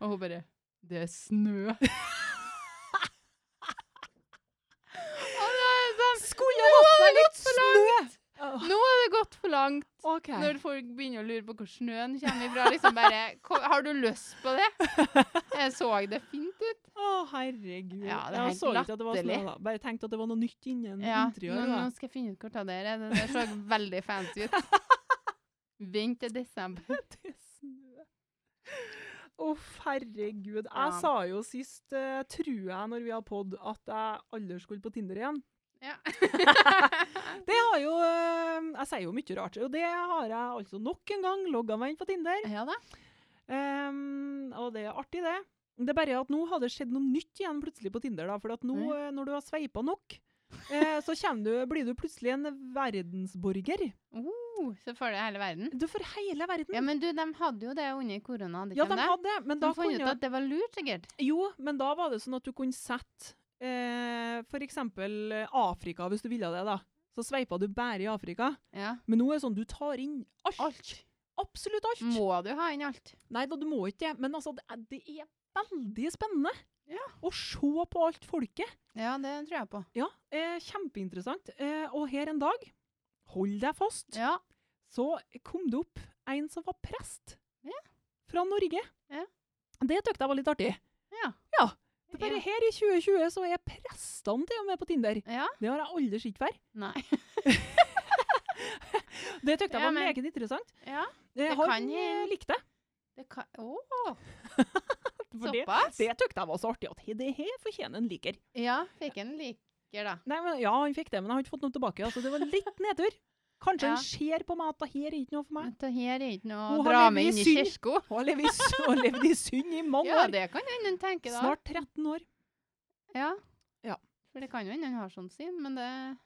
[SPEAKER 1] Og hun bare Det er snø. og da er jeg sånn
[SPEAKER 2] Skulle
[SPEAKER 1] Nå
[SPEAKER 2] hatt
[SPEAKER 1] har
[SPEAKER 2] meg
[SPEAKER 1] det
[SPEAKER 2] litt
[SPEAKER 1] gått for
[SPEAKER 2] snø! Åh,
[SPEAKER 1] Nå har det gått for langt.
[SPEAKER 2] OK.
[SPEAKER 1] Når folk begynner å lure på hvor snøen kommer ifra, liksom bare "Ko- Har du lyst på det? Jeg så det fint ut.
[SPEAKER 2] Å, herregud.
[SPEAKER 1] Ja, det er
[SPEAKER 2] jeg
[SPEAKER 1] helt
[SPEAKER 2] så ikke at det var snø,
[SPEAKER 1] latterlig.
[SPEAKER 2] da. Bare tenkte at det var noe nytt innen
[SPEAKER 1] Ja, altså, nå,
[SPEAKER 2] interiør.
[SPEAKER 1] nå
[SPEAKER 2] da.
[SPEAKER 1] skal jeg finne ut hvor det der er. Det der så veldig fancy ut. Vent til desember.
[SPEAKER 2] Det er snø. Uff, herregud. Jeg
[SPEAKER 1] Ja.
[SPEAKER 2] sa jo sist, eh, tror jeg, når vi har podd, at jeg aldri skulle på Tinder igjen.
[SPEAKER 1] Ja.
[SPEAKER 2] Det har jo eh, Jeg sier jo mye rart, og det har jeg altså nok en gang logga meg inn på Tinder.
[SPEAKER 1] ja da.
[SPEAKER 2] Ehm, og det er artig, det. Det er bare at nå har det skjedd noe nytt igjen plutselig på Tinder. da, For at nå,
[SPEAKER 1] Oi.
[SPEAKER 2] eh, når du har sveipa nok, eh, så kommer du, blir du plutselig en verdensborger.
[SPEAKER 1] Oh, så får det hele verden.
[SPEAKER 2] Du får hele verden.
[SPEAKER 1] Ja, men du, de hadde jo det under korona, hadde
[SPEAKER 2] Ja,
[SPEAKER 1] ikke
[SPEAKER 2] de hadde det, men
[SPEAKER 1] De
[SPEAKER 2] da
[SPEAKER 1] fant
[SPEAKER 2] kunne
[SPEAKER 1] ut at det var lurt, sikkert.
[SPEAKER 2] Jo, men da var det sånn at du kunne sette eh, f.eks. Afrika, hvis du ville det. da. Så sveipa du bare i Afrika.
[SPEAKER 1] Ja.
[SPEAKER 2] Men nå er det sånn du tar inn alt.
[SPEAKER 1] Alt.
[SPEAKER 2] Absolutt alt.
[SPEAKER 1] Må du ha inn alt?
[SPEAKER 2] Nei da, du må ikke det. Men altså, det er, det er veldig spennende
[SPEAKER 1] Ja.
[SPEAKER 2] å se på alt folket.
[SPEAKER 1] Ja, det tror jeg på.
[SPEAKER 2] Ja, eh, Kjempeinteressant. Eh, og her en dag, hold deg fast,
[SPEAKER 1] Ja.
[SPEAKER 2] så kom det opp en som var prest
[SPEAKER 1] Ja.
[SPEAKER 2] fra Norge.
[SPEAKER 1] Ja.
[SPEAKER 2] Det syntes jeg var litt artig.
[SPEAKER 1] Ja.
[SPEAKER 2] Ja, Det er bare her i 2020 så er prestene til og med på Tinder.
[SPEAKER 1] Ja?
[SPEAKER 2] Det har jeg aldri sett før.
[SPEAKER 1] Nei.
[SPEAKER 2] Det syntes jeg
[SPEAKER 1] Ja,
[SPEAKER 2] var
[SPEAKER 1] men-
[SPEAKER 2] meget interessant.
[SPEAKER 1] Ja.
[SPEAKER 2] Jeg
[SPEAKER 1] Det
[SPEAKER 2] har
[SPEAKER 1] kan
[SPEAKER 2] eh,
[SPEAKER 1] hende.
[SPEAKER 2] likt det.
[SPEAKER 1] Det kan Å!
[SPEAKER 2] For det
[SPEAKER 1] Såpass?
[SPEAKER 2] det syntes jeg var så artig at he- det her fortjener en liker.
[SPEAKER 1] Ja, fikk en liker, da.
[SPEAKER 2] Nei, men, ja, han fikk det, men jeg har ikke fått noe tilbake. Altså, det var litt nedtur. Kanskje
[SPEAKER 1] Ja.
[SPEAKER 2] han ser på meg at det her er ikke noe for meg.
[SPEAKER 1] Dette her er ikke noe
[SPEAKER 2] Hun
[SPEAKER 1] å
[SPEAKER 2] har
[SPEAKER 1] dra
[SPEAKER 2] levd i
[SPEAKER 1] med inn i
[SPEAKER 2] synd.
[SPEAKER 1] kirka.
[SPEAKER 2] Hun har levd i s- hun har levd i synd i mange
[SPEAKER 1] Ja,
[SPEAKER 2] år.
[SPEAKER 1] det kan hende han tenker, da.
[SPEAKER 2] Snart 13 år.
[SPEAKER 1] Ja.
[SPEAKER 2] Ja.
[SPEAKER 1] For det kan jo hende han har sånn syn, men det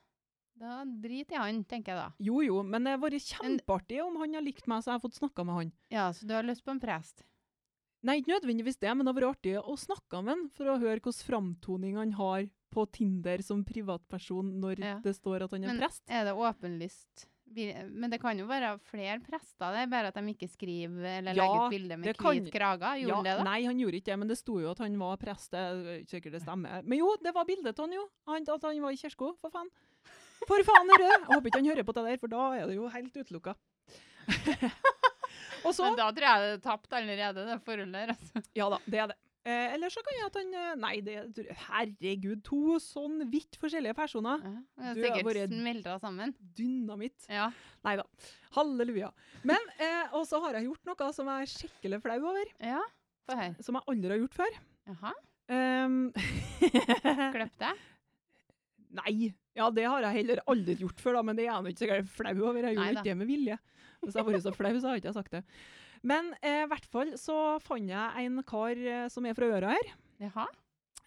[SPEAKER 1] Da driter jeg i han, tenker jeg da.
[SPEAKER 2] Jo jo, men det har vært
[SPEAKER 1] Men-
[SPEAKER 2] kjempeartig om han har likt meg så jeg har fått snakka med han.
[SPEAKER 1] Ja, så du har lyst på en prest?
[SPEAKER 2] Nei, ikke nødvendigvis det, men det har vært artig å snakke med han for å høre hvilken framtoning han har på Tinder som privatperson når
[SPEAKER 1] Ja.
[SPEAKER 2] det står at han er
[SPEAKER 1] Men
[SPEAKER 2] prest.
[SPEAKER 1] er det åpenlyst? Vi- Men det kan jo være flere prester, det er bare at de ikke skriver eller
[SPEAKER 2] Ja,
[SPEAKER 1] legger ut bilde med
[SPEAKER 2] det kan-
[SPEAKER 1] hvit krage. Gjorde han det, da?
[SPEAKER 2] Nei, han gjorde ikke det, men det sto jo at han var prest. Det er ikke sikkert det stemmer. Men jo, det var bildet av han jo. Han, at han var i kirka, for faen. For faen er det! Jeg håper ikke han hører på det der, for da er det jo helt utelukka. Og så
[SPEAKER 1] Men da tror jeg det er tapt allerede, det forholdet der. Altså.
[SPEAKER 2] Ja da, det er det. Eh, eller så kan jeg at han eh, Nei, det tror jeg- Herregud, to sånn vidt forskjellige personer.
[SPEAKER 1] Ja, det er
[SPEAKER 2] Du har
[SPEAKER 1] sikkert
[SPEAKER 2] vært-
[SPEAKER 1] smeltra sammen.
[SPEAKER 2] Dynamitt.
[SPEAKER 1] Ja.
[SPEAKER 2] Nei da. Halleluja. Men eh, og så har jeg gjort noe som jeg er skikkelig flau over.
[SPEAKER 1] ja. Få høre.
[SPEAKER 2] Som jeg aldri har gjort før.
[SPEAKER 1] Jaha.
[SPEAKER 2] Ehm,
[SPEAKER 1] Klipp deg.
[SPEAKER 2] nei. Ja, det har jeg heller aldri gjort før, da, men det er jeg nå ikke så gærent flau over. Jeg gjorde
[SPEAKER 1] Neida.
[SPEAKER 2] ikke det med vilje. Hvis jeg hadde vært så flau, så hadde jeg ikke sagt det. Men eh, i hvert fall så fant jeg en kar eh, som er fra øra her,
[SPEAKER 1] Jaha.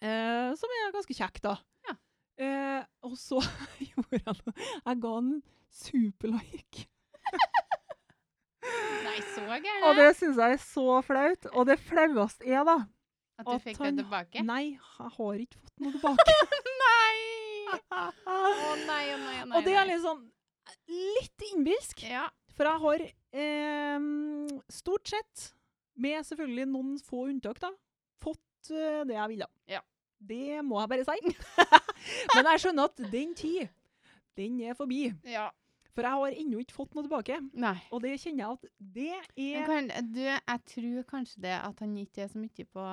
[SPEAKER 2] eh, som er ganske kjekk, da.
[SPEAKER 1] Ja.
[SPEAKER 2] Eh, og så gjorde jeg noe. Jeg ga han en superlike.
[SPEAKER 1] Nei, så
[SPEAKER 2] Og
[SPEAKER 1] gæren.
[SPEAKER 2] det syns jeg er så flaut. Og det flaueste er, da
[SPEAKER 1] At du
[SPEAKER 2] At
[SPEAKER 1] fikk
[SPEAKER 2] han-
[SPEAKER 1] det tilbake?
[SPEAKER 2] Nei, jeg har ikke fått noe tilbake.
[SPEAKER 1] Nei! Å nei, å nei, å nei.
[SPEAKER 2] Og det er
[SPEAKER 1] nei.
[SPEAKER 2] litt sånn litt innbilsk.
[SPEAKER 1] Ja.
[SPEAKER 2] For jeg har eh, stort sett, med selvfølgelig noen få unntak, da, fått eh, det jeg ville.
[SPEAKER 1] Ja.
[SPEAKER 2] Det må jeg bare si. Men jeg skjønner at den tid, den er forbi.
[SPEAKER 1] ja.
[SPEAKER 2] For jeg har ennå ikke fått noe tilbake.
[SPEAKER 1] Nei.
[SPEAKER 2] Og det kjenner jeg at det
[SPEAKER 1] Men
[SPEAKER 2] er
[SPEAKER 1] kan, du, jeg tror kanskje det at han ikke er så mye på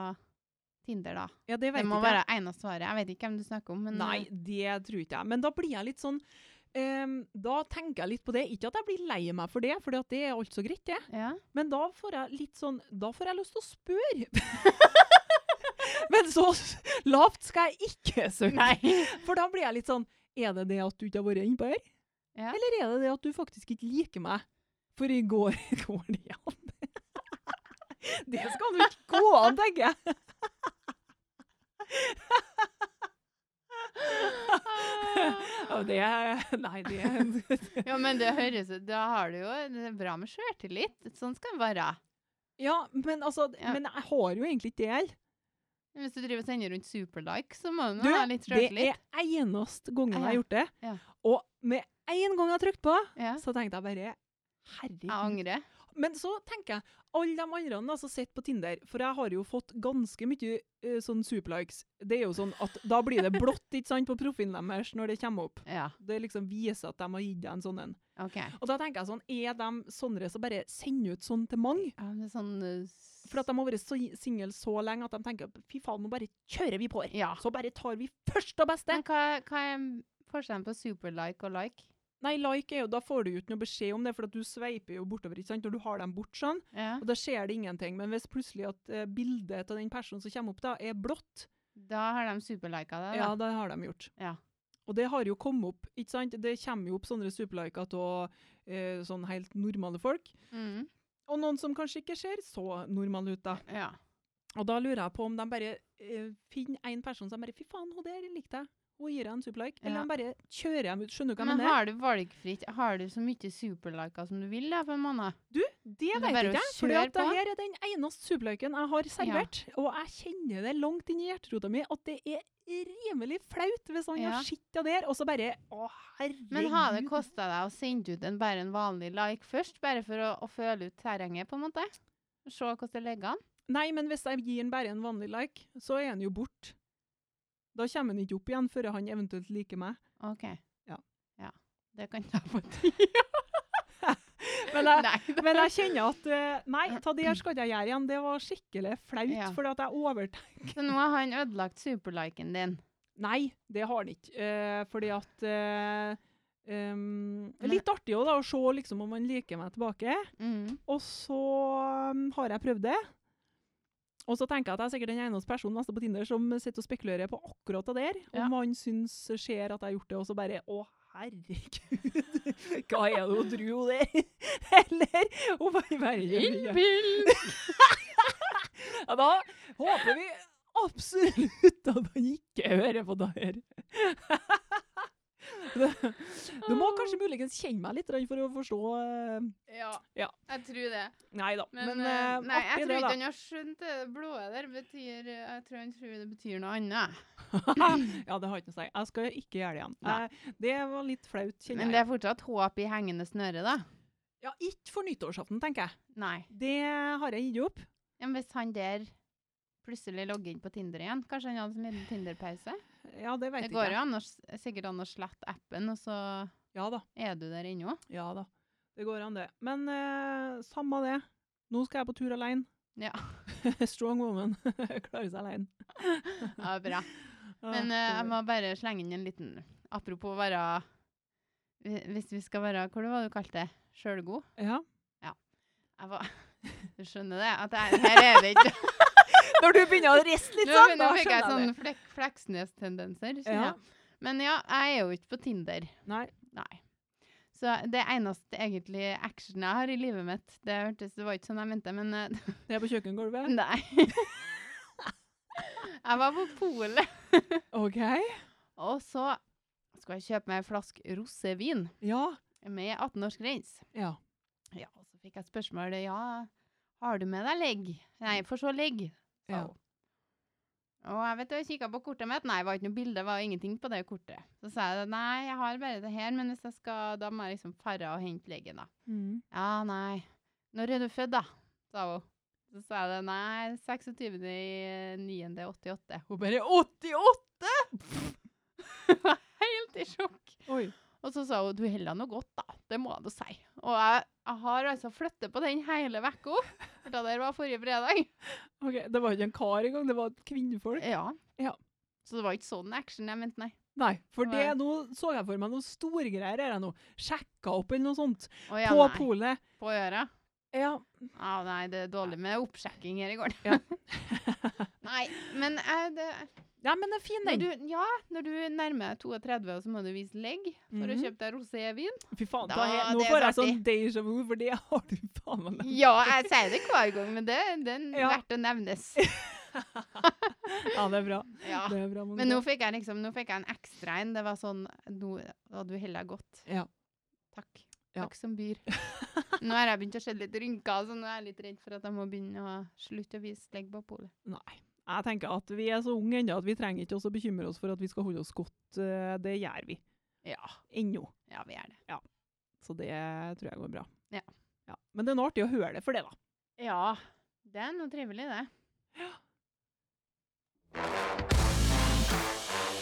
[SPEAKER 1] Tinder, da.
[SPEAKER 2] Ja, det
[SPEAKER 1] Det
[SPEAKER 2] vet
[SPEAKER 1] må
[SPEAKER 2] ikke jeg.
[SPEAKER 1] være eh, eneste svaret. Jeg vet ikke hvem du snakker om, men
[SPEAKER 2] Nei, det tror ikke jeg. Men da blir jeg litt sånn ehm, Da tenker jeg litt på det. Ikke at jeg blir lei meg for det, for det er alt så greit, det.
[SPEAKER 1] Ja.
[SPEAKER 2] Men da får jeg litt sånn Da får jeg lyst til å spørre. Men så s- lavt skal jeg ikke søke. For da blir jeg litt sånn Er det det at du ikke har vært innpå her?
[SPEAKER 1] Ja.
[SPEAKER 2] Eller er det det at du faktisk ikke liker meg? For i går går det an. Det skal du ikke gå an, tenker jeg. Og det Nei, det
[SPEAKER 1] Ja, men det høres ut Da har du jo det er bra med sjøltillit. Sånn skal det være.
[SPEAKER 2] Ja, men altså
[SPEAKER 1] Ja.
[SPEAKER 2] Men jeg har jo egentlig ikke det heller.
[SPEAKER 1] Hvis du driver og sender rundt superlike, så må du
[SPEAKER 2] Du,
[SPEAKER 1] ha litt
[SPEAKER 2] Det
[SPEAKER 1] sjøltillit.
[SPEAKER 2] er eneste gangen jeg
[SPEAKER 1] Ja.
[SPEAKER 2] har gjort det.
[SPEAKER 1] Ja.
[SPEAKER 2] Og med en gang jeg trykte på,
[SPEAKER 1] Ja.
[SPEAKER 2] så tenkte jeg bare
[SPEAKER 1] Jeg
[SPEAKER 2] Herregud.
[SPEAKER 1] angrer.
[SPEAKER 2] Men så tenker jeg alle de andre som altså, sitter på Tinder, for jeg har jo fått ganske mye eh, sånn superlikes. Det er jo sånn at da blir det blått ikke sant, på profilen deres når det kommer opp.
[SPEAKER 1] Ja,
[SPEAKER 2] Det liksom viser at de har gitt deg en sånn en.
[SPEAKER 1] OK. Ja,
[SPEAKER 2] Og da tenker jeg sånn, er de sånne som bare sender ut sånn til mange?
[SPEAKER 1] men det er sånn eh, s-
[SPEAKER 2] For at de har vært så single så lenge at de tenker fy faen, nå bare kjører vi på her.
[SPEAKER 1] Ja.
[SPEAKER 2] Så bare tar vi først og beste.
[SPEAKER 1] Men hva, hva er forskjellen på superlike og like?
[SPEAKER 2] Nei, like er jo, da får du jo ikke noe beskjed om det, for at du sveiper jo bortover, ikke sant, når du har dem bort sånn,
[SPEAKER 1] Ja.
[SPEAKER 2] og da skjer det ingenting. Men hvis plutselig at eh, bildet av den personen som kommer opp da, er blått,
[SPEAKER 1] Da har de superlika deg, da.
[SPEAKER 2] ja, det har de gjort.
[SPEAKER 1] Ja.
[SPEAKER 2] Og det har jo kommet opp, ikke sant, det kommer jo opp sånne superliker av eh, sånn helt normale folk,
[SPEAKER 1] Mhm.
[SPEAKER 2] og noen som kanskje ikke ser så normale ut da.
[SPEAKER 1] ja.
[SPEAKER 2] Og da lurer jeg på om de bare eh, finner en person som bare, fy faen, hun der likte jeg, hun gir deg en superlike,
[SPEAKER 1] Ja.
[SPEAKER 2] eller de bare kjører dem ut, skjønner du hva jeg
[SPEAKER 1] Men
[SPEAKER 2] mener?
[SPEAKER 1] har du valgfritt Har du så mye superliker som du vil da på en måned?
[SPEAKER 2] Du, det
[SPEAKER 1] Men det er
[SPEAKER 2] vet
[SPEAKER 1] bare å
[SPEAKER 2] ikke jeg. For
[SPEAKER 1] kjøre
[SPEAKER 2] det
[SPEAKER 1] på.
[SPEAKER 2] her er den eneste superløken jeg har servert. Og jeg kjenner det langt inn i hjerterota mi at det er rimelig flaut hvis han
[SPEAKER 1] Ja.
[SPEAKER 2] har sett det der, og så bare Å, herregud.
[SPEAKER 1] Men har det kosta deg å sende ut en, bare en vanlig like først, bare for å, å føle ut terrenget, på en måte? Se hvordan det ligger an?
[SPEAKER 2] Nei, men hvis jeg gir han bare en vanlig like, så er han jo borte. Da kommer han ikke opp igjen før han eventuelt liker meg.
[SPEAKER 1] OK.
[SPEAKER 2] Ja.
[SPEAKER 1] Ja. Det kan ta på tida.
[SPEAKER 2] Men jeg,
[SPEAKER 1] Nei, da-
[SPEAKER 2] men jeg kjenner at eh, Nei, ta det her skal ikke jeg gjøre igjen. Det var skikkelig flaut,
[SPEAKER 1] Ja.
[SPEAKER 2] fordi at jeg overtenker
[SPEAKER 1] Så nå har han ødelagt superliken din.
[SPEAKER 2] Nei, det har han ikke. Eh, fordi at eh, em,
[SPEAKER 1] Men-
[SPEAKER 2] Litt artig også, da, å se liksom, om han liker meg tilbake.
[SPEAKER 1] Mhm.
[SPEAKER 2] Og så em, har jeg prøvd det. Og så tenker jeg at jeg er sikkert den eneste personen neste på Tinder som sitter og spekulerer på akkurat det der.
[SPEAKER 1] Ja.
[SPEAKER 2] Om han syns ser at jeg har gjort det, og så bare Å, herregud! Hva er det hun tror det er? Eller om han bare
[SPEAKER 1] Innbill!
[SPEAKER 2] ja, da håper vi absolutt at han ikke hører på det her. Det- Du må kanskje muligens kjenne meg litt grann for å forstå eh,
[SPEAKER 1] Ja,
[SPEAKER 2] Ja.
[SPEAKER 1] jeg tror det.
[SPEAKER 2] Nei da. Men,
[SPEAKER 1] eh,
[SPEAKER 2] eh,
[SPEAKER 1] nei, jeg tror
[SPEAKER 2] artig det,
[SPEAKER 1] ikke
[SPEAKER 2] da.
[SPEAKER 1] han har skjønt det. Det blå der betyr eh, Jeg tror han tror det betyr noe annet.
[SPEAKER 2] ja, det har ikke noe å si. Jeg skal ikke gjøre det igjen.
[SPEAKER 1] Nei.
[SPEAKER 2] Eh, det var litt flaut, kjenner
[SPEAKER 1] Men det
[SPEAKER 2] jeg.
[SPEAKER 1] er fortsatt håp i hengende snøre, da.
[SPEAKER 2] Ja, ikke for nyttårsaften, tenker jeg.
[SPEAKER 1] Nei.
[SPEAKER 2] Det har jeg gitt opp.
[SPEAKER 1] Ja, men hvis han der plutselig logger inn på Tinder igjen, kanskje han hadde en liten Tinder-pause?
[SPEAKER 2] Ja, det vet
[SPEAKER 1] Det
[SPEAKER 2] ikke
[SPEAKER 1] går
[SPEAKER 2] jeg.
[SPEAKER 1] jo an å, s- sikkert an å slette appen, og så
[SPEAKER 2] Ja da.
[SPEAKER 1] er du der ennå.
[SPEAKER 2] Ja da. Det går an, det. Men eh, samme det. Nå skal jeg på tur alene.
[SPEAKER 1] Ja.
[SPEAKER 2] Strong woman. Klarer seg alene.
[SPEAKER 1] Ja, bra.
[SPEAKER 2] Ah,
[SPEAKER 1] Men eh,
[SPEAKER 2] det-
[SPEAKER 1] jeg må bare slenge inn en liten Apropos å være hvi- Hvis vi skal være Hvor var det du kalte det? Sjølgod?
[SPEAKER 2] Ja.
[SPEAKER 1] Jeg var Du skjønner det? At jeg, her er det ikke
[SPEAKER 2] Når du begynner å riste litt
[SPEAKER 1] Nå,
[SPEAKER 2] sånn,
[SPEAKER 1] nå
[SPEAKER 2] da
[SPEAKER 1] fikk jeg
[SPEAKER 2] skjønner
[SPEAKER 1] sånn
[SPEAKER 2] jeg det.
[SPEAKER 1] flek, Fleksnes-tendenser. skjønner
[SPEAKER 2] Ja.
[SPEAKER 1] jeg. Men ja, jeg er jo ikke på Tinder.
[SPEAKER 2] Nei.
[SPEAKER 1] Nei. Så det eneste egentlig action jeg har i livet mitt Det hørtes, det var ikke sånn jeg mente, men eh,
[SPEAKER 2] Det er på kjøkkengulvet.
[SPEAKER 1] Nei. jeg var på polet,
[SPEAKER 2] OK.
[SPEAKER 1] og så skulle jeg kjøpe meg en flaske rosévin
[SPEAKER 2] Ja.
[SPEAKER 1] med 18-årsgrense.
[SPEAKER 2] Ja.
[SPEAKER 1] Ja, og så fikk jeg spørsmålet Ja, har du med deg legg? Nei, for så legg, sa
[SPEAKER 2] Ja.
[SPEAKER 1] hun. Og jeg vet du, jeg kikket på kortet mitt. Nei, det var ikke noe bilde, det var ingenting på det kortet. Så sa jeg nei, jeg har bare det her, men hvis jeg skal, da må jeg liksom fare og hente legen, da.
[SPEAKER 2] Mm.
[SPEAKER 1] Ja, nei. Når er du født, da? sa hun. Så sa jeg det, nei, 26.9.88. Hun bare 88?! Jeg var Helt i sjokk.
[SPEAKER 2] Oi.
[SPEAKER 1] Og så sa hun du holder deg nå godt, da. Det må jeg nå si. Og jeg, jeg har altså flyttet på den hele uka. For det der var forrige fredag.
[SPEAKER 2] Ok, Det var ikke en kar engang, det var et kvinnfolk.
[SPEAKER 1] Ja.
[SPEAKER 2] Ja.
[SPEAKER 1] Så det var ikke sånn action jeg mente, nei.
[SPEAKER 2] Nei, for det
[SPEAKER 1] Nei.
[SPEAKER 2] nå så jeg for meg noen storgreier her jeg nå. Sjekka opp eller noe sånt.
[SPEAKER 1] Å, ja,
[SPEAKER 2] på
[SPEAKER 1] nei.
[SPEAKER 2] polet.
[SPEAKER 1] På øret.
[SPEAKER 2] Ja.
[SPEAKER 1] Ja, nei, det er dårlig med oppsjekking her i gården.
[SPEAKER 2] Ja.
[SPEAKER 1] nei, men eh, det,
[SPEAKER 2] ja, men det er fin,
[SPEAKER 1] når,
[SPEAKER 2] den.
[SPEAKER 1] du, ja, når du nærmer deg 32, så må du vise legg for å
[SPEAKER 2] Mhm.
[SPEAKER 1] kjøpe deg rosévin.
[SPEAKER 2] Fy faen, da,
[SPEAKER 1] Da,
[SPEAKER 2] he- nå
[SPEAKER 1] det er
[SPEAKER 2] får jeg
[SPEAKER 1] så
[SPEAKER 2] sånn déjà vu, for det har du faen meg lært.
[SPEAKER 1] Ja, jeg sier det hver gang, men det, det er
[SPEAKER 2] Ja.
[SPEAKER 1] verdt å nevnes.
[SPEAKER 2] Ja, det er bra.
[SPEAKER 1] Ja.
[SPEAKER 2] Det er bra Monica.
[SPEAKER 1] Men nå fikk jeg liksom, nå fikk jeg en ekstra en. Det var sånn Nå hadde du holdt deg godt.
[SPEAKER 2] Ja.
[SPEAKER 1] Takk.
[SPEAKER 2] Ja.
[SPEAKER 1] Takk som byr. Nå har jeg begynt å se litt rynker, så nå er jeg litt redd for at jeg må begynne å slutte å vise legg på polet.
[SPEAKER 2] Nei. Jeg tenker at vi er så unge ennå at vi trenger ikke også bekymre oss for at vi skal holde oss godt. eh, Det gjør vi
[SPEAKER 1] Ja.
[SPEAKER 2] ennå.
[SPEAKER 1] Ja, vi er det.
[SPEAKER 2] Så det tror jeg går bra.
[SPEAKER 1] Ja.
[SPEAKER 2] Ja. Men det er nå artig å høre det for det, da.
[SPEAKER 1] Ja. Det er noe trivelig, det.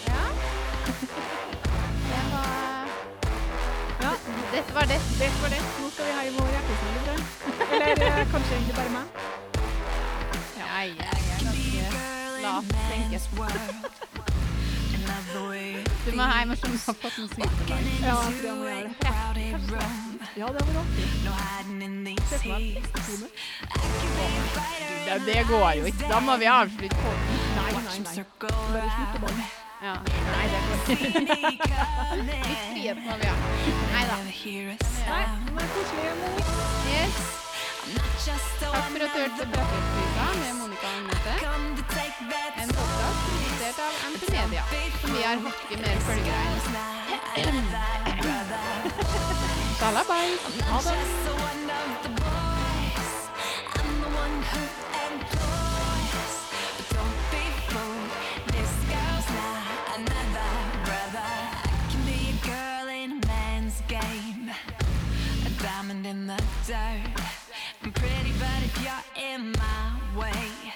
[SPEAKER 1] Ja. Det var
[SPEAKER 2] Ja.
[SPEAKER 1] Dette var det. Dette var det.
[SPEAKER 2] Nå skal vi hjem og hjelpe oss litt. Eller eh, kanskje egentlig bare meg.
[SPEAKER 1] Ja, jeg er ganske lat, tenker jeg. Du må hjem og skjønne på at noe sykepleier.
[SPEAKER 2] Ja, det må jeg gjøre. Ja, det var artig. Se for meg en pistone.
[SPEAKER 1] Ja, det går jo ikke. Da må vi avslutte på
[SPEAKER 2] Nei, nei, nei. Bare slutt å banne.
[SPEAKER 1] Ja. Nei, det går ikke. Litt frihet må vi ha. Nei da.
[SPEAKER 2] Nei, men det er koselig. Monica.
[SPEAKER 1] Yes. Takk for at du hørte på Brattøyspika med Monica og Agnete. En podkast produsert av MT Media, som vi har hakket mer følgere enn. Salabais! Ha det!
[SPEAKER 3] Diamond in the dirt. I'm pretty, but if you're in my way.